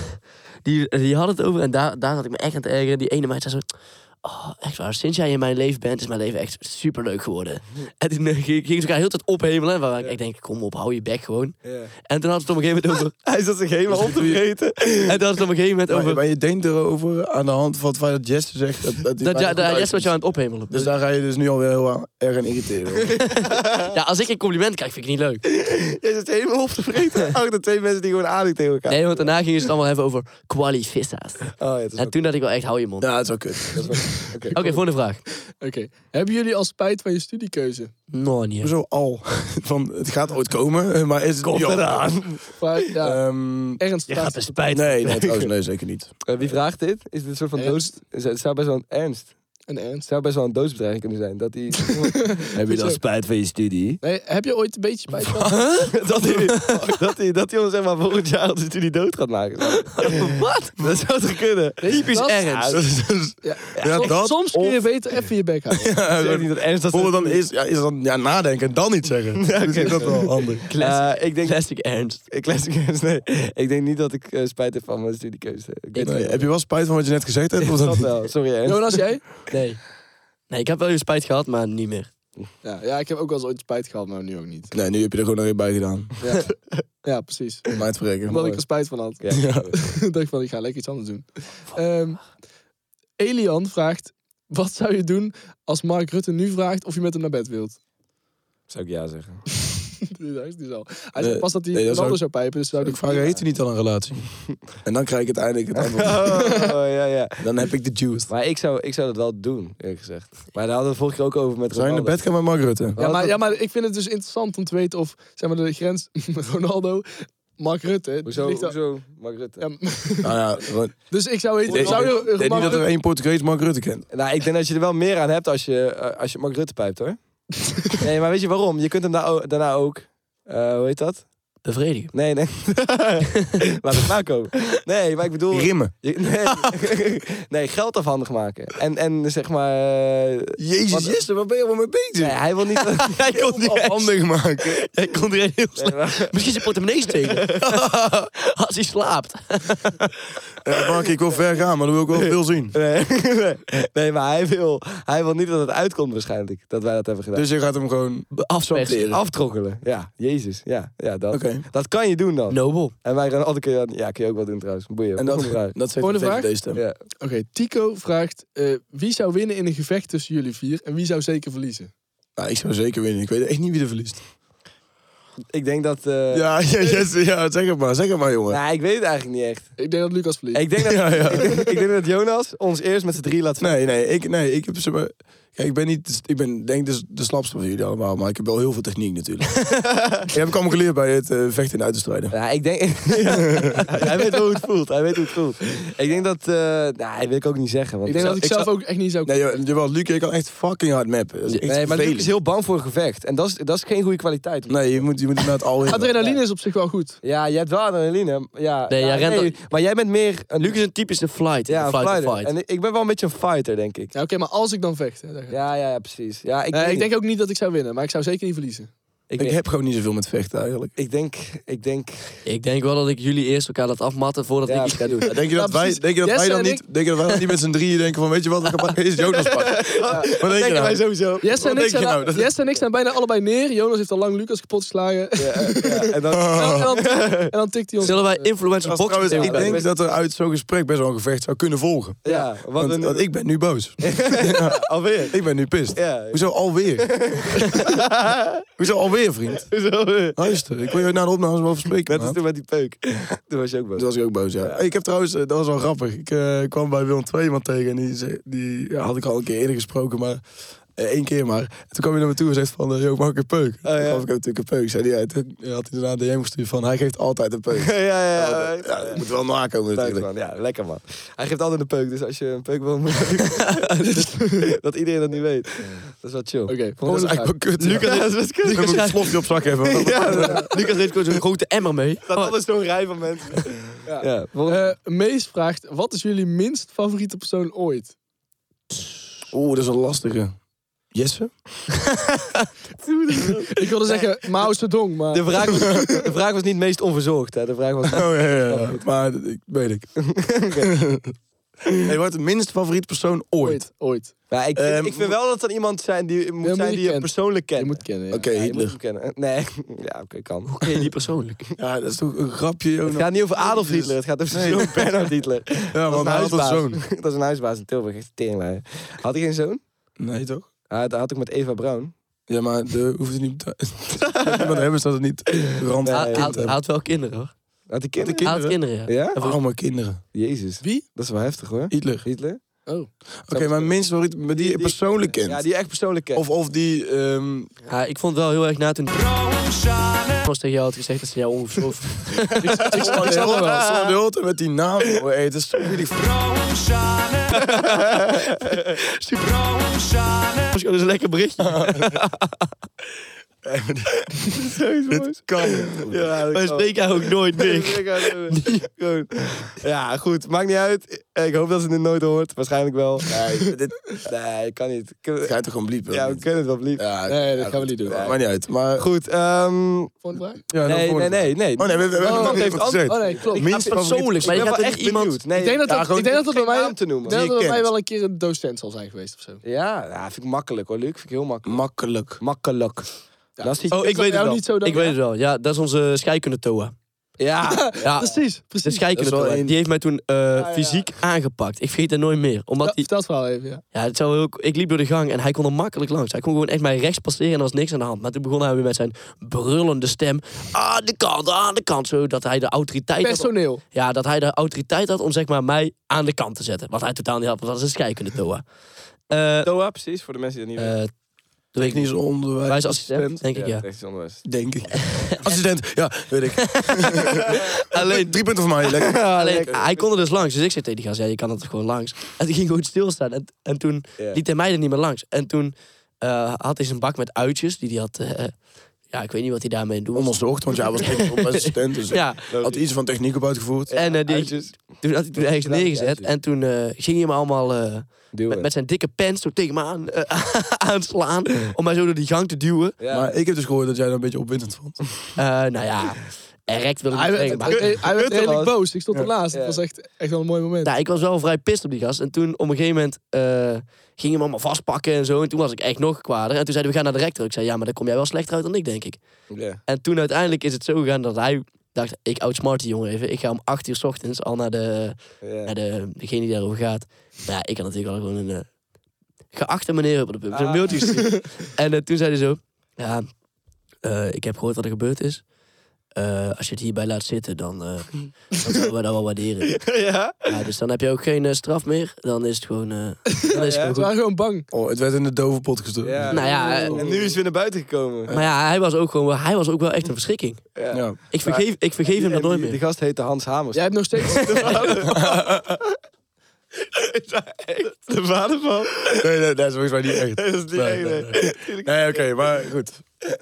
[SPEAKER 5] die, die had het over en daar, daar zat ik me echt aan te ergeren. Die ene meid zei zo, oh, echt waar, sinds jij in mijn leven bent, is mijn leven echt superleuk geworden. En toen eh, ging, ging ze elkaar heel de tijd ophemelen, waar ik echt denk, kom op, hou je bek gewoon.
[SPEAKER 2] Ja.
[SPEAKER 5] En toen had het op een gegeven moment over,
[SPEAKER 2] Hij zat zich helemaal op te vreten.
[SPEAKER 5] en toen had het op een gegeven moment
[SPEAKER 4] Maar,
[SPEAKER 5] over,
[SPEAKER 4] maar je denkt erover aan de hand van wat Jess zegt. Dat, dat, die
[SPEAKER 5] dat,
[SPEAKER 4] bijna
[SPEAKER 5] ja,
[SPEAKER 4] goed
[SPEAKER 5] dat
[SPEAKER 4] uitziet.
[SPEAKER 5] Jess was jou aan het ophemelen.
[SPEAKER 4] Dus daar ga je dus nu alweer heel aan- erg aan irriteren.
[SPEAKER 5] ja, als ik een compliment krijg, vind ik het niet leuk.
[SPEAKER 2] Jij zat helemaal op te vreten. Achter twee mensen die gewoon aandacht tegen elkaar.
[SPEAKER 5] Nee, want daarna gingen ze het allemaal hebben over kwalifissa's.
[SPEAKER 2] Oh, ja, dat is
[SPEAKER 5] En
[SPEAKER 2] ook...
[SPEAKER 5] toen dacht ik wel echt, hou je mond.
[SPEAKER 4] ja, dat is wel kut.
[SPEAKER 2] dat is wel- Oké.
[SPEAKER 5] Oké, volgende vraag.
[SPEAKER 3] Oké. Hebben jullie al spijt van je studiekeuze?
[SPEAKER 5] No, niet. echt.
[SPEAKER 4] Zo al. Van, het gaat ooit komen, eh, maar is het Komt eraan.
[SPEAKER 3] Vraag, ja,
[SPEAKER 4] Eh,
[SPEAKER 3] Ernst vraagt-
[SPEAKER 4] spijt. Nee, nee, trouwens, nee, zeker niet.
[SPEAKER 2] Eh, wie vraagt dit? Is dit een soort van doos...
[SPEAKER 3] Ernst.
[SPEAKER 2] Het zou best wel een ernst.
[SPEAKER 3] En
[SPEAKER 2] Het
[SPEAKER 3] Ernst.
[SPEAKER 2] zou best wel een doodsbedreiging kunnen zijn. Dat die...
[SPEAKER 4] Heb je dan spijt van je studie?
[SPEAKER 3] Nee, heb je ooit een beetje spijt van?
[SPEAKER 2] dat hij dat die, dat die ons zeg maar volgend jaar als studie dood gaat maken. Wat? Dat zou toch kunnen?
[SPEAKER 3] Typisch
[SPEAKER 2] Ernst.
[SPEAKER 4] Ja, dus-
[SPEAKER 3] Ja,
[SPEAKER 4] ja,
[SPEAKER 3] soms,
[SPEAKER 4] dat.
[SPEAKER 3] soms kun je beter even je bek houden.
[SPEAKER 4] Ja,
[SPEAKER 2] Ik
[SPEAKER 4] gewoon-
[SPEAKER 2] zeg niet dat Ernst dat...
[SPEAKER 4] Voor dan is, ja, is dan ja, nadenken en dan iets zeggen. Ja, dat wel handig.
[SPEAKER 2] Eh, ik denk...
[SPEAKER 5] Classic Ernst.
[SPEAKER 2] Ik classic Ernst, nee. Ik denk niet dat ik eh, spijt heb van mijn studiekeuze. Ik weet
[SPEAKER 4] Nee,
[SPEAKER 2] het
[SPEAKER 4] heb je wel spijt van wat je net gezegd hebt? Of
[SPEAKER 2] wel.
[SPEAKER 4] dat
[SPEAKER 2] Dat
[SPEAKER 4] niet?
[SPEAKER 2] wel. Sorry Ernst.
[SPEAKER 3] Jonas, jij?
[SPEAKER 5] Nee. Nee, ik heb wel je spijt gehad, maar niet meer.
[SPEAKER 3] Ja, ja, ik heb ook wel eens ooit spijt gehad, maar nu ook niet.
[SPEAKER 4] Nee, nu heb je er gewoon weer bij gedaan.
[SPEAKER 3] Ja, ja precies.
[SPEAKER 4] Mijn spreken.
[SPEAKER 3] Omdat ik er spijt van had.
[SPEAKER 2] Ja.
[SPEAKER 3] Ik dacht van, ik ga lekker iets anders doen. Ehm, Elian vraagt, wat zou je doen als Mark Rutte nu vraagt of je met hem naar bed wilt?
[SPEAKER 2] Zou ik ja zeggen.
[SPEAKER 3] Dit is dus al. Hij zei
[SPEAKER 4] Nee,
[SPEAKER 3] pas dat hij
[SPEAKER 4] nee, dat
[SPEAKER 3] Ronaldo
[SPEAKER 4] zou
[SPEAKER 3] zou,
[SPEAKER 4] ik-
[SPEAKER 3] pijpen, dus zou ik
[SPEAKER 4] Ik vraag, heeft u niet al een relatie? En dan krijg ik uiteindelijk het antwoord.
[SPEAKER 2] ja, ja.
[SPEAKER 4] Dan heb ik de juice.
[SPEAKER 2] Maar ik zou, ik zou dat wel doen, eerlijk gezegd. Maar daar hadden we het vorige keer ook over met
[SPEAKER 4] Zou je in de
[SPEAKER 2] Ronaldo.
[SPEAKER 4] bed gaan met Mark Rutte?
[SPEAKER 3] Ja maar, ja, maar ik vind het dus interessant om te weten of zeg maar, de grens Ronaldo, Mark Rutte. die
[SPEAKER 2] Hoezo,
[SPEAKER 3] ligt al-
[SPEAKER 2] hoezo, Mark Rutte?
[SPEAKER 3] Ja, m-
[SPEAKER 4] Nou ja, gewoon-
[SPEAKER 3] dus ik zou weten,
[SPEAKER 4] Ik
[SPEAKER 3] zou je
[SPEAKER 4] denk niet
[SPEAKER 3] Mark
[SPEAKER 4] dat er
[SPEAKER 3] Rutte-
[SPEAKER 4] één Portugees Mark Rutte kent.
[SPEAKER 2] Nou, ik denk dat je er wel meer aan hebt als je, eh, als je Mark Rutte pijpt, hoor. nee, maar weet je waarom? Je kunt hem daar o- daarna ook... eh, hoe heet dat?
[SPEAKER 5] Bevredigen.
[SPEAKER 2] Nee, nee. Laat het maar komen. Nee, maar ik bedoel...
[SPEAKER 4] Rimmen.
[SPEAKER 2] je- nee, nee, geld afhandig maken. En, en zeg maar... eh,
[SPEAKER 4] Jezus, Jester, waar ben je allemaal mee bezig?
[SPEAKER 2] nee, hij wil niet...
[SPEAKER 5] Hij kon
[SPEAKER 4] Om Handig maken.
[SPEAKER 5] Hij kon er heel
[SPEAKER 2] Nee, maar-
[SPEAKER 5] Oh, Misschien zijn portemonnee steken. Als hij slaapt.
[SPEAKER 4] Ja, Eh, Mark, ik wil ver gaan, maar dan wil ik wel veel zien.
[SPEAKER 2] Nee, nee. nee, maar hij wil, hij wil niet dat het uitkomt waarschijnlijk. Dat wij dat hebben gedaan.
[SPEAKER 4] Dus je gaat hem gewoon
[SPEAKER 5] Afspechten.
[SPEAKER 4] afzweren.
[SPEAKER 2] Aftrokkelen. Ja, jezus. Ja, ja dat,
[SPEAKER 4] Oké.
[SPEAKER 2] dat kan je doen dan.
[SPEAKER 5] Nobel.
[SPEAKER 2] En wij gaan altijd... keer- Ja, kun je ook wel doen trouwens. Boeien.
[SPEAKER 4] En dat,
[SPEAKER 2] Volgende vraag.
[SPEAKER 4] dat zegt
[SPEAKER 3] Volgende
[SPEAKER 4] tegen
[SPEAKER 3] vraag?
[SPEAKER 4] deze stem.
[SPEAKER 2] Ja.
[SPEAKER 3] Oké, Tico vraagt, eh, wie zou winnen in een gevecht tussen jullie vier en wie zou zeker verliezen?
[SPEAKER 4] Nou, ik zou zeker winnen. Ik weet echt niet wie er verliest.
[SPEAKER 2] Ik denk dat... eh,
[SPEAKER 4] Ja, ja, Jester, ja, zeg het maar, zeg het maar, jongen.
[SPEAKER 2] Nou, ik weet het eigenlijk niet echt.
[SPEAKER 3] Ik denk dat Lucas verliest.
[SPEAKER 2] Ik denk dat,
[SPEAKER 4] Ja, ja.
[SPEAKER 2] ik, denk- ik denk dat Jonas ons eerst met z'n drie laat
[SPEAKER 4] Nee, nee, ik, nee, ik heb zeg maar- Kijk, ik ben niet, ik ben denk de, de slapste van jullie allemaal, maar ik heb wel heel veel techniek natuurlijk. Die heb ik allemaal geleerd bij het eh, vechten in uiterstrijden.
[SPEAKER 2] Ja, ik denk... Ja. Hij weet wel hoe het voelt. Hij weet hoe het voelt. Ik denk dat... eh nou, dat wil ik ook niet zeggen. Want
[SPEAKER 3] Ik denk dat ik,
[SPEAKER 4] ik
[SPEAKER 3] zelf
[SPEAKER 4] zou-
[SPEAKER 3] ook echt niet zou
[SPEAKER 4] Nee, joh, jawel, Luc, je kan echt fucking hard mappen. Dat is echt
[SPEAKER 2] Nee, maar Luc
[SPEAKER 4] vervelend.
[SPEAKER 2] is heel bang voor een gevecht. En dat is, dat is geen goede kwaliteit.
[SPEAKER 4] Nee, je moet, je moet inderdaad al in.
[SPEAKER 3] Adrenaline is op zich wel goed.
[SPEAKER 2] Ja, je hebt wel adrenaline. Ja,
[SPEAKER 5] Nee, jij rent
[SPEAKER 2] maar jij bent meer... Een,
[SPEAKER 5] Luc is een typisch een flight.
[SPEAKER 2] ja,
[SPEAKER 5] een
[SPEAKER 2] een
[SPEAKER 5] flight,
[SPEAKER 2] fighter.
[SPEAKER 5] of flight.
[SPEAKER 2] En ik ben wel een beetje een fighter, denk ik.
[SPEAKER 3] Ja, Oké, maar als ik dan vecht. Hè, daar gaat-
[SPEAKER 2] Ja, ja, ja precies. Ja, ik,
[SPEAKER 3] Eh,
[SPEAKER 2] weet
[SPEAKER 3] ik denk
[SPEAKER 2] niet.
[SPEAKER 3] ook niet dat ik zou winnen, maar ik zou zeker niet verliezen.
[SPEAKER 2] Ik,
[SPEAKER 4] Ik
[SPEAKER 2] denk-
[SPEAKER 4] heb gewoon niet zoveel met vechten eigenlijk.
[SPEAKER 2] ik denk... Ik denk...
[SPEAKER 5] Ik denk wel dat ik jullie eerst elkaar laat afmatten voordat
[SPEAKER 2] Ja,
[SPEAKER 5] ik iets ga doen.
[SPEAKER 4] Ja, denk je dat
[SPEAKER 3] Ja,
[SPEAKER 4] wij,
[SPEAKER 3] precies.
[SPEAKER 4] denk je dat
[SPEAKER 3] Jesse
[SPEAKER 4] wij dan
[SPEAKER 3] en
[SPEAKER 4] niet, denk je dat wij dan niet met z'n drieën denken van, weet je wat, ik ga is Jonas pakken. Wat denk je nou?
[SPEAKER 2] sowieso.
[SPEAKER 3] Jesse en,
[SPEAKER 4] denk
[SPEAKER 3] ik
[SPEAKER 4] je
[SPEAKER 3] zijn,
[SPEAKER 4] nou? Dat-
[SPEAKER 3] Jesse en ik zijn bijna allebei neer. Jonas heeft al lang Lucas kapot geslagen.
[SPEAKER 2] nou? en dan...
[SPEAKER 3] En, dan, en dan tikt hij ons.
[SPEAKER 5] Zullen wij influencer
[SPEAKER 4] Dat is trouwens-
[SPEAKER 5] boxen tegen
[SPEAKER 4] Dus ik
[SPEAKER 5] elkaar doen?
[SPEAKER 4] denk dat er uit zo'n gesprek best wel een gevecht zou kunnen volgen.
[SPEAKER 2] Ja, wat
[SPEAKER 4] Want,
[SPEAKER 2] een...
[SPEAKER 4] want ik ben nu boos.
[SPEAKER 2] Alweer.
[SPEAKER 4] Ik ben nu pist.
[SPEAKER 2] Ja.
[SPEAKER 4] Hoezo alweer? Hoezo alweer, vriend?
[SPEAKER 2] Zo.
[SPEAKER 4] Luister, ik wil je na de opnames wel verspreken.
[SPEAKER 2] Net als toen met die peuk. Toen was je ook boos.
[SPEAKER 4] Toen was ik ook boos, ja. Hey, ik heb trouwens, eh, dat was wel grappig. Ik eh, kwam bij Willem II iemand tegen en die, ze- die ja, had ik al een keer eerder gesproken, maar eh, één keer maar. En toen kwam hij naar me toe en zei van, eh, yo, mag ik een peuk?
[SPEAKER 2] Oh, ja.
[SPEAKER 4] Toen gaf ik hem natuurlijk een peuk. Zei die, ja, toen had hij daarna een DM gestuurd van, hij geeft altijd een peuk.
[SPEAKER 2] Ja, ja, ja.
[SPEAKER 4] Ja, dat moet wel nakomen
[SPEAKER 2] Leuk,
[SPEAKER 4] natuurlijk.
[SPEAKER 2] man. Ja, lekker man. Hij geeft altijd een peuk, dus als je een peuk wil, moet je- dat iedereen dat nu weet. Dat is wel chill.
[SPEAKER 3] Oké,
[SPEAKER 4] Dat is
[SPEAKER 3] volgende vraag.
[SPEAKER 4] eigenlijk wel kut. Lucas,
[SPEAKER 2] Ja, dat is best kut.
[SPEAKER 4] ik moet een slofje op zak hebben. want dat-
[SPEAKER 5] Lucas heeft gewoon zo'n grote emmer mee.
[SPEAKER 2] Dat alles zo'n rij van mensen. Ja. volgende-
[SPEAKER 3] Eh, Mees vraagt, wat is jullie minst favoriete persoon ooit?
[SPEAKER 4] Oeh, dat is een lastige. Jesse?
[SPEAKER 3] Ik wilde zeggen Mao Zedong, maar...
[SPEAKER 2] de, vraag was, de vraag was niet meest onverzorgd, hè. De vraag was...
[SPEAKER 4] Oh ja, ja, ja. Maar dat ik, weet ik. hey, wat de minst favoriete persoon ooit?
[SPEAKER 3] Ooit, ooit.
[SPEAKER 2] Ja, ik, vind,
[SPEAKER 4] Ehm,
[SPEAKER 2] ik vind wel dat dat iemand zijn die, moet zijn
[SPEAKER 3] moet je
[SPEAKER 2] die je
[SPEAKER 3] kennen.
[SPEAKER 2] persoonlijk kent.
[SPEAKER 3] Je moet kennen, ja.
[SPEAKER 4] Oké,
[SPEAKER 2] Ja, je moet
[SPEAKER 4] Hitler.
[SPEAKER 2] hem kennen. Nee, ja, oké, kan.
[SPEAKER 5] Nee, niet persoonlijk.
[SPEAKER 4] Ja, dat is toch een grapje,
[SPEAKER 2] Het
[SPEAKER 4] Jonas?
[SPEAKER 2] gaat niet over Adolf Hitler, het gaat over zoon Bernhard Hitler.
[SPEAKER 4] Ja,
[SPEAKER 2] Dat is een
[SPEAKER 4] want hij had een
[SPEAKER 2] huisbaas.
[SPEAKER 4] zoon.
[SPEAKER 2] Dat is een huisbaas in Tilburg, echt teringlaaier. Had hij geen zoon?
[SPEAKER 4] Nee, toch?
[SPEAKER 2] Hij had, had ook met Eva Braun.
[SPEAKER 4] Ja, maar de hoeft het niet... Iemand hebben ze dat het niet rand
[SPEAKER 2] Nee,
[SPEAKER 5] Hij
[SPEAKER 4] kind
[SPEAKER 5] hij- hij
[SPEAKER 4] hebben.
[SPEAKER 5] had wel kinderen hoor.
[SPEAKER 2] Had hij kinderen?
[SPEAKER 5] Hij had kinderen, ja.
[SPEAKER 2] Ja?
[SPEAKER 4] Arme kinderen.
[SPEAKER 2] Jezus.
[SPEAKER 3] Wie?
[SPEAKER 2] Dat is wel heftig hoor.
[SPEAKER 4] Hitler.
[SPEAKER 2] Hitler?
[SPEAKER 4] Oké, maar minst favoriet, maar die je persoonlijk kent.
[SPEAKER 2] Ja, die je echt persoonlijk kent.
[SPEAKER 4] Of, of die... ehm,
[SPEAKER 5] Ja, ik vond het wel heel erg na toen... Als tegen jou had gezegd dat ze jou ongeveer...
[SPEAKER 4] ik snap ik snap wel. Ik snap de hele tijd met die naam. hoor. Hey, het is zo moeilijk.
[SPEAKER 5] Dat is een lekker berichtje.
[SPEAKER 4] Dit kan.
[SPEAKER 2] Ja, dat
[SPEAKER 5] Wij
[SPEAKER 2] kan.
[SPEAKER 5] spreken haar ook nooit meer.
[SPEAKER 2] Gewoon. Ja, goed. Maakt niet uit. Ik hoop dat ze dit nooit hoort. Waarschijnlijk wel.
[SPEAKER 4] Nee, dit
[SPEAKER 2] Nee, kan niet.
[SPEAKER 4] dit ga je toch gewoon bliepen?
[SPEAKER 2] Ja, we kunnen het wel blieft.
[SPEAKER 4] Ja,
[SPEAKER 3] Nee, dat
[SPEAKER 4] ja,
[SPEAKER 3] gaan we niet doen.
[SPEAKER 4] Maakt niet uit. Maar
[SPEAKER 2] Goed, ehm...
[SPEAKER 3] Volgende vraag?
[SPEAKER 4] Ja, dan
[SPEAKER 2] Nee,
[SPEAKER 4] voor-
[SPEAKER 2] nee, nee, nee.
[SPEAKER 4] Oh nee, we we- we hebben nog
[SPEAKER 2] heeft
[SPEAKER 4] niet wat gezegd.
[SPEAKER 3] Oh nee, klopt.
[SPEAKER 4] Minst
[SPEAKER 5] Persoonlijk, maar je
[SPEAKER 2] Ik ben
[SPEAKER 5] gaat
[SPEAKER 2] wel
[SPEAKER 5] er
[SPEAKER 2] echt
[SPEAKER 5] niet iemand...
[SPEAKER 2] benieuwd. Nee,
[SPEAKER 3] ik denk dat
[SPEAKER 4] ja,
[SPEAKER 3] dat,
[SPEAKER 4] gewoon
[SPEAKER 3] ik denk dat, dat bij
[SPEAKER 2] geen
[SPEAKER 3] mij,
[SPEAKER 2] naam te noemen.
[SPEAKER 3] ik denk
[SPEAKER 4] Die
[SPEAKER 3] dat
[SPEAKER 4] je
[SPEAKER 3] dat bij mij
[SPEAKER 4] kent.
[SPEAKER 3] wel een keer een docent zal zijn geweest of zo.
[SPEAKER 2] Ja, ja, vind ik makkelijk hoor, Luc. Vind ik heel makkelijk.
[SPEAKER 4] Makkelijk.
[SPEAKER 2] Makkelijk. Dat is iets...
[SPEAKER 5] Oh, ik
[SPEAKER 3] dat
[SPEAKER 5] weet het
[SPEAKER 3] jou
[SPEAKER 5] wel.
[SPEAKER 3] niet zo dan-
[SPEAKER 5] Ik weet het wel. Ja, dat is onze scheikunde Toa.
[SPEAKER 2] Ja,
[SPEAKER 5] Ja,
[SPEAKER 3] Precies, precies.
[SPEAKER 5] de scheikunde. Die heeft mij toen eh, fysiek aangepakt. Ik vergeet dat nooit meer. Omdat
[SPEAKER 3] Ja,
[SPEAKER 5] die,
[SPEAKER 3] vertel het verhaal even, ja.
[SPEAKER 5] ja, het zou heel, ik liep door de gang en hij kon er makkelijk langs. Hij kon gewoon echt mij rechts passeren en er was niks aan de hand. Maar toen begon hij weer met zijn brullende stem. Aan de kant, aan de kant. Zodat hij de autoriteit had
[SPEAKER 3] Personeel.
[SPEAKER 5] Ja, dat hij de autoriteit had om zeg maar, mij aan de kant te zetten. Wat hij totaal niet had, want dat is een scheikunde Toa. Eh
[SPEAKER 2] Doa, precies, voor de mensen die dat niet
[SPEAKER 5] eh doe ik
[SPEAKER 4] Niet zo'n onderwijs.
[SPEAKER 5] wijsassistent, denk ik, Eh, ja.
[SPEAKER 2] weten. Ja, anders.
[SPEAKER 4] Denk ik. Assistent, ja, weet ik.
[SPEAKER 5] Alleen,
[SPEAKER 4] Drie punten voor mij, lekker.
[SPEAKER 5] alleen hij kon er dus langs. Dus ik zei tegen die gast, ja, je kan er toch gewoon langs. En toen ging gewoon stilstaan. En, en toen
[SPEAKER 2] Ja.
[SPEAKER 5] liet hij mij er niet meer langs. En toen eh, had hij zijn bak met uitjes, die hij had... eh, ja, ik weet niet wat hij daarmee doet.
[SPEAKER 4] Onderzocht, want jij was technisch op assistent. Dus
[SPEAKER 5] Ja,
[SPEAKER 4] had iets van techniek op uitgevoerd.
[SPEAKER 5] en eh, die,
[SPEAKER 2] Uitjes.
[SPEAKER 5] toen had hij toen ergens
[SPEAKER 2] Ja,
[SPEAKER 5] neergezet.
[SPEAKER 2] uitjes.
[SPEAKER 5] En toen eh, ging hij me allemaal... eh, met, met zijn dikke pens zo tegen me aan, eh, aanslaan. Om mij zo door die gang te duwen.
[SPEAKER 2] Ja.
[SPEAKER 4] Maar ik heb dus gehoord dat jij dat een beetje opwindend vond.
[SPEAKER 5] Eh, nou ja, erect wil ik
[SPEAKER 3] Hij
[SPEAKER 5] niet
[SPEAKER 3] werd,
[SPEAKER 5] zeggen.
[SPEAKER 3] hij
[SPEAKER 5] Maar...
[SPEAKER 3] werd- hij werd redelijk boos. Ik stond ernaast.
[SPEAKER 2] Ja.
[SPEAKER 3] Het was echt, echt wel een mooi moment.
[SPEAKER 5] Nou, ik was wel vrij pist op die gast. En toen op een gegeven moment eh, ging hem allemaal vastpakken en zo. En toen was ik echt nog kwader. En toen zei hij, we gaan naar de rector. Ik zei, ja, maar dan kom jij wel slechter uit dan ik, denk ik.
[SPEAKER 2] Ja.
[SPEAKER 5] En toen uiteindelijk is het zo gegaan dat hij dacht, ik outsmart die jongen even. Ik ga om acht uur 's ochtends al naar, de,
[SPEAKER 2] Ja.
[SPEAKER 5] naar de, degene die daarover gaat. Maar ja, ik had natuurlijk al gewoon een eh, geachte meneer op de pub. Zo'n
[SPEAKER 2] Ah.
[SPEAKER 5] mailtje gestuurd. en eh, toen zei hij zo, ja, eh, ik heb gehoord wat er gebeurd is. Eh, als je het hierbij laat zitten, dan, eh dan zouden we dat wel waarderen.
[SPEAKER 2] Ja.
[SPEAKER 5] Ja, dus dan heb je ook geen eh, straf meer. Dan is het gewoon. eh, dan is het gewoon
[SPEAKER 3] We
[SPEAKER 5] goed.
[SPEAKER 3] waren gewoon bang.
[SPEAKER 4] Oh, het werd in de dove pot gestopt.
[SPEAKER 2] Ja.
[SPEAKER 5] Nou ja, eh,
[SPEAKER 2] En nu is het weer naar buiten gekomen.
[SPEAKER 5] maar ja, hij was ook gewoon. Hij was ook wel echt een verschrikking.
[SPEAKER 2] Ja.
[SPEAKER 4] Ja.
[SPEAKER 5] Ik vergeef, ik vergeef hem dat nooit
[SPEAKER 2] Die
[SPEAKER 5] meer.
[SPEAKER 2] gast heette Hans Hamers.
[SPEAKER 3] Jij hebt nog steeds...
[SPEAKER 2] De vader van.
[SPEAKER 4] Nee, nee, dat is volgens mij niet echt.
[SPEAKER 2] Dat is niet
[SPEAKER 4] Nee,
[SPEAKER 2] nee,
[SPEAKER 4] nee, Nee, oké, maar goed.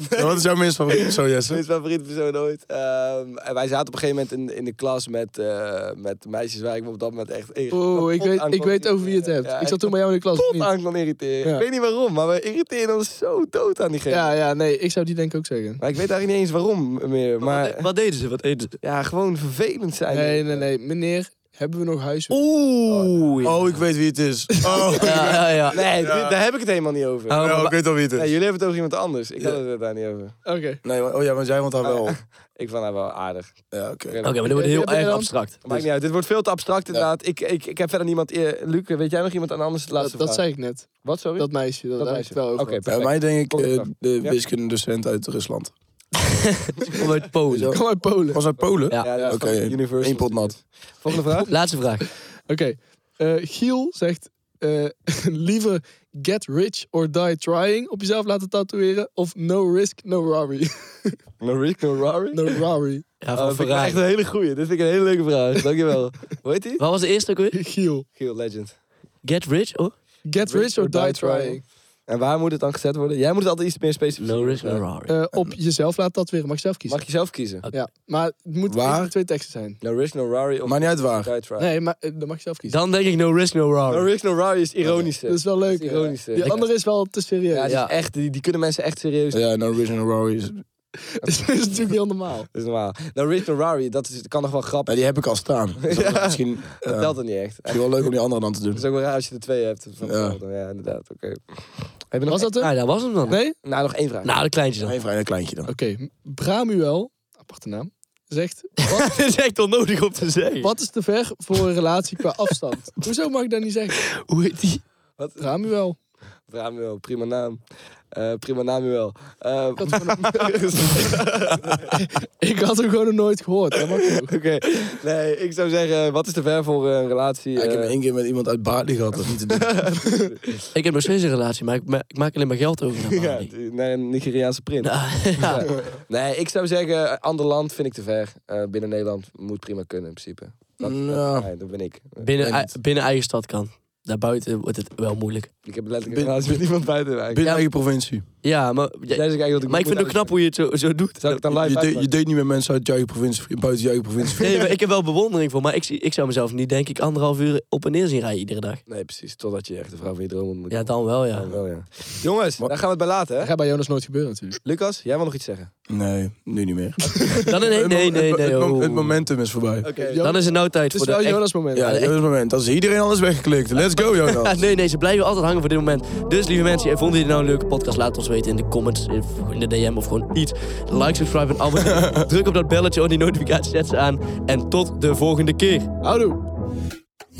[SPEAKER 4] Nou, wat is jouw minst favoriete persoon, Jesse?
[SPEAKER 2] Mijn favoriete persoon ooit. Ehm, en wij zaten op een gegeven moment in, in de klas met, eh, met meisjes waar ik me op dat moment echt... echt
[SPEAKER 3] Oh, ik
[SPEAKER 2] kapot
[SPEAKER 3] weet,
[SPEAKER 2] aan
[SPEAKER 3] ik
[SPEAKER 2] kon
[SPEAKER 3] weet over wie je het
[SPEAKER 2] irriteren.
[SPEAKER 3] hebt.
[SPEAKER 2] Ja,
[SPEAKER 3] ik zat toen bij jou in de klas. of
[SPEAKER 2] kapot
[SPEAKER 3] niet?
[SPEAKER 2] aan kan irriteren.
[SPEAKER 3] Ja.
[SPEAKER 2] Ik weet niet waarom, maar we irriteren ons zo dood aan die gek.
[SPEAKER 3] Ja, ja, nee. Ik zou die denk ik ook zeggen.
[SPEAKER 2] Maar ik weet eigenlijk niet eens waarom meer.
[SPEAKER 5] Maar,
[SPEAKER 2] Maar
[SPEAKER 5] wat, wat deden ze? Wat deden ze?
[SPEAKER 2] ja, gewoon vervelend zijn.
[SPEAKER 3] Nee, nee, nee. Meneer, hebben we nog huiswerk?
[SPEAKER 5] Oeh. ja.
[SPEAKER 4] Oh, ik weet wie het is. Oh,
[SPEAKER 5] Ja, ja, ja.
[SPEAKER 2] Nee,
[SPEAKER 4] Ja.
[SPEAKER 2] dit- daar heb ik het helemaal niet over.
[SPEAKER 3] Ah,
[SPEAKER 5] Oh,
[SPEAKER 4] ja,
[SPEAKER 5] maar-
[SPEAKER 4] ik weet al wie het
[SPEAKER 2] Nee,
[SPEAKER 4] is.
[SPEAKER 2] jullie hebben het over iemand anders. Ik had het daar niet over.
[SPEAKER 3] Oké.
[SPEAKER 4] Nee, maar- oh ja, want jij want daar wel.
[SPEAKER 2] Ik vond haar wel aardig.
[SPEAKER 4] Ja, oké.
[SPEAKER 5] Oké, maar dit wordt heel
[SPEAKER 3] Heb je
[SPEAKER 5] erg
[SPEAKER 3] dan-
[SPEAKER 5] abstract. Dus
[SPEAKER 2] Maakt niet uit. Dit wordt veel te abstract inderdaad. Ik, ik, ik heb verder niemand... eh, Luc, weet jij nog iemand aan anders? De
[SPEAKER 3] Dat,
[SPEAKER 2] laatste
[SPEAKER 3] dat
[SPEAKER 2] vraag.
[SPEAKER 3] zei ik net.
[SPEAKER 2] Wat, sorry?
[SPEAKER 3] Dat meisje, dat,
[SPEAKER 2] Dat
[SPEAKER 3] daar
[SPEAKER 2] meisje.
[SPEAKER 3] heb ik het wel over.
[SPEAKER 2] Oké,
[SPEAKER 3] gehad.
[SPEAKER 4] Bij
[SPEAKER 2] perfect.
[SPEAKER 4] mij denk ik eh,
[SPEAKER 2] Volgende
[SPEAKER 4] de
[SPEAKER 2] Ja.
[SPEAKER 4] wiskundedocent uit Rusland.
[SPEAKER 5] Kom uit Polen.
[SPEAKER 3] Kom uit Polen.
[SPEAKER 4] Was uit Polen?
[SPEAKER 5] Ja.
[SPEAKER 2] Ja, dat is
[SPEAKER 4] Oké,
[SPEAKER 2] van Universal.
[SPEAKER 4] één pot nat.
[SPEAKER 2] Volgende vraag.
[SPEAKER 5] Laatste
[SPEAKER 2] Oh,
[SPEAKER 5] vraag.
[SPEAKER 3] Oké. Eh, Giel zegt... eh, liever get rich or die trying op jezelf laten tatoeëren of no risk, no robbery.
[SPEAKER 2] No risk, no robbery?
[SPEAKER 3] no robbery.
[SPEAKER 5] Ja,
[SPEAKER 2] Oh,
[SPEAKER 5] van
[SPEAKER 2] dat vind ik
[SPEAKER 5] Ferrari.
[SPEAKER 2] echt een hele goeie. Dit vind ik een hele leuke vraag. Dankjewel. Hoe heet die?
[SPEAKER 5] Wat was de eerste ook weer?
[SPEAKER 3] Giel.
[SPEAKER 2] Giel Legend.
[SPEAKER 5] Get rich? Oh.
[SPEAKER 3] Get rich or die trying.
[SPEAKER 2] En waar moet het dan gezet worden? Jij moet het altijd iets meer specifiek
[SPEAKER 5] No risk, no
[SPEAKER 2] zeggen.
[SPEAKER 5] Ferrari.
[SPEAKER 3] Eh, op jezelf laten tatoeëren. Mag je zelf kiezen.
[SPEAKER 2] Mag je zelf kiezen.
[SPEAKER 3] Ja, maar het moet
[SPEAKER 4] Waar?
[SPEAKER 3] één van twee teksten zijn.
[SPEAKER 2] No risk, no robbery of
[SPEAKER 4] Maar niet uit waar.
[SPEAKER 2] die try.
[SPEAKER 3] Nee, maar eh, dan mag je zelf kiezen.
[SPEAKER 5] Dan denk ik no risk, no
[SPEAKER 2] No
[SPEAKER 5] Ferrari.
[SPEAKER 2] risk, no robbery is ironische.
[SPEAKER 3] Dat is dus wel leuk.
[SPEAKER 2] Dat is
[SPEAKER 3] hè?
[SPEAKER 2] ironisch, hè?
[SPEAKER 3] Die
[SPEAKER 2] Ik-
[SPEAKER 3] andere is wel te serieus.
[SPEAKER 2] ja, die,
[SPEAKER 5] Ja.
[SPEAKER 2] Is echt, die, die kunnen mensen echt serieus.
[SPEAKER 4] Ja, no original Rory. is-
[SPEAKER 3] dat is natuurlijk heel normaal.
[SPEAKER 2] Dat is normaal. Nou, No risk, no robbery, dat is, kan nog wel grappig.
[SPEAKER 4] Nou, die heb ik al staan. Dus dat is Misschien
[SPEAKER 2] Dat
[SPEAKER 4] ja,
[SPEAKER 2] telt dan niet echt.
[SPEAKER 4] misschien wel leuk om die andere dan te doen.
[SPEAKER 2] Dat is ook wel raar als je er twee hebt. Van
[SPEAKER 4] Ja.
[SPEAKER 2] hetzelfde. ja. inderdaad. Oké. Heb je nog
[SPEAKER 3] Was dat hem?
[SPEAKER 5] Nou, dat was hem dan.
[SPEAKER 3] Ah, Nee? Oké.
[SPEAKER 2] Nou, nog één vraag.
[SPEAKER 5] Nou, dat kleintje dan.
[SPEAKER 4] Een vrij kleintje dan.
[SPEAKER 3] Bramuel, aparte naam, zegt... Wat,
[SPEAKER 5] Dit is echt onnodig om te zeggen.
[SPEAKER 3] wat is te ver voor een relatie qua afstand? Hoezo mag ik dat niet zeggen?
[SPEAKER 5] Hoe heet die?
[SPEAKER 2] Wat?
[SPEAKER 3] Bramuel.
[SPEAKER 2] Bramuel, prima naam. Eh, prima Namuel. Eh,
[SPEAKER 3] Dat is Ik had hem gewoon nog nooit gehoord. Dat mag ook.
[SPEAKER 2] Oké, nee, ik zou zeggen, wat is te ver voor eh, een relatie?
[SPEAKER 4] Ja, ik heb
[SPEAKER 2] eh,
[SPEAKER 4] één keer met iemand uit Bali gehad. Dat is niet te doen.
[SPEAKER 5] Ik heb nog steeds een relatie, maar ik, ma- ik maak alleen maar geld over. naar
[SPEAKER 2] ja,
[SPEAKER 5] Bali.
[SPEAKER 2] naar een Nigeriaanse prins.
[SPEAKER 5] Nou, ja.
[SPEAKER 2] Nee, ik zou zeggen, eh, ander land vind ik te ver. Eh, binnen Nederland moet prima kunnen in principe. Dat,
[SPEAKER 4] Ja.
[SPEAKER 2] nee, dat ben ik.
[SPEAKER 5] Nou. Binnen,
[SPEAKER 4] Weet
[SPEAKER 5] ei-
[SPEAKER 4] niet.
[SPEAKER 5] binnen eigen stad kan. Daarbuiten wordt het wel moeilijk.
[SPEAKER 2] Ik heb letterlijk een
[SPEAKER 4] Bin-
[SPEAKER 2] relatie met iemand buiten. eigenlijk.
[SPEAKER 4] Binnen eigen provincie.
[SPEAKER 5] Ja, maar, ja,
[SPEAKER 2] Jij zegt eigenlijk dat ik
[SPEAKER 5] maar ik
[SPEAKER 2] moet
[SPEAKER 5] vind het ook knap
[SPEAKER 2] uit-
[SPEAKER 5] hoe je het zo, zo doet.
[SPEAKER 2] Zou ik het dan
[SPEAKER 4] Je,
[SPEAKER 2] live
[SPEAKER 4] de- je
[SPEAKER 2] uitmaken?
[SPEAKER 4] deed niet met mensen uit je eigen provincie, buiten je eigen provincie.
[SPEAKER 5] Nee, maar ik heb wel bewondering voor, maar ik, zie, ik zou mezelf niet, denk ik, anderhalf uur op en neer zien rijden iedere dag.
[SPEAKER 2] Nee, precies. Totdat je echt de vrouw van je droom ontmoet.
[SPEAKER 5] Ja, dan wel, ja.
[SPEAKER 2] Dan wel, ja. Jongens, daar gaan we het bij laten,
[SPEAKER 3] Dat
[SPEAKER 2] hè?
[SPEAKER 3] gaat bij Jonas nooit gebeuren natuurlijk.
[SPEAKER 2] Lucas, jij wil nog iets zeggen?
[SPEAKER 4] Nee, nu niet meer.
[SPEAKER 5] Dan nee, nee, nee, nee.
[SPEAKER 4] Het,
[SPEAKER 5] oh.
[SPEAKER 4] mom- het momentum is voorbij.
[SPEAKER 3] Jo-
[SPEAKER 5] Dan is het nou tijd
[SPEAKER 3] Het
[SPEAKER 5] voor
[SPEAKER 3] is
[SPEAKER 5] de...
[SPEAKER 3] wel
[SPEAKER 5] echt-
[SPEAKER 3] Jonas moment.
[SPEAKER 4] Ja,
[SPEAKER 3] Ja,
[SPEAKER 4] dat is het moment. Dan is iedereen alles weggeklikt. Let's go, Jonas.
[SPEAKER 5] Ah, nee, nee, ze blijven altijd hangen voor dit moment. Dus, lieve mensen, vonden jullie eh, nou een leuke podcast? Laat het ons weten. weten in de comments, in in de DM of gewoon iets. Like, subscribe en abonneer. Druk op dat belletje om die notificaties zet ze aan. En tot de volgende keer.
[SPEAKER 3] Houdoe.